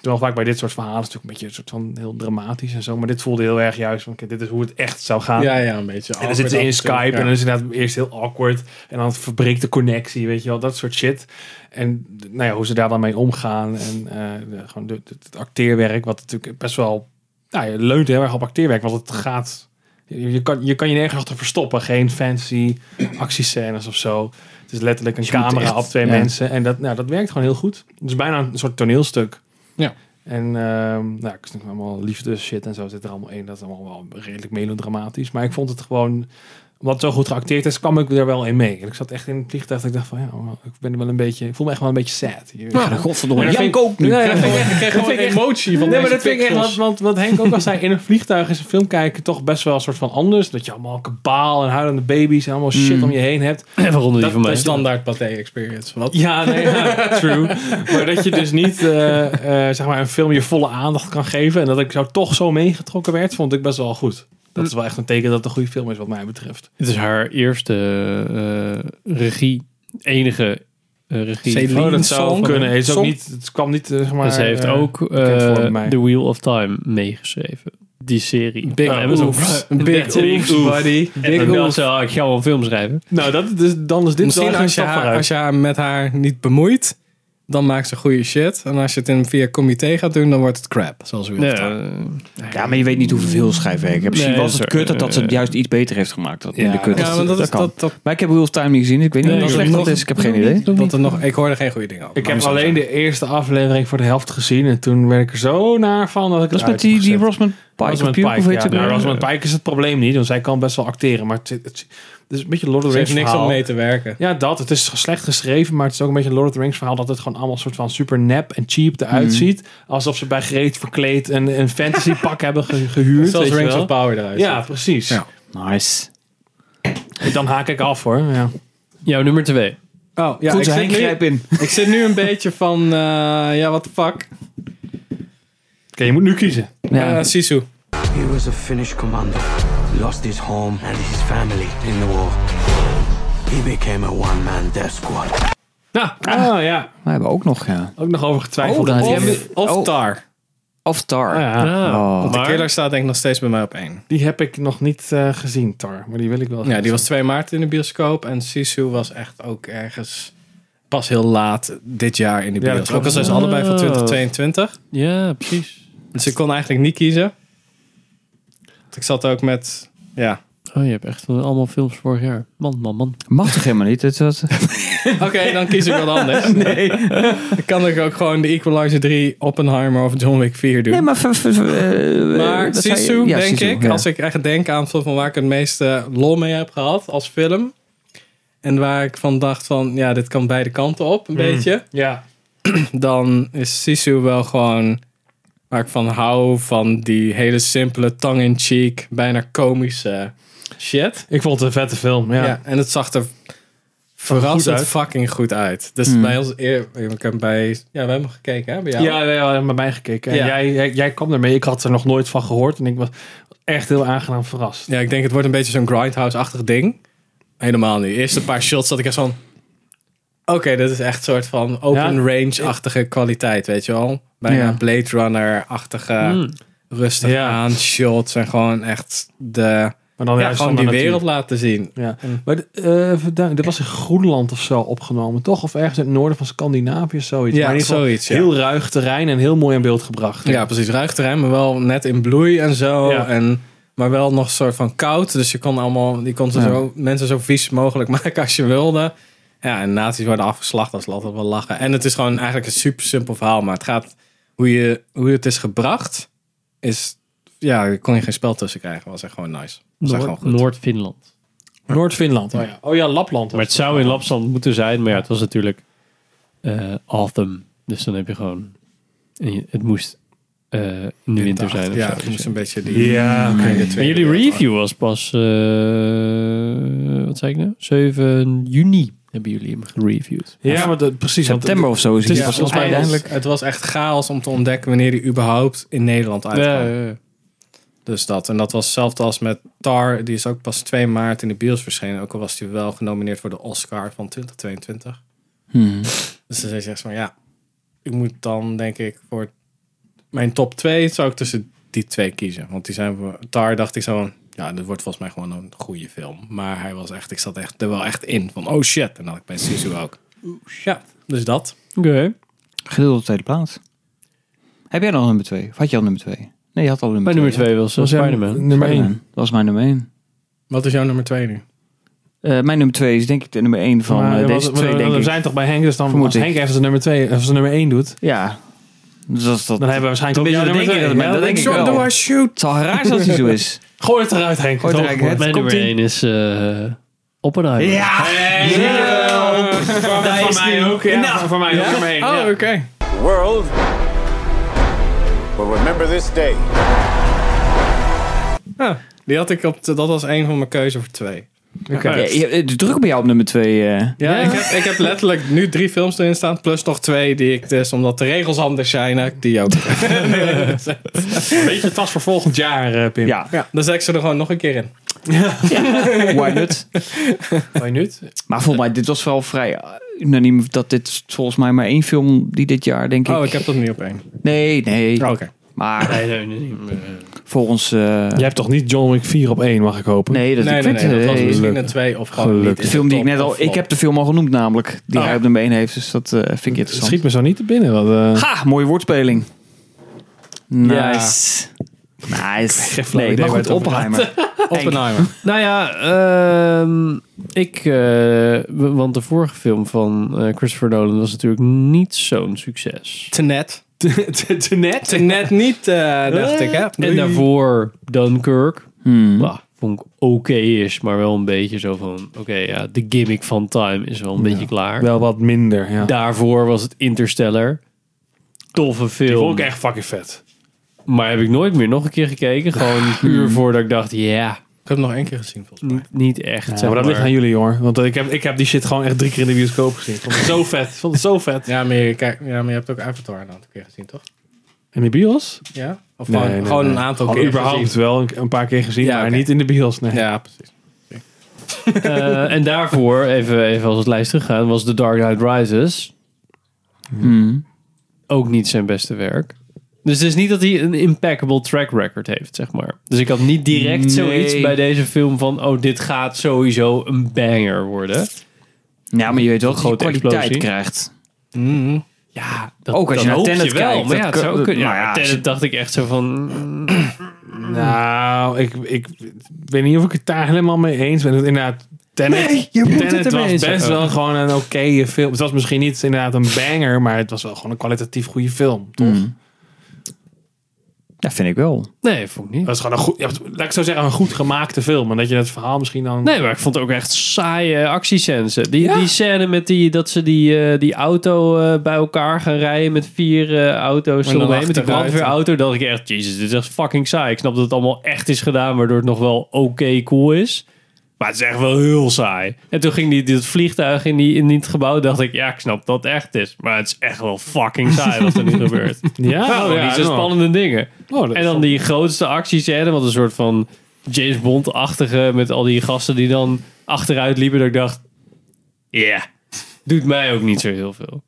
F: Terwijl vaak bij dit soort verhalen is het natuurlijk een beetje een soort van heel dramatisch en zo. Maar dit voelde heel erg juist van, kijk, dit is hoe het echt zou gaan.
C: Ja, ja, een beetje.
F: En Oh, dan zitten
C: awkward
F: ze in
C: af en toe,
F: Skype
C: ja.
F: en dan is het inderdaad eerst heel awkward. En dan verbreekt de connectie, weet je wel, dat soort shit. En nou ja, hoe ze daar dan mee omgaan. En eh, de- gewoon de- de- het acteerwerk, wat natuurlijk best wel... Nou, je leunt heel erg op acteerwerk, want het gaat... Je, je kan, je kan je nergens achter verstoppen. Geen fancy actiescènes of zo. Het is letterlijk een
B: moet
F: camera
B: echt-
F: op twee
B: ja.
F: mensen. En dat, nou, dat werkt gewoon heel goed. Het is bijna een soort toneelstuk.
C: Ja.
F: En ehm nou, ik snap allemaal liefde shit en zo zit er allemaal in. Dat is allemaal wel redelijk melodramatisch. Maar ik vond het gewoon, omdat het zo goed geacteerd is, kwam ik er wel in mee. En ik zat echt in het vliegtuig dat ik dacht van, ja, maar ik ben er wel een beetje, ik voel me echt wel een beetje sad. Hier.
B: Ja, godverdomme.
F: En dat
B: Ja,
F: vind
B: ik ook nu.
F: Nee,
B: Ik
F: dat
B: krijg
F: vind ik
B: gewoon-
F: echt- ik krijg
B: dat
F: gewoon
B: vind ik echt-
F: emotie van
B: Nee, maar
F: deze
B: dat vind ik echt
F: pixels. Want, want Henk ook al zei, in een vliegtuig is een film kijken toch best wel een soort van anders. Dat je allemaal kabaal en huilende baby's en allemaal shit
C: Mm.
F: om je heen hebt.
A: Even ronden die
F: Dat-
A: van mij.
F: dat is dan
C: Standaard pathé experience. Wat?
F: ja, nee, ja, <laughs> true. <laughs> Maar dat je dus niet eh, eh, zeg maar een film je volle aandacht kan geven. En dat ik zo toch zo meegetrokken werd, vond ik best wel goed. Dat is wel echt een teken dat het een goede film is, wat mij betreft.
A: Het is haar eerste eh, regie, enige eh, regie.
F: Oh, dat zou kunnen. Het, is ook niet, het kwam niet, eh, zeg maar...
A: En ze Dus heeft
F: eh,
A: ook
F: bekend voor
A: eh,
F: mij.
A: The Wheel of Time meegeschreven. Die serie. Nou,
F: Big
A: en we zijn- <laughs>
F: oofs.
A: en
F: Big
A: dat- en
F: oofs,
A: ik-
F: buddy.
A: En
F: Big
A: dan belt
F: oofs.
A: ze, ah, ik ga wel een film schrijven.
F: Nou, dat, dus, dan is dit
C: Misschien
F: wel een
C: als je,
F: stap
C: haar,
F: vooruit.
C: als je haar met haar niet bemoeit, dan maakt ze goede shit. En als je het in via comité gaat doen, dan wordt het crap. Zoals we
A: Ja,
B: Ja, maar je weet niet hoeveel schrijfwerk. Misschien
C: Nee,
B: was het
C: dat is
B: kut dat, dat ze het
C: waar.
B: juist iets beter heeft gemaakt. Dat minder
C: Ja,
B: kut.
C: ja, want dat is-
B: kan.
C: dat- dat-
B: Maar ik heb Wheel of Time niet gezien. Ik weet niet
C: Nee,
B: hoe
C: ik
B: slecht
C: nog
B: dat
C: niet.
B: is. Ik heb geen idee.
C: Dat er nog, ik hoorde geen goede dingen over.
F: Ik
C: Laat me
F: heb
C: zo
F: alleen de eerste aflevering voor de helft gezien. En toen werd ik er zo naar van dat ik
B: Dat is
F: het
B: met die, die
F: uitgezet.
B: Rosman Pike.
F: Rosamund
B: of Pike,
F: Pike,
B: of heet
F: ja.
B: ze ook
F: Nou,
B: weer?
F: Rosamund Pike is het probleem niet, want zij kan best wel acteren. Maar het, het- Dus een beetje Lord
C: Ze
F: of the
C: heeft
F: Rings
C: niks
F: verhaal.
C: om mee te werken.
F: Ja, dat. Het is slecht geschreven, maar het is ook een beetje een Lord of the Rings verhaal dat het gewoon allemaal soort van super nep en cheap eruit
C: Mhm.
F: ziet. Alsof ze bij gereed verkleed een, een fantasy pak <laughs> hebben ge- gehuurd.
C: Zoals
F: weet je
C: Rings
F: wel.
C: of Power eruit
F: Ja,
C: ziet.
F: precies.
C: Ja.
B: Nice.
F: Dan haak ik af hoor. Ja.
A: Jouw nummer twee.
C: Oh, ja,
F: Goed,
C: ik, zit
F: Henk, grijp
C: nu,
F: in.
C: ik zit nu een beetje van, eh, ja, what the fuck.
F: Oké, je moet nu kiezen.
C: Ja, Sisu.
P: He was a Finnish commando, lost his home and his family in the war. He became a one-man death squad.
C: Nou.
F: Ja. Oh ja.
B: We hebben ook nog, ja.
F: Ook nog over
C: getwijfeld.
B: Oh, dan heb
C: of,
B: je-
C: of
B: oh.
C: Tar.
B: Of Tar.
F: ja. Oh.
C: Want
F: Maar-
C: de killer staat denk ik nog steeds bij mij op één.
F: Die heb ik nog niet eh, gezien, Tar. Maar die wil ik wel
C: Ja, die was 2 maart in de bioscoop. En Sisu was echt ook ergens pas heel laat dit jaar in de
F: Ja, dat
C: bioscoop.
F: klopt.
C: ook al zijn ze allebei van
A: Oh.
C: 2022.
A: Ja, precies.
C: Dus ik kon eigenlijk niet kiezen. Want ik zat ook met... Ja.
A: Oh, je hebt echt wel allemaal films vorig jaar. Man, man, man.
B: Mag toch helemaal niet? Dit was...
C: Oké, dan kies ik wat anders. nee. Dan kan <laughs> ik ook gewoon de Equalizer 3, Oppenheimer of John Wick 4 doen.
B: Nee, maar... ver- ver- ver- eh,
C: Maar
B: dat zei je-
C: Sisu,
B: ja,
C: denk
B: Sisu,
C: ik,
B: ja.
C: als ik echt denk aan van waar ik het meeste lol mee heb gehad als film. En waar ik van dacht van, ja, dit kan beide kanten op, een
F: Mm.
B: Hmm.
C: beetje.
F: Ja.
C: Dan is Sisu wel gewoon waar ik van hou. Van die hele simpele, tongue-in-cheek, bijna komische shit.
F: Ik vond het een vette film, ja.
C: en het zag er
F: Goed
C: verrassend
F: uit.
C: fucking goed uit. Dus
B: Hmm.
F: Mm.
C: bij ons eer... Ik heb bij... Ja, we hebben gekeken, hè? Bij
F: Ja,
C: jou.
F: ja, ja, ja, bij mij gekeken. En
C: Ja.
F: Jij, jij, jij kwam ermee. Ik had er nog nooit van gehoord. En ik was echt heel aangenaam verrast.
C: Ja, ik denk het wordt een beetje zo'n grindhouse-achtig ding. Helemaal niet. Eerst een paar shots dat ik echt van... Oké, dat is echt een soort van open range-achtige kwaliteit, weet je wel? Bijna
F: Ja.
C: Blade Runner-achtige
F: Mm.
C: rustig aan shots en gewoon echt
F: Oh
C: de...
F: Maar dan
C: ja,
F: juist
C: gewoon
F: van
C: die
F: de
C: wereld
F: natuur.
C: laten zien.
F: Ja. Maar eh, verduid- dat was in Groenland of zo opgenomen, toch? Of ergens in het noorden van Scandinavië, zoiets.
C: Ja,
F: maar in ieder geval
C: zoiets, ja.
F: Heel ruig terrein en heel mooi in beeld gebracht.
C: Ja, precies. Ruig terrein, maar wel net in bloei en zo.
F: Ja.
C: En, maar wel nog een soort van koud. Dus je kon, allemaal, je kon ze
F: Ja.
C: zo, mensen zo vies mogelijk <laughs> maken als je wilde. Ja, en nazi's worden afgeslacht. Dat is altijd wel lachen. En het is gewoon eigenlijk een super simpel verhaal. Maar het gaat hoe, je, hoe het is gebracht. Is, ja, daar kon je geen spel tussen krijgen. Was echt gewoon nice. Was echt gewoon
A: Noord-
C: goed.
A: Noord-Finland.
F: Noord-Finland, oh ja. Oh ja, Lapland.
A: Maar het zou in Lapland moeten zijn, maar ja, het was natuurlijk eh autumn. Dus dan heb je gewoon... en je- Het moest eh, in de winter zijn. Of
C: Ja,
A: zo.
C: het
A: Dus
C: moest een beetje die...
A: Ja, oké.
C: de
A: En
C: tweede
A: jullie
C: wereld-
A: review was pas, eh, wat zei ik nou? 7 juni hebben jullie hem gereviewd.
F: Ja, maar dat, precies. want-
B: September of zo is
C: Het,
A: Dus
B: het.
C: is
B: Ja,
C: volgens mij
B: uiteindelijk.
C: het was echt chaos om te ontdekken wanneer die überhaupt in Nederland uitkwam.
A: Ja, ja, ja.
C: Dus dat. En dat was hetzelfde als met Tar. Die is ook pas 2 maart in de bios verschenen. Ook al was die wel genomineerd voor de Oscar van 2022.
B: Hmm.
C: Dus dan zei ze echt van ja, ik moet dan denk ik voor mijn top 2 zou ik tussen die twee kiezen. Want die zijn voor Tar dacht ik zo van ja, dit wordt volgens mij gewoon een goede film. Maar hij was echt, ik zat echt er wel echt in van oh shit. En dat had ik bij Sisu ook. Ja, dus dat.
A: Oké.
B: Gedeeld op tweede plaats. Heb jij nog nummer twee? Of had je al nummer twee? Nee, je had al nummer
A: Mijn
B: twee.
A: nummer twee was, eh,
B: jouw
A: Spider-Man.
B: Nummer één.
A: Spider-Man.
B: Dat was mijn nummer één.
C: Wat is jouw nummer 2 nu?
B: Eh, mijn nummer twee is denk ik de nummer één van
F: Maar,
B: eh,
F: ja,
B: deze
F: want-
B: twee,
F: want
B: denk
F: we
B: ik.
F: zijn toch bij Henk, dus dan
B: Vermoed
F: als
B: ik.
F: Henk even zijn nummer 2 of zijn nummer 1 doet,
B: Ja. Dus dat, dat,
F: dan hebben we waarschijnlijk ook jouw
B: Tenminste,
F: nummer
B: dat
F: 2.
B: denk ik, dat- dat denk ik wel. Het zal raar zijn als hij zo is.
F: Gooi het eruit, Henk.
B: Gooi het eruit, Henk.
A: Mijn
B: Komt
A: nummer
B: ie.
A: 1 is eh Oppenheimer.
B: Ja!
F: Van mij ook, ja. Voor mij ook, nummer 1.
C: Oh, oké.
Q: World will remember this day.
C: Die had ik op, de- dat was een van mijn keuze voor twee.
B: Ja, je- je- het is druk bij jou op nummer twee. eh.
C: Ja, Ik, heb, ik heb letterlijk nu drie films erin staan, plus nog twee die ik dus, omdat de regels anders zijn, heb ik die
B: <laughs>
C: ook.
F: Weet je, het was voor volgend jaar, eh, Pim.
B: Ja.
C: Dan zet ik ze er gewoon nog een keer in.
B: Why not?
F: Why not?
B: Maar volgens mij, dit was wel vrij eh, unaniem. Dat dit volgens mij maar één film die dit jaar, denk ik.
C: Oh, ik heb dat niet Oh. op één.
B: Nee, nee.
C: Oké.
B: Maar
A: Nee, nee, nee, nee.
B: volgens... eh,
F: Jij hebt toch niet John Wick 4 op 1, mag ik hopen?
B: nee, dat,
C: Nee,
B: ik
C: nee,
B: weet
C: nee, dat was
B: nee.
C: misschien een twee of gewoon
B: eh,
C: niet in
F: Gelukkig.
B: De film die ik
C: top
B: net al...
C: of flop.
B: Ik heb de film al genoemd namelijk. Die
C: Oh.
B: hij op nummer 1 heeft. Dus dat eh, vind ik
F: Het
B: interessant.
F: schiet me zo niet te binnen. Wat, eh.
B: Ha, mooie woordspeling. Nice.
F: geen
B: Nice.
F: flauw
B: Nee, maar
F: idee waar
B: goed,
F: het over
B: Oppenheimer.
C: Oppenheimer.
A: Nou ja, ehm, ik, eh, w- want de vorige film van eh, Christopher Nolan was natuurlijk niet zo'n succes.
C: Te net.
F: <laughs> Te- te net.
C: Te net niet, eh, dacht ik, hè?
A: En daarvoor Dunkirk.
B: <laughs> Hmm.
A: Nou, vond ik oké is, maar wel een beetje zo van, oké, ja, de gimmick van Time is wel een beetje klaar.
F: Wel wat minder, ja.
A: Daarvoor was het Interstellar. Toffe film.
F: Die vond ik echt fucking vet.
A: Maar heb ik nooit meer nog een keer gekeken. Gewoon puur voordat ik dacht, ja,
C: Ik heb hem nog één keer gezien, volgens
B: Mm.
A: niet, niet echt.
F: Ja,
A: zeg
F: maar dat ligt aan jullie hoor. Want eh, ik heb, ik heb die shit gewoon echt drie keer in de bioscoop gezien. Ik vond het
A: <laughs>
F: zo vet. Ik vond het zo vet.
C: Ja, maar je, kijk, ja, maar je hebt ook Avatar een aantal keer gezien, toch?
F: In de bios?
C: Ja? Of gewoon, gewoon een aantal
F: Gewoon
C: keer
F: überhaupt
C: gezien.
F: wel een, een paar keer gezien, maar niet in de bios. Nee.
C: Ja, precies.
A: maar. Eh, en daarvoor, even, even als het lijst teruggaan, was The Dark Knight Rises.
B: Hmm.
A: Ook niet zijn beste werk. Dus het is niet dat hij een impeccable track record heeft, zeg maar. Dus ik had niet direct
B: Nee.
A: zoiets bij deze film van... oh, dit gaat sowieso een banger worden.
B: Ja, maar je weet wel dat je
A: Grote
B: kwaliteit
A: explosie.
B: krijgt.
A: Ja,
B: Mhm. Ook als je naar
A: hoop
B: Tenet
A: wel,
B: kijkt,
A: Maar ja,
B: dat
A: het zou
B: kan-
A: kunnen. Ja,
B: maar ja,
A: Tenet
B: als je-
A: dacht ik echt zo van... mm,
F: Nou, ik, ik weet niet of ik het daar helemaal mee eens ben. Inderdaad, Tenet,
A: Nee, je moet
F: Tenet
A: het ermee
F: was
A: eens
F: best
A: zijn.
F: wel gewoon een oké film. Het was misschien niet inderdaad een banger, maar het was wel gewoon een kwalitatief goede film. Toch?
A: Mm.
B: Hmm. Dat vind ik wel.
A: Nee, vond ik niet.
F: Dat is gewoon een goed, ja, laat ik zo zeggen, een goed gemaakte film. En dat je dat verhaal misschien dan...
A: Nee, maar ik vond ook echt saaie actiesensen. Die,
F: Ja.
A: die scène met die, dat ze die, eh, die auto eh, bij elkaar gaan rijden met vier eh, auto's
C: En dan
A: eromheen. Met die
C: achteruit.
A: brandweerauto. Dat ik echt, jezus, dit is echt fucking saai. Ik snap dat het allemaal echt is gedaan, waardoor het nog wel oké cool is. Maar het is echt wel heel saai. En toen ging die, dit vliegtuig in, die, in het gebouw. dacht ik, ja, ik snap dat het echt is. Maar het is echt wel fucking saai
F: <laughs>
A: wat er nu gebeurt.
F: Ja?
A: Oh,
F: Oh, ja,
A: niet zo
F: nou.
A: spannende dingen.
F: Oh, dat
A: en dan die grootste actiescène, wat een soort van James Bond-achtige met al die gasten die dan achteruit liepen. Dat ik dacht, ja, doet mij ook niet zo heel veel.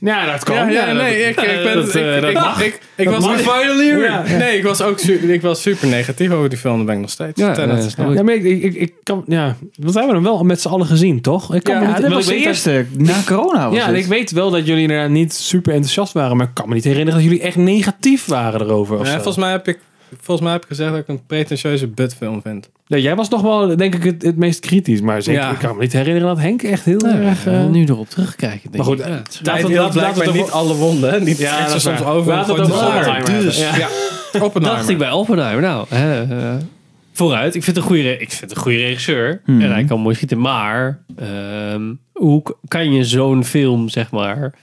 F: Ja, dat kan.
C: Ja, ja,
F: dat-
C: nee, ik, ik ben...
A: dat, eh,
C: ik,
A: dat
C: ik,
A: mag.
C: ik, ik
A: Dat
C: was
A: mag.
F: Ja, ja.
C: Nee, ik was ook su- ik was super negatief over die film. Dat ben ik nog steeds.
A: Ja,
C: Tenet.
A: nee, dat snap
F: Ja, maar ik, ik, ik, ik kan, ja, want we hebben hem wel met z'n allen gezien, toch? Ik kan me
B: Ja,
F: niet-
B: dat
F: want
B: was
F: ik
B: de
F: weet dat-
B: eerste. Na corona was
F: Ja, en
B: het.
F: ik weet wel dat jullie inderdaad niet super enthousiast waren, maar ik kan me niet herinneren dat jullie echt negatief waren erover. Of
C: Ja,
F: zo.
C: volgens, mij heb ik, volgens mij heb ik gezegd dat ik een pretentieuze butfilm vind.
F: Ja, jij was nog wel, denk ik, het, het meest kritisch, maar zeker,
C: Ja.
F: ik kan me niet herinneren dat Henk echt heel
A: Nou,
F: erg. eh,
A: eh, nu erop terugkijken. Denk
F: maar goed,
A: ik.
F: eh,
A: Ja.
F: laten we-
C: dat
F: laten we
C: blijkt
F: toch
C: niet
F: wel-
C: alle wonden. Niet
F: Ja,
C: ja,
F: dat is
C: soms
F: waar.
C: over.
F: Laat het over Oppenheimer
C: Dus, ja.
F: hebben.
C: Oppenheimer.
A: dacht ik bij Oppenheimer. Nou, hè, eh, vooruit. Ik vind het een goede, re- ik vind het een goede regisseur.
B: Mhm.
A: En hij kan mooi schieten. Maar ehm, hoe k- kan je zo'n film, zeg maar,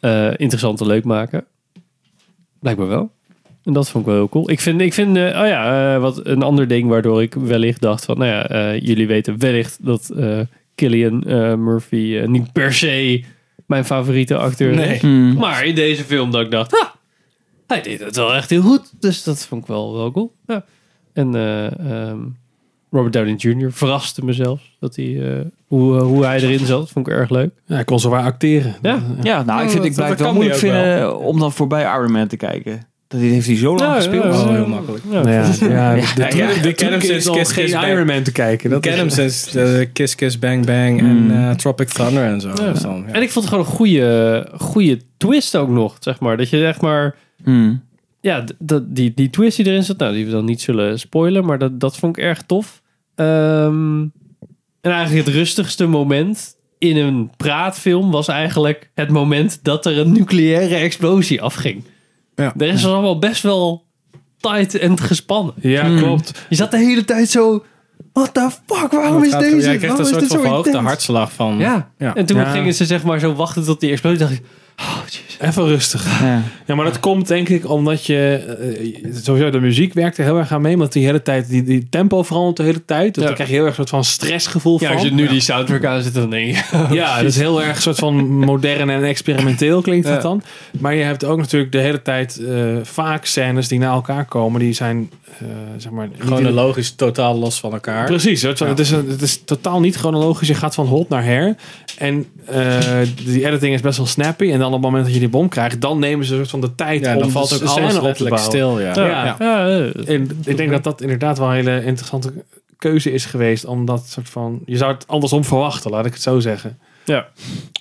A: eh, interessant en leuk maken? Blijkbaar wel. En dat vond ik wel heel cool. Ik vind, ik vind eh, oh ja, eh, wat een ander ding waardoor ik wellicht dacht van, nou ja, eh, jullie weten wellicht dat eh Killian eh, Murphy eh, niet per se mijn favoriete acteur
C: Nee.
A: is.
B: Hmm.
A: Maar in deze film dat ik dacht, ah, hij deed het wel echt heel goed. Dus dat vond ik wel, wel cool. Ja. En eh, ehm, Robert Downey Jr. verraste mezelf. Dat hij, eh, hoe, hoe hij erin zat, vond ik erg leuk.
F: Ja, hij kon zowaar acteren.
A: Ja.
B: Ja, nou, ik,
C: Ja,
B: vind, ik
C: dat-
B: blijf het
C: dat
B: wel
C: kan die
B: moeilijk
C: ook
B: vinden om dan voorbij Iron Man te kijken. Dat die- heeft hij zo lang
A: Ja,
B: gespeeld.
A: ja,
C: Oh, heel makkelijk.
A: Ja.
F: Nou ja, <laughs> ja, de-
C: Ja, ja,
F: de-
C: de
F: de truc
C: Adams
F: is
C: is
F: om
C: Kiss
F: geen
C: Kiss Bang.
F: Iron Man te kijken.
C: Ik
F: Dat dus-
C: ken
F: is-
C: hem sinds eh, Kiss Kiss Bang Bang en eh, Tropic Thunder en zo. Dus dan, ja.
A: En ik vond het gewoon een goede, goede twist ook nog, zeg maar. Dat je zeg maar,
B: <laughs> Hmm.
A: ja, d- dat, die, die twist die erin zat, nou, die we dan niet zullen spoilen. Maar dat, dat vond ik erg tof. Ehm, en eigenlijk het rustigste moment in een praatfilm was eigenlijk het moment dat er een nucleaire explosie afging.
C: Ja.
A: De rest was allemaal best wel tight en gespannen.
F: Ja, klopt.
A: Je zat de hele tijd zo... What the fuck? Waarom
C: Het
A: is
C: gaat-
A: deze?
C: ja, je krijgt
A: waarom
C: een
A: is
C: soort
A: dit
C: van
A: zo
C: verhoogde
A: intens?
C: hartslag van...
A: Ja.
C: Ja.
A: En toen
F: Ja.
A: gingen ze zeg maar zo wachten tot die explosie. dacht ik, oh jeez.
F: Even rustig.
B: Ja.
F: Ja, maar dat komt denk ik omdat je... eh, sowieso, de muziek werkt er heel erg aan mee. Want die hele tijd, die, die tempo verandert de hele tijd. Dus
A: Ja.
F: dan krijg je heel erg een soort van stressgevoel
A: Ja,
F: van.
A: als je nu die soundtrack aan zit, dan denk je...
F: Ja, dat is heel erg een soort van modern en experimenteel klinkt het dan. Maar je hebt ook natuurlijk de hele tijd eh, vaak scènes die na elkaar komen. Die zijn, eh, zeg maar... niet in-
C: Chronologisch totaal los van elkaar.
F: Precies, het, het, is, een- het is totaal niet chronologisch. Je gaat van hot naar her. En eh, die editing is best wel snappy. En dan op het moment dat je die bom krijgt, dan nemen ze een soort van de tijd
C: Ja,
F: om
C: dan valt
F: de
C: ook
F: scène
C: alles
F: op te
C: letterlijk
F: bouwen.
C: stil. Ja.
F: Ja.
C: Ja.
A: eh,
F: En ik denk dat dat inderdaad wel een hele interessante keuze is geweest. Omdat soort van, je zou het andersom verwachten, laat ik het zo zeggen.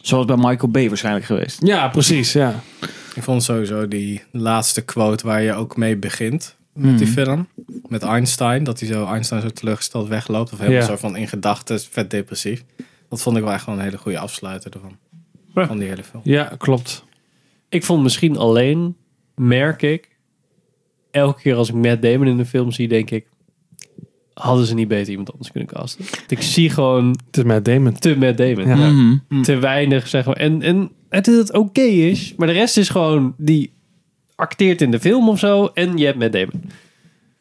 B: Zoals bij Michael Bay waarschijnlijk geweest.
F: Ja, precies. Ja.
C: Ik vond sowieso die laatste quote waar je ook mee begint met die film. Met Einstein. Dat hij zo Einstein zo teleurgesteld wegloopt. Of helemaal
F: Ja.
C: zo van in gedachten, vet depressief. Dat vond ik wel echt wel een hele goede afsluiter ervan.
A: Ja.
C: Van die hele film.
F: ja, klopt.
A: Ik vond misschien alleen, merk ik, elke keer als ik Matt Damon in een film zie, denk ik... Hadden ze niet beter iemand anders kunnen casten? Want Ik zie gewoon...
F: Te Matt Damon.
A: Te Matt Damon.
F: Ja.
A: Ja.
F: Mhm.
A: Te weinig, zeg maar. En, en het is dat het oké is, maar de rest is gewoon... Die acteert in de film of zo en je hebt Matt Damon. Die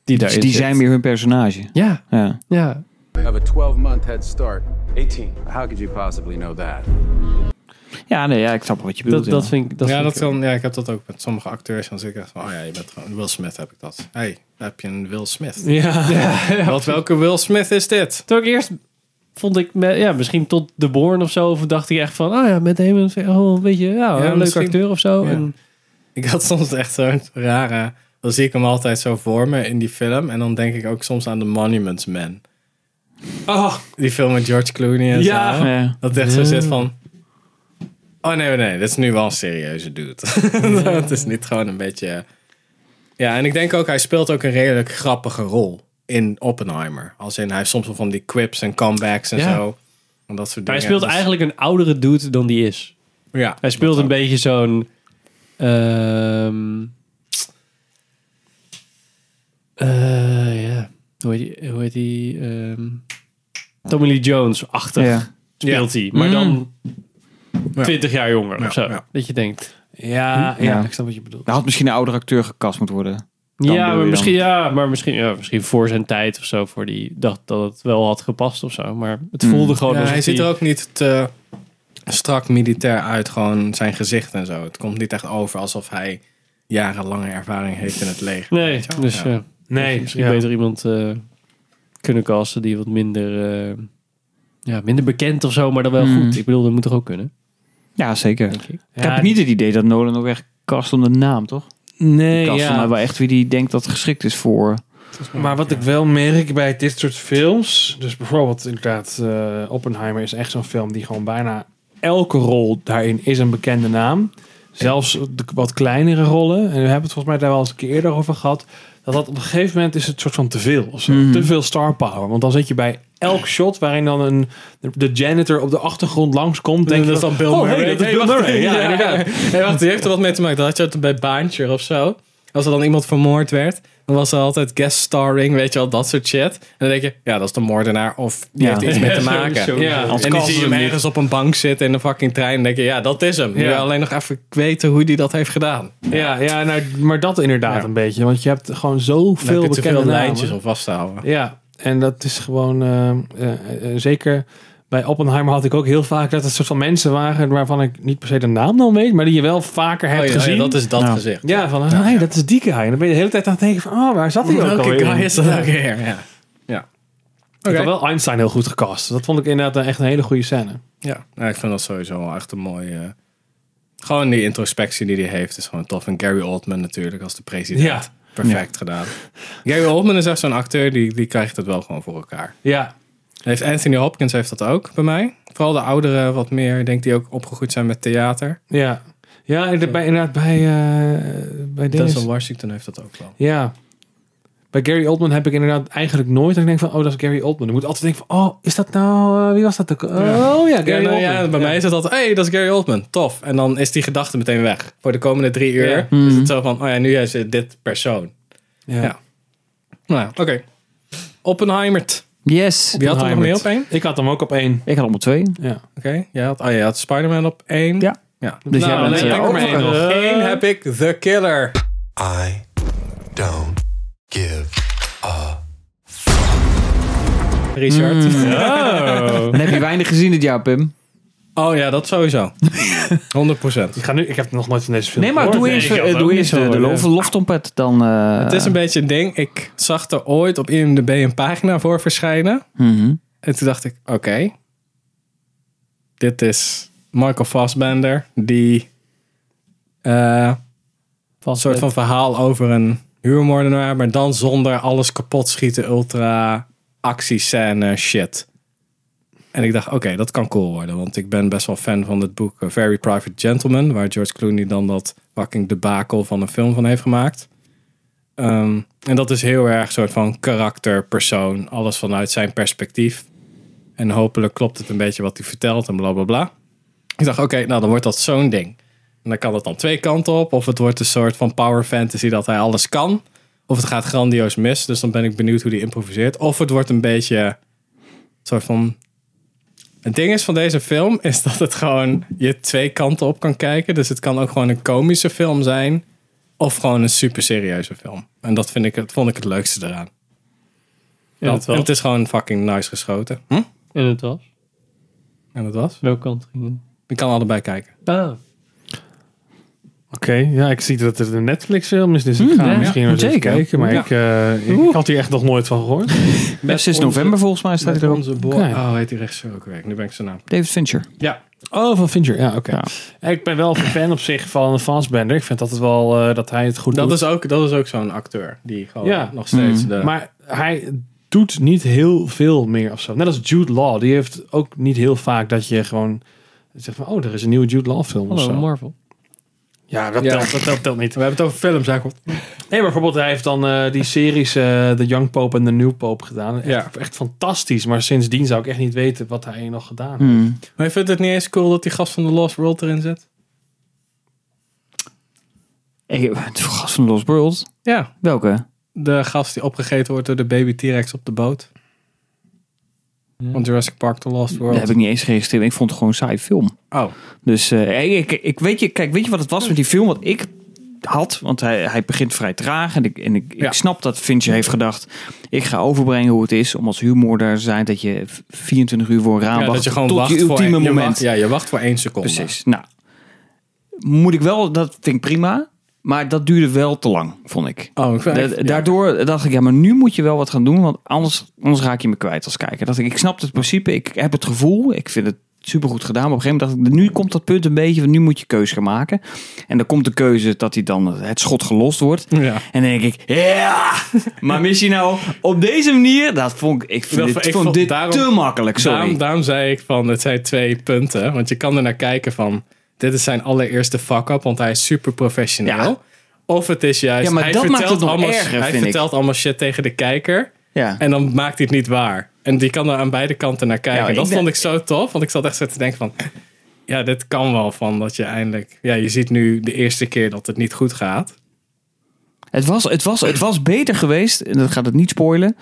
B: Dus
A: daarin
B: die
A: zit.
B: zijn weer hun personage.
A: Ja.
B: ja.
A: Ja.
R: Have a 12 month head start. 18. How could you possibly know that?
B: Ja, nee, ja, ik snap wat je bedoelt. ja.
C: ja, dat kan, ja, ik heb dat ook met sommige acteurs. Dan zit ik echt van, oh ja, je bent gewoon Will Smith heb ik dat. Hé, hey, daar heb je een Will Smith.
A: Ja. Ja.
C: Wat, welke Will Smith is dit?
A: Toen ik eerst vond ik, me- ja, misschien tot The Born of zo, of dacht ik echt van, oh ja, met hem is oh, een beetje, ja, een leuke
C: misschien.
A: acteur of zo.
C: Ja.
A: En,
C: Ik had soms echt zo'n rare... Dan zie ik hem altijd zo voor me in die film. En dan denk ik ook soms aan The Monuments Man.
F: Oh,
C: Die film met George Clooney en
F: Ja.
C: zo.
F: Ja.
C: Dat echt zo
F: Ja.
A: Mm.
C: zit van... Oh nee, nee, dit is nu wel een serieuze dude. <laughs> het is niet gewoon een beetje... Ja, en ik denk ook, hij speelt ook een redelijk grappige rol in Oppenheimer. Als in, hij heeft soms wel van die quips en comebacks en
A: Ja.
C: zo. En dat soort
A: maar hij
C: dingen.
A: speelt
C: Dus-
A: eigenlijk een oudere dude dan die is.
C: Ja,
A: hij speelt een beetje zo'n... ehm, eh, ja, hoe heet die? Hoe heet die ehm, Tommy Lee Jones-achtig
F: Ja.
A: speelt
F: Ja.
A: hij. Maar dan
F: Ja.
A: 20 jaar jonger
F: Ja,
A: of zo.
F: ja.
A: Dat je denkt...
F: Ja,
A: Hm?
F: ja, ik snap wat je bedoelt.
B: Daar had misschien een oudere acteur gekast moeten worden. Nou, Dan
A: Ja,
B: bedoel
A: maar
B: je
A: misschien, ja, maar misschien, ja, misschien voor zijn tijd of zo. Voor die dacht dat het wel had gepast of zo. Maar het voelde gewoon.
C: Ja,
A: alsof
C: hij ziet
A: die-
C: er ook niet te strak militair uit, gewoon zijn gezicht en zo. Het komt niet echt over alsof hij jarenlange ervaring heeft in het leger.
A: Nee,
C: weet je wel?
A: dus
C: Ja.
A: eh,
F: Nee,
A: misschien
F: ja.
A: beter iemand eh, kunnen casten die wat minder, eh, ja, minder bekend of zo, maar dan wel
B: Hmm.
A: goed. Ik bedoel, dat moet toch ook kunnen.
B: Ja, zeker.
A: ik.
B: Ik
A: Ja,
B: heb niet het idee dat Nolan ook echt kast om de naam, toch?
F: Nee,
B: Die kast
F: ja.
B: maar wel echt wie die denkt dat geschikt is voor.
F: Maar wat ik wel merk bij dit soort films, dus bijvoorbeeld inderdaad eh, Oppenheimer is echt zo'n film die gewoon bijna elke rol daarin is een bekende naam. Zelfs de wat kleinere rollen, en we hebben het volgens mij daar wel eens een keer eerder over gehad, dat dat op een gegeven moment is het soort van te veel. Of zo.
B: Mhm.
F: Te veel star power. Want dan zit je bij elk shot waarin dan een, de- de janitor op de achtergrond langskomt. Denk
C: dat
F: je
C: is dan Bill
F: oh,
C: Murray.
F: hey, dat is
C: Nee,
F: Bill
C: wacht,
F: Murray. Ja,
C: ja.
F: inderdaad.
C: <laughs> Nee, wacht, die heeft er wat mee te maken. Dat had je het bij Baantje of zo. Als er dan iemand vermoord werd, dan was er altijd guest starring, weet je wel, dat soort shit. En dan denk je, ja, dat is de moordenaar of die
F: Ja.
C: heeft er iets mee te
F: <laughs> Ja,
C: maken.
F: sowieso. Ja. Anders
C: En dan
F: kan
C: zie
F: ze
C: je hem
F: hem niet.
C: ergens op een bank zitten in een fucking trein en denk je, ja, dat is hem. Nu
F: Ja.
C: wil alleen nog even weten hoe die dat heeft gedaan.
F: Ja, ja nou, maar dat inderdaad een beetje. Want je hebt gewoon zoveel
C: veel te
F: bekende
C: veel
F: namen.
C: lijntjes om vast te houden.
F: Ja, en dat is gewoon... eh, eh, eh, zeker bij Oppenheimer had ik ook heel vaak dat het soort van mensen waren... waarvan ik niet per se de naam dan weet... maar die je wel vaker hebt
C: Oh ja, oh ja,
F: gezien. Nou.
C: dat is dat gezicht.
F: Ja, van hé, hey, dat is die guy. En dan ben je de hele tijd aan het denken van... oh, waar zat hij ook
C: Welke
F: alweer
C: guy
F: in?
C: is dat ook weer? Ja.
F: Ik
C: Oké.
F: had wel Einstein heel goed gecast. Dat vond ik inderdaad eh, echt een hele goede scène.
C: Ja, nou, ik vind dat sowieso wel echt een mooie... eh, gewoon die introspectie die hij heeft is gewoon tof. En Gary Oldman natuurlijk als de president.
F: Ja.
C: Perfect gedaan. Gary Oldman is echt zo'n acteur, die, die krijgt het wel gewoon voor elkaar.
F: Ja.
C: Heeft Anthony Hopkins heeft dat ook bij mij. Vooral de ouderen wat meer, ik denk die ook opgegroeid zijn met theater.
F: Ja, ja inderdaad bij, inderdaad bij, eh, bij Dennis.
C: Denzel Washington heeft dat ook wel.
F: Ja. Bij Gary Oldman heb ik inderdaad eigenlijk nooit. dat Ik denk van, oh, dat is Gary Oldman. Ik moet altijd denken van, oh, is dat nou, eh, wie was dat? ook? Oh ja, Gary
C: Ja, nou
F: Oldman.
C: ja, bij mij is het altijd, hey, dat is Gary Oldman, tof. En dan is die gedachte meteen weg. Voor de komende drie uur
F: Ja. Mhm.
C: is het zo van, oh ja, nu is het dit persoon.
F: Ja.
C: Ja. Nou, ja, oké. Oppenheimer.
B: Yes.
C: Wie had hem nog meer op één?
F: Ik had hem ook op één.
B: Ik had hem op twee.
F: Ja.
C: Oké, jij had, oh, jij had Spider-Man op één.
B: Ja.
C: ja.
B: Dus jij bent, eh,
C: dan heb ik er
B: ook
C: maar één
B: nog.
C: nog. Eén heb ik, The Killer.
H: I don't give.
C: Richard.
B: Hmm. Dan heb je weinig gezien dit jaar, Pim.
C: Oh ja,
B: <laughs>
C: dat sowieso. 100
F: Ik, ga nu, ik heb nog nooit van deze film
B: Nee, maar doe
F: gehoord.
B: eerst, eh, doe eerst de, de lof, loftompet. Dan, eh,
C: Het is een beetje een ding. Ik zag er ooit op IMDb een pagina voor verschijnen.
B: mhm.
C: En toen dacht ik, oké. dit is Michael Fassbender. Die eh een soort van verhaal over een huurmoordenaar. Maar dan zonder alles kapot schieten. Ultra actiescène shit. En ik dacht, oké, dat kan cool worden. Want ik ben best wel fan van het boek eh, Very Private Gentleman. Waar George Clooney dan dat fucking debakel van een film van heeft gemaakt. Ehm, en dat is heel erg soort van karakter, persoon. Alles vanuit zijn perspectief. En hopelijk klopt het een beetje wat hij vertelt en bla bla bla. Ik dacht, oké, nou dan wordt dat zo'n ding. En dan kan het dan twee kanten op. Of het wordt een soort van power fantasy dat hij alles kan. Of het gaat grandioos mis, dus dan ben ik benieuwd hoe die improviseert. Of het wordt een beetje een soort van. Het ding is van deze film is dat het gewoon je twee kanten op kan kijken. Dus het kan ook gewoon een komische film zijn. Of gewoon een super serieuze film. En dat vind ik, het- vond ik het leukste eraan.
A: En
C: Ja,
A: het was?
C: en het is gewoon fucking nice geschoten. Hm?
A: En het was?
C: En dat was?
A: Welke kant ging het?
C: Ik kan allebei kijken.
A: Ah,
F: Oké, ja, ik zie dat het een Netflix-film is, dus ik ga
B: ja.
F: misschien nog eens
B: Zeker.
F: kijken. Maar
B: Ja.
F: ik, eh, ik had hier echt nog nooit van gehoord.
B: Ja, sinds november volgens mij staat hij erop.
C: Onze boy.
F: Oké.
C: Oh, heet die regisseur ook weer. Nu ben ik zijn naam.
B: David Fincher.
C: Ja.
F: Oh, van Fincher, ja, oké. Ik ben wel een fan op zich van Fassbender. Ik vind dat, het wel, eh, dat hij het goed
C: Dat
F: doet.
C: is ook, dat is ook zo'n acteur die gewoon
F: Ja.
C: nog steeds
B: Hmm.
F: Mm.
C: de...
F: Maar hij doet niet heel veel meer of zo. Net als Jude Law. Die heeft ook niet heel vaak dat je gewoon zegt van... Oh, er is een nieuwe Jude Law film of
A: hallo
F: zo.
A: Marvel.
F: Ja, dat,
A: Ja.
F: Telt, dat telt, telt niet.
C: We hebben het over films, eigenlijk.
F: Nee, maar bijvoorbeeld hij heeft dan eh, die series eh The Young Pope en The New Pope gedaan. Echt,
C: Ja.
F: echt fantastisch. Maar sindsdien zou ik echt niet weten wat hij nog gedaan heeft.
B: Mhm.
C: Maar je vindt het niet eens cool dat die gast van The Lost World erin zit?
B: Hey, het gast van Lost World.
C: Ja.
B: Welke?
C: De gast die opgegeten wordt door de baby T-Rex op de boot. Van Jurassic Park The Lost World.
B: Dat heb ik niet eens geregistreerd. Ik vond het gewoon een saai film.
C: Oh.
B: Dus eh, ik, ik weet je, kijk, weet je wat het was met die film? Wat ik had, want hij, hij begint vrij traag. En ik, en ik, ik snap dat Fincher heeft gedacht... ik ga overbrengen hoe het is om als humor daar te zijn... dat je 24 uur voor een raam
C: Ja,
B: wacht
C: dat je gewoon
B: tot
C: wacht
B: je
C: voor
B: ultieme
C: een- je
B: moment.
C: wacht- ja, je wacht voor één seconde.
B: Precies. Nou, moet ik wel, dat vind ik prima. Maar dat duurde wel te lang, vond ik.
C: Oh, ik vind-
B: Da-
C: ik- ja.
B: Daardoor dacht ik, ja, maar nu moet je wel wat gaan doen. Want anders, anders raak je me kwijt als kijker. Dat ik, ik snap het principe, ik heb het gevoel. Ik vind het supergoed gedaan. Maar op een gegeven moment dacht ik, nu komt dat punt een beetje. van Nu moet je keuze gaan maken. En dan komt de keuze dat hij dan het schot gelost wordt.
C: Ja.
B: En dan denk ik, ja! maar mis je nou op deze manier? Dat vond ik, ik, vind
C: Dat-
B: dit,
C: ik
B: vond
C: vond-
B: dit
C: daarom-
B: te makkelijk, sorry.
C: Daarom, daarom zei ik van, het zijn twee punten. Want je kan er naar kijken van, dit is zijn allereerste fuck-up, want hij is super professioneel. Of het is juist,
B: Ja, maar
C: hij,
B: dat maakt het
C: vertelt,
B: nog
C: allemaal,
B: erger,
C: hij
B: vind ik.
C: vertelt allemaal shit tegen de kijker.
B: Ja.
C: En dan maakt hij het niet waar. En die kan er aan beide kanten naar kijken.
B: Ja, ik
C: dat
B: ben-
C: vond ik zo tof, want ik zat echt zo te denken van... Ja, dit kan wel van dat je eindelijk... Ja, je ziet nu de eerste keer dat het niet goed gaat.
B: Het was, het, was, het was beter geweest, en dat gaat het niet spoilen.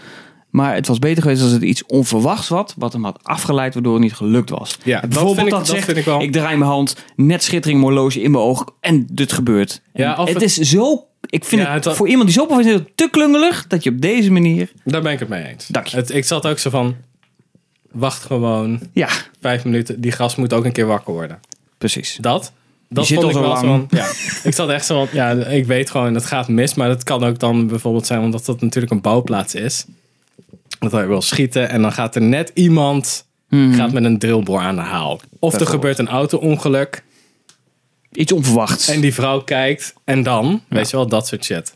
B: Maar het was beter geweest als het iets onverwachts wat, wat hem had afgeleid, waardoor het niet gelukt was.
C: Ja, dat
B: Bijvoorbeeld
C: vind ik-
B: het
C: dat
B: zegt,
C: vind ik wel.
B: draai mijn hand, net schittering mijn horloge in mijn oog en dit gebeurt. En
C: Ja, of
B: het,
C: het-
B: is zo, ik vind
C: Ja,
B: het,
C: het had-
B: voor iemand die zo professioneel is, te klungelig, dat je op deze manier...
C: Daar ben ik het mee eens.
B: Dank je.
C: Het, ik zat ook zo van... Wacht gewoon
B: Ja,
C: vijf minuten. Die gast moet ook een keer wakker worden.
B: precies.
C: Dat? Dat
B: zit al
C: vond ik
B: zo
C: wel
B: lang.
C: zo'n- ja, ik zat echt zo van... Ja, ik weet gewoon, het gaat mis. Maar dat kan ook dan bijvoorbeeld zijn... omdat dat natuurlijk een bouwplaats is. Dat hij wil schieten. En dan gaat er net iemand... gaat met een drillboor aan de haal. Of er
B: Hmm. Bijvoorbeeld.
C: gebeurt een auto-ongeluk...
B: Iets onverwachts.
C: En die vrouw kijkt en dan, weet je wel, dat soort shit.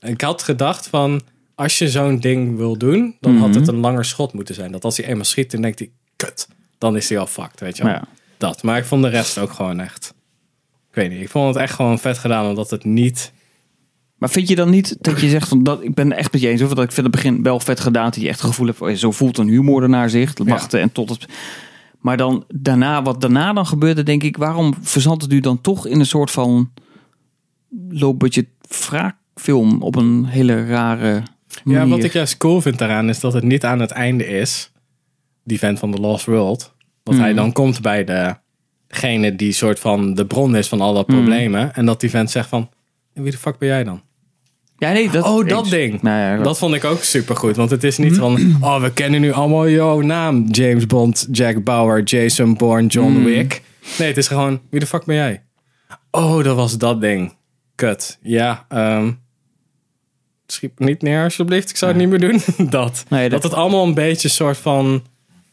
C: Ik had gedacht van, als je zo'n ding wil doen, dan had
B: Mhm.
C: het een langer schot moeten zijn. Dat als hij eenmaal schiet, dan denkt hij, kut, dan is hij al fucked, weet je wel.
B: Ja.
C: Dat, maar ik vond de rest ook gewoon echt, ik weet niet, ik vond het echt gewoon vet gedaan, omdat het niet...
B: Maar vind je dan niet dat je zegt van dat ik ben echt met je eens over dat ik vind het begin wel vet gedaan dat je echt het gevoel hebt van, zo voelt een huurmoordenaar zich wachten en tot het maar dan daarna wat daarna dan gebeurde denk ik waarom verzandt het u dan toch in een soort van low budget wraakfilm op een hele rare manier.
C: Ja, wat ik juist cool vind daaraan is dat het niet aan het einde is, die vent van The Lost World, dat hij
B: Mhm.
C: dan komt bij de- degene die soort van de bron is van al dat problemen. En dat die vent zegt van, en wie de fuck ben jij dan?
B: ja nee dat
C: Oh, dat
B: eens.
C: ding.
B: Nou ja,
C: Dat vond ik ook supergoed. Want het is niet
B: Mm.
C: van... Oh, we kennen nu allemaal jouw naam. James Bond, Jack Bauer, Jason Bourne, John
B: Mm.
C: Wick. Nee, het is gewoon... Wie de fuck ben jij? Oh, dat was dat ding. Kut. Ja, ehm... Schiet me niet neer, alsjeblieft. Ik zou het niet meer doen. <laughs> dat.
B: Nee, dat-
C: dat. het allemaal een beetje soort van...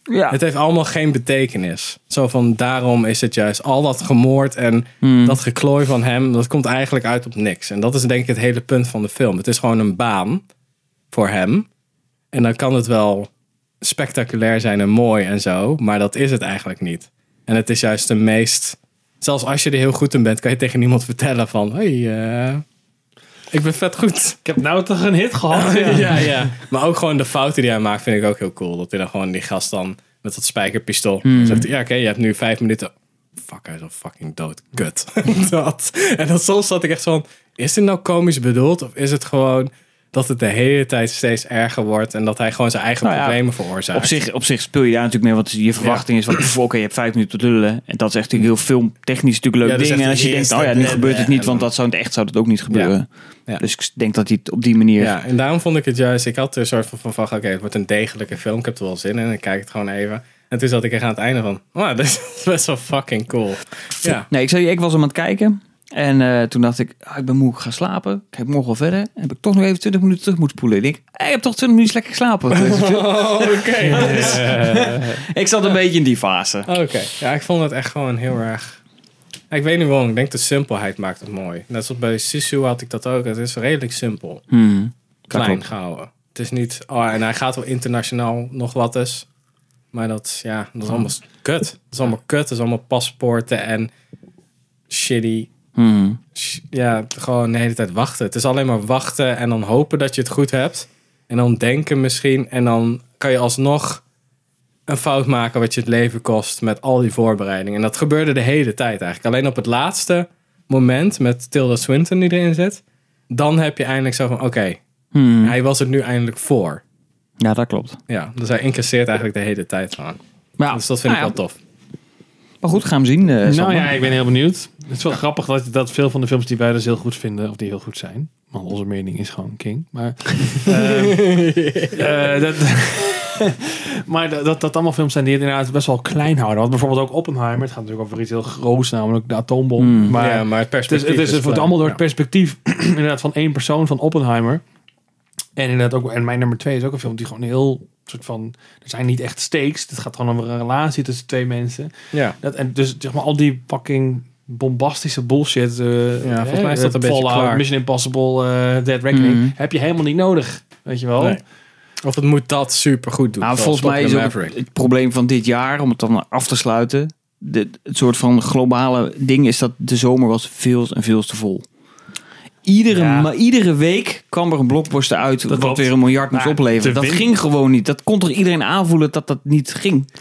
B: ja.
C: Het heeft allemaal geen betekenis. Zo van, daarom is het juist al dat gemoord en dat geklooi van hem, dat komt eigenlijk uit op niks. En dat is denk ik het hele punt van de film. Het is gewoon een baan voor hem. En dan kan het wel spectaculair zijn en mooi en zo, maar dat is het eigenlijk niet. En het is juist de meest... Zelfs als je er heel goed in bent, kan je tegen niemand vertellen van... Hey, eh, ik ben vet goed.
F: Ik heb nou toch een hit
B: <laughs>
F: gehad?
C: Ja. ja, Maar ook gewoon de fouten die hij maakt vind ik ook heel cool. Dat hij dan gewoon die gast dan met dat spijkerpistool
B: Hmm.
C: zegt... hij, Ja, oké, je hebt nu vijf minuten. Fuck, hij is al fucking dood. <laughs> Kut. dat. En dan soms zat ik echt zo van... Is dit nou komisch bedoeld? Of is het gewoon dat het de hele tijd steeds erger wordt en dat hij gewoon zijn eigen
B: Nou ja,
C: problemen veroorzaakt.
B: Op zich, op zich speel je daar natuurlijk mee, want je verwachting is van, <clears throat> pff, oké, je hebt vijf minuten te lullen. En dat is echt natuurlijk heel filmtechnisch natuurlijk leuk
C: Ja, dat is
B: ding.
C: echt
B: En als je
C: het
B: denkt, oh
C: eerste
B: ja, nu gebeurt het
C: blende
B: niet,
C: en
B: want dat zou in het echt zou dat ook niet gebeuren. Dus ik denk dat hij het op die manier...
C: Ja, en daarom vond ik het juist, ik had er een soort van, van, van, oké, het wordt een degelijke film, ik heb er wel zin in, ik kijk het gewoon even. En toen zat ik echt aan het einde van, <laughs> wow, dit is best wel fucking cool. Ja.
B: Nee, ik, zei, ik was hem aan het kijken. En eh, toen dacht ik, ah, ik ben moe, ik ga slapen. Ik Kijk morgen wel verder. En heb ik toch nog even 20 minuten terug moeten spoelen. Ik denk, hey, ik heb toch 20 minuten lekker
C: <laughs>
B: geslapen.
C: Oh,
B: <laughs>
C: oké.
B: Dus-
C: <laughs>
B: ik zat een beetje in die fase.
C: Oh, Oké, ja, ik vond het echt gewoon heel erg. Ja, Ik weet niet waarom, ik denk de simpelheid maakt het mooi. Net zoals bij Sisu had ik dat ook, het is redelijk simpel.
B: Hmm.
C: Klein
B: klopt.
C: gehouden. Het is niet, oh, en hij gaat wel internationaal nog wat eens. Maar dat, is- ja,
B: Ah.
C: dat is allemaal kut. Dat is allemaal kut, dat is allemaal paspoorten en shitty
B: Hmm.
C: sh- ja, gewoon de hele tijd wachten. Het is alleen maar wachten en dan hopen dat je het goed hebt. En dan denken misschien. En dan kan je alsnog een fout maken wat je het leven kost met al die voorbereidingen. En dat gebeurde de hele tijd eigenlijk. Alleen op het laatste moment met Tilda Swinton die erin zit. Dan heb je eindelijk zo van, oké,
B: Hmm.
C: hij was het nu eindelijk voor.
B: Ja, dat klopt.
C: Ja, dus hij incasseert eigenlijk de hele tijd van. dus dat vind
B: nou
C: ik
B: ja.
C: wel tof.
B: Maar goed, gaan we zien. eh,
F: nou
B: Sander.
F: ja, ik ben heel benieuwd. Het is wel grappig dat, dat veel van de films die wij dus heel goed vinden, of die heel goed zijn. Want onze mening is gewoon king.
C: <laughs>
F: Maar, ehm, eh, dat, <laughs> maar dat, dat dat allemaal films zijn die het inderdaad best wel klein houden. Want bijvoorbeeld ook Oppenheimer, het gaat natuurlijk over iets heel groots, namelijk de atoombom.
C: Hmm. Ja, maar het perspectief
F: Het, is, het,
C: is
F: wordt
C: klein,
F: allemaal door het
C: ja.
F: perspectief <clears throat> inderdaad van één persoon, van Oppenheimer. En inderdaad ook, en mijn nummer twee is ook een film die gewoon heel soort van, er zijn niet echt stakes. Het gaat gewoon over een relatie tussen twee mensen.
C: Ja.
F: Dat, en dus zeg maar al die fucking bombastische bullshit. eh,
C: Ja, volgens
F: hè,
C: mij is dat een beetje
F: Fallout,
C: klaar.
F: Mission Impossible, eh Dead Reckoning.
B: Mhm.
F: Heb je helemaal niet nodig, weet je wel.
C: Nee. Of het moet dat super goed doen.
B: Nou,
C: zoals
B: volgens mij
C: Top
B: is
C: Gun
B: ook
C: Maverick.
B: het, het probleem van dit jaar, om het dan af te sluiten. de- het soort van globale ding is dat de zomer was veel en veel te vol. Iedere, maar iedere week kwam er een blockbuster uit wat
F: klopt.
B: weer een miljard moest
F: Maar
B: opleveren.
F: de
B: Dat
F: win-
B: ging gewoon niet. Dat kon toch iedereen aanvoelen dat dat niet ging.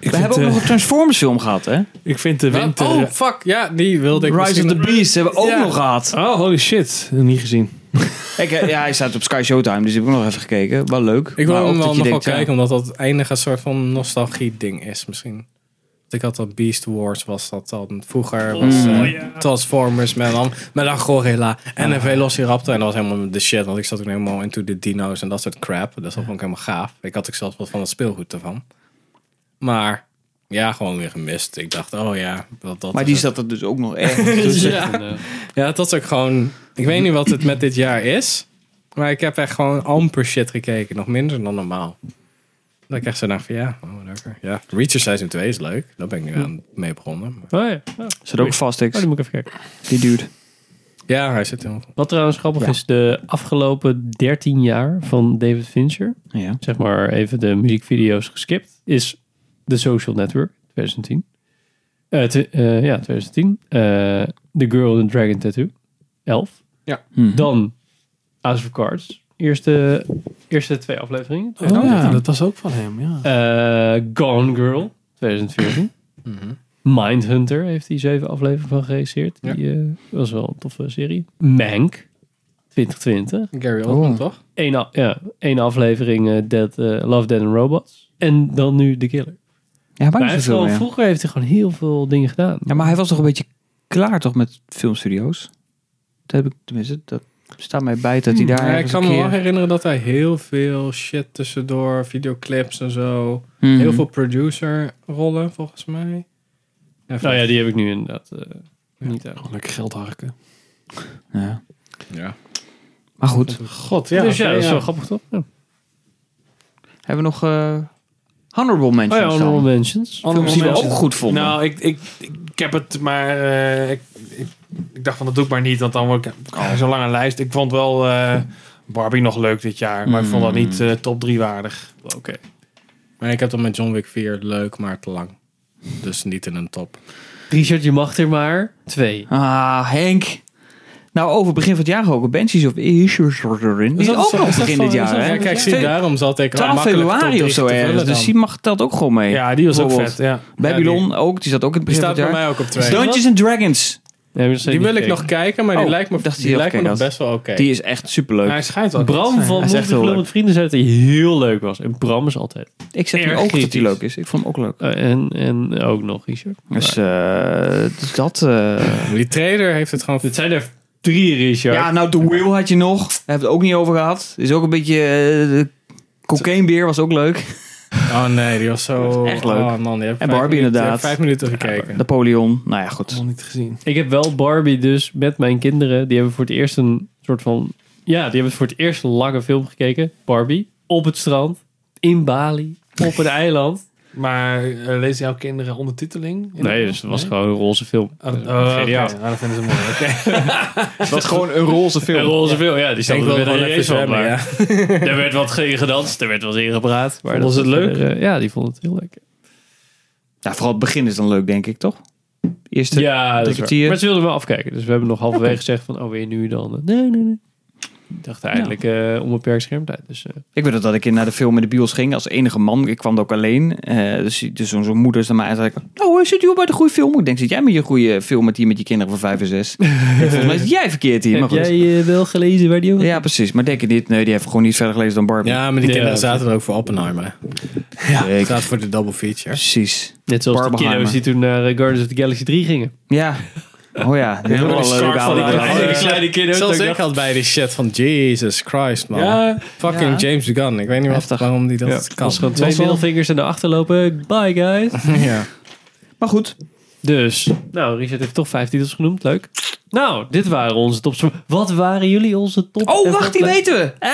B: We hebben ook
F: eh,
B: nog een Transformers film gehad, hè?
F: Ik vind de winter...
C: Oh, fuck. Ja, die wilde ik
B: Rise of
C: misschien-
B: the Beast hebben we ook nog gehad.
F: Oh, holy shit. Niet gezien.
B: Ik, eh, ja, hij staat op Sky Showtime, dus die heb ik nog even gekeken. Wel leuk.
C: Ik
B: Maar
C: wil
B: ook
C: hem
B: dat
C: wel
B: je
C: nog wel
B: denkt, ja,
C: kijken, omdat dat eindig een soort van nostalgie-ding is misschien. Want ik had dat Beast Wars, was dat dan vroeger.
F: Oh,
C: was, eh,
F: ja.
C: Transformers met dan, met dan Gorilla
B: Ah.
C: en een Velociraptor. En dat was helemaal de shit, want ik zat toen helemaal into de dino's en dat soort crap. Dus dat vond ik helemaal gaaf. Ik had ook zelfs wat van het speelgoed ervan. Maar ja, gewoon weer gemist. Ik dacht, oh ja, dat, dat
B: Maar
C: is
B: die
C: het.
B: zat er dus ook nog
C: <laughs>
B: ergens tussen.
C: ja.
A: eh,
C: ja, dat is ook gewoon. Ik weet niet wat het met dit jaar is. Maar ik heb echt gewoon amper shit gekeken. Nog minder dan normaal. Dat ik echt zo dacht van ja, oh, whatever. Ja, Reacher Season 2 is leuk. Daar ben ik nu aan mee begonnen. Maar-
A: Oh ja. Oh.
B: Zit ook vast, ik.
A: Oh, die moet ik even kijken.
B: Die duurt.
C: Ja, hij zit heel
A: Wat trouwens grappig
C: Ja.
A: is, de afgelopen 13 jaar van David Fincher,
B: Ja.
A: zeg maar even de muziekvideo's geskipt, is The Social Network 2010. Eh, tw- eh, ja, 2010. Eh, the Girl in the Dragon Tattoo, 11.
C: Ja.
B: Mhm.
A: Dan House of Cards, eerste, eerste twee afleveringen.
F: Oh, ja, dat was ook van hem, ja.
A: Eh, Gone Girl, 2014. Mindhunter heeft hij zeven afleveringen van geregisseerd. Die eh, was wel een toffe serie. Mank, 2020.
C: Gary Oldman, toch?
A: Eén, a- ja, één aflevering eh, Dead, eh, Love, Dead and Robots. En dan nu The Killer.
B: Ja,
A: Maar
B: bijna
A: hij heeft
B: zoveel,
A: gewoon,
B: ja.
A: vroeger heeft hij gewoon heel veel dingen gedaan.
B: Ja, maar hij was toch een beetje klaar toch met filmstudio's? Dat heb ik tenminste, dat staat mij bij dat hij daar
C: Hmm. Ja, ik
B: ergens
C: kan
B: een
C: me wel
B: keer-
C: herinneren dat hij heel veel shit tussendoor, videoclips en zo.
B: Mhm.
C: Heel veel producer rollen volgens mij. Ja,
A: Nou ja, die heb ik nu inderdaad eh, niet uit.
F: Gewoon lekker geld harken.
B: Ja.
C: Ja.
B: Maar goed,
F: God, ja.
A: dus ja,
F: oké,
A: dat is
F: ja.
A: wel grappig toch? Ja.
B: hebben we nog eh honorable mentions
A: Oh ja,
B: dan?
A: Honorable Mentions.
B: Films die we ook goed vonden.
F: Nou, ik, ik, ik, ik heb het maar... eh, ik, ik, ik dacht van, dat doe ik maar niet, want dan word ik oh, zo'n lange lijst. Ik vond wel eh, Barbie nog leuk dit jaar, maar ik vond dat niet eh, top 3 waardig.
A: Oké.
C: Maar ik heb dat met John Wick 4 leuk, maar te lang. Dus niet in een top.
A: Richard, je mag er maar twee.
B: Ah, Henk. Nou, over begin van het jaar ook. Benchies of Issues erin. Die is ook nog begin dit jaar, hè?
C: Ja, kijk, zie,
B: Twee-
C: daarom zat ik al
B: 12
C: makkelijk tot
B: februari of
C: drie
B: zo
C: te vullen
B: ergens. Dus
C: dan.
B: die mag, telt ook gewoon mee.
F: Ja, die was ook
B: Bijvoorbeeld.
F: vet, ja.
B: Babylon ook, die zat ook in het
C: Die
B: begin van
C: staat
B: het jaar.
C: bij mij ook op twee.
B: Dungeons and Dragons.
C: Die wil ik nog kijken, maar die
B: Oh,
C: lijkt me,
B: dacht
C: die
B: je
C: lijkt me
B: gekeken
C: nog
B: had.
C: best wel oké.
B: Die is echt superleuk.
C: Hij schijnt wel goed te
A: Bram
C: zijn.
A: van
C: Hij is echt
A: Moest
C: heel
A: Film
C: leuk.
A: met Vrienden zei dat hij heel leuk was. En Bram is altijd
B: Ik zeg nu
A: erg
B: ook dat
A: kritisch.
B: hij leuk is. Ik vond hem ook leuk.
A: Eh, en, en ook nog, Richard.
B: Dus eh, dus dat... eh,
C: Die trailer heeft het gewoon...
A: Het zijn er drie, Richard.
B: ja, nou, The Wheel had je nog. Daar hebben we het ook niet over gehad. Is ook een beetje... eh, de Cocainebeer was ook leuk.
C: Oh nee, die was zo...
B: Echt leuk.
C: Oh, man, die heb ik
B: En
C: vijf
B: Barbie
C: minuten-
B: inderdaad.
C: Vijf minuten gekeken.
B: Napoleon. Nou ja, goed.
F: niet gezien.
A: Ik heb wel Barbie dus met mijn kinderen. Die hebben voor het eerst een soort van... Ja, die hebben voor het eerst een lange film gekeken. Barbie. Op het strand. In Bali. Op een eiland.
F: Maar eh, lezen jouw kinderen
A: <laughs>
F: ondertiteling?
A: Nee, dus het was gewoon een roze film.
F: Oh, oh,
A: Geniaal.
F: oké. Nou, dat vinden ze mooi. Oké. <laughs>
B: Het was gewoon een roze film.
A: Een roze film, ja. Die
C: Ik
A: stond er
C: wil
A: weer
C: gewoon
A: een
C: even
A: race van.
C: zwemmen,
A: maar <laughs> Er werd wat ge- gedanst. Er werd wat ingepraat. Maar
F: Vonden
A: dat
F: ze het
A: verder, eh, ja, die vond het heel leuk.
B: Ja, vooral het begin is dan leuk, denk ik, toch? Eerste
A: Ja, dat
B: drie
A: is waar.
B: kwartier.
A: Maar ze wilden wel afkijken. Dus we hebben nog halverwege gezegd van, oh, wil je nu dan? Nee, nee, nee. Ik dacht eigenlijk eh, onbeperkt schermtijd. Dus eh,
B: Ik weet nog dat ik in- naar de film in de bios ging als enige man. Ik kwam er ook alleen. Eh, dus dus zo'n zo'n moeder is dan mij en zei... Nou, eh, zit u al bij de goede film? Ik denk, zit jij met je goede film met, die, met je kinderen van vijf en <laughs> zes? Ik denk, Volgens mij zit jij verkeerd hier. Maar
A: heb
B: goed.
A: jij eh, wel gelezen waar die over
B: Ja, precies. Maar denk je niet... Nee, die heeft gewoon niet verder gelezen dan Barbie.
C: Ja, maar die
A: Ja,
C: kinderen
A: dat-
C: zaten er ook voor Oppenheimer.
B: Ja,
C: Het staat voor de double feature.
B: precies.
A: Net zoals de
B: Barbenheimer.
A: kiddo's die toen naar eh, Guardians of the Galaxy 3 gingen.
B: Ja. Oh ja. Dat is wel een leuke
C: van
B: oude-
C: die kleine-
B: oude-
C: die kleine
A: kiddo's.
C: Zelfs ik had bij die shit van Jesus Christ, man.
F: Ja,
C: Fucking
B: ja.
C: James Gunn. Ik weet niet wat,
B: Heftig.
C: waarom die dat kan.
A: Als gewoon twee
C: Was wel-
A: middelvingers en erachter lopen. Bye, guys.
C: Ja.
B: Maar goed.
A: Dus, nou, Richard heeft toch vijf titels genoemd. Leuk. Nou, dit waren onze tops. Wat waren jullie onze top?
B: Oh,
A: en
B: wacht.
A: top-
B: Die weten we. Eh,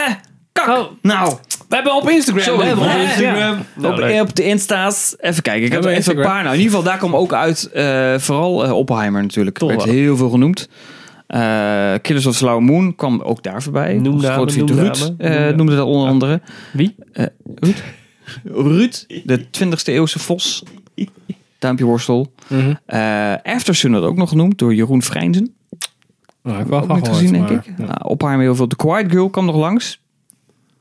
B: kak.
A: Oh.
B: Nou.
A: We hebben op Instagram. Zo, we hebben op Instagram. Nou,
B: op,
A: leuk.
B: op de Insta's. Even kijken. Ik heb
C: Hebben
B: er even
C: we
B: een
C: Instagram?
B: paar. Nou, in ieder geval, daar kwam ook uit. eh, vooral eh, Oppenheimer natuurlijk.
A: Toch
B: werd
A: wel.
B: heel veel genoemd. Eh, Killers of the Flower Moon kwam ook daar voorbij.
A: Noem
B: Ons
A: namen,
B: grote vriend
A: noem
B: Ruud
A: namen,
B: eh,
A: noem namen.
B: noemde dat onder andere. Eh,
A: Wie?
B: Ruud? Ruud, de 20e eeuwse vos. Duimpje worstel.
C: Mhm.
B: Eh After Sun werd ook nog genoemd door Jeroen Vrijnzen
C: Nou, heb ik wel
B: ook niet
C: gehoord,
B: gezien, denk
C: maar-
B: ik. Nou, Oppenheimer heel veel. The Quiet Girl kwam nog langs.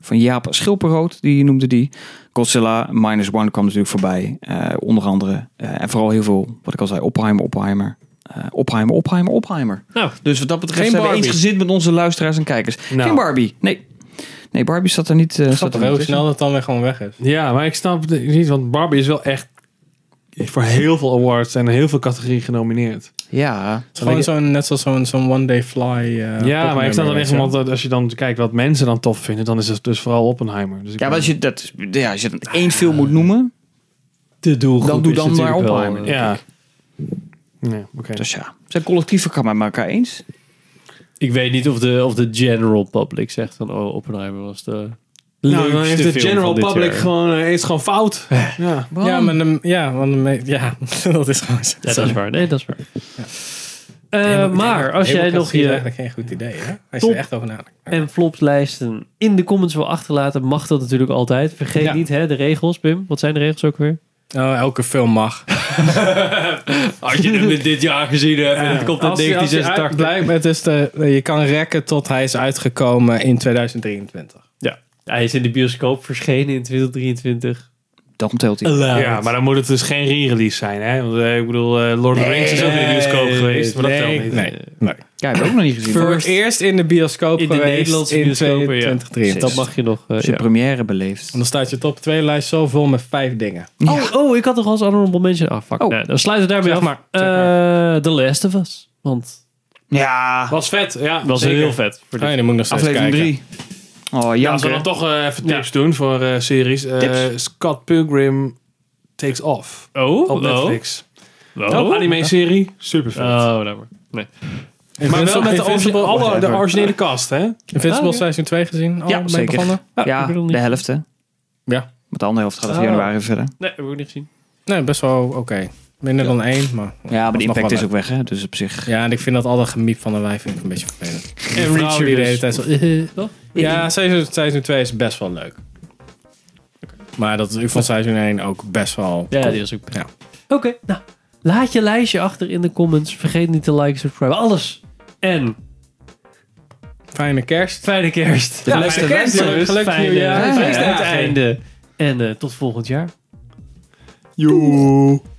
B: Van Jaap Schilperoot, die noemde die. Godzilla Minus One kwam natuurlijk voorbij. eh, onder andere. Eh, en vooral heel veel, wat ik al zei, Oppenheimer, Oppenheimer. eh Oppenheimer, Oppenheimer, Oppenheimer.
A: Nou,
B: Dus wat dat betreft
C: Geen
B: zijn we
C: Barbie.
B: eens gezind met onze luisteraars en kijkers.
F: Nou.
B: Geen Barbie. Nee. Nee, Barbie staat er niet. eh, staat er
C: Grappig, hè,
B: niet
C: hoe
B: tussen.
C: snel dat dan weer gewoon weg is.
F: Ja, maar ik snap het niet, want Barbie is wel echt voor heel veel awards en heel veel categorieën genomineerd.
B: Ja.
C: Gewoon zo'n, net zoals zo'n zo'n One Day Fly. eh,
F: ja, maar ik
C: popnummer,
F: snap dan
C: weet
F: echt,
C: je wel.
F: want dat- eh, als je dan kijkt wat mensen dan tof vinden, dan is het dus vooral Oppenheimer. Dus ik
B: Ja, maar
F: ben-
B: als je, dat, ja, als je dan één film moet noemen,
A: De doelgroep
B: dan doe
A: is
B: dan maar
A: natuurlijk wel,
B: Oppenheimer.
A: eh,
F: Ja. Nee, oké.
B: Dus ja, zijn collectieven kan met elkaar eens.
A: Ik weet niet of de, of de general public zegt van... Oh, Oppenheimer was de
F: Nou, dan
A: leukste
F: heeft de
A: film
F: general
A: van dit
F: public
A: jaar.
F: gewoon, eh, is gewoon fout. Ja.
C: Ja, maar de, ja, want de me- ja, <laughs> dat is gewoon zo.
A: Ja, dat is waar. Nee, dat is waar. Eh,
C: Helemaal-
A: maar als jij
C: helemaal
A: nog
C: is
A: je
C: eigenlijk geen goed idee, hè? Als
A: Top.
C: je er echt over nadenkt.
A: en flopslijsten in de comments wil achterlaten, mag dat natuurlijk altijd. Vergeet
C: Ja.
A: niet hè, de regels, Pim. Wat zijn de regels ook weer?
C: Oh, elke film mag.
A: Als je <laughs> hem dit jaar gezien hebt en het komt
C: Als je- als je uit- Blijkbaar, het is de, je kan rekken tot hij is uitgekomen in 2023.
A: Ja. Hij is in de bioscoop verschenen in 2023.
B: Dan telt hij.
F: Ja, maar dan moet het dus geen re-release zijn, hè? Want, eh, ik bedoel, eh, Lord of the Rings is ook in de bioscoop geweest, maar dat
C: nee,
F: telt niet.
C: Nee, nee.
B: Ja, heb ik ook nog niet gezien.
C: Voor het eerst in de bioscoop
A: In de
C: geweest
A: Nederlandse
C: in
A: bioscopen, ja.
C: 2023.
A: Dat mag je nog. eh,
B: Zijn
A: ja.
B: première beleefd.
C: En dan staat je top 2 lijst zo vol met vijf dingen.
A: Oh, oh, ik had toch als honorable mention. Ah, fuck.
B: Oh.
A: Nee, dan sluiten we daarmee
F: Zeg
A: af.
F: maar, zeg
A: Eh, The Last of Us. Want
B: Ja,
F: Was vet, ja.
A: dat was
F: zeker.
A: heel vet. Voor
C: Oh,
A: dit.
C: ja, die moet ik nog steeds
B: aflevering
C: kijken.
B: 3. Oh,
F: Ja, als we
B: janker.
F: dan toch eh, even tips doen voor eh, series. Eh,
B: Tips?
F: Scott Pilgrim Takes Off
A: Oh,
F: op
A: oh,
F: Netflix.
A: Oh,
F: Ook anime-serie. Super vet.
A: Oh, nee, maar. Nee.
F: maar wel met de, origi-
C: Invincible,
F: alle- de originele cast, hè?
C: Invincible
A: Ah, ja.
C: seizoen 2 gezien? Al
B: ja,
C: mee
B: zeker.
C: begonnen?
B: Ja,
A: ik bedoel niet.
B: de helft hè.
C: Ja.
B: Met de andere helft gaat het
A: Oh.
B: januari verder.
A: Nee, heb ik ook niet gezien.
C: Nee, best wel oké. Minder dan één, maar...
B: Ja, maar de
C: nog
B: impact
C: wel
B: is ook weg hè. Dus op zich.
C: Ja, en ik vind dat al dat gemiep van de wijf vind ik een beetje vervelend. En
A: vrouw
C: Reacher
A: die
C: die de
A: dus-
C: hele tijd zo...
A: Toch?
C: Ja, seizoen, seizoen 2 is best wel leuk. Maar dat, ik vond seizoen 1 ook best wel...
A: Ja, die was ook
C: Ja.
A: Oké, nou. Laat je lijstje achter in de comments. Vergeet niet te liken, subscriben. Alles. En
C: Fijne kerst.
A: fijne kerst.
B: Ja, fijne kerst,
A: jongens.
C: gelukkig
A: Fijne-
C: nieuwjaar.
A: fijne
C: Feestdagen.
A: uiteinde. En eh, tot volgend jaar.
F: Joe.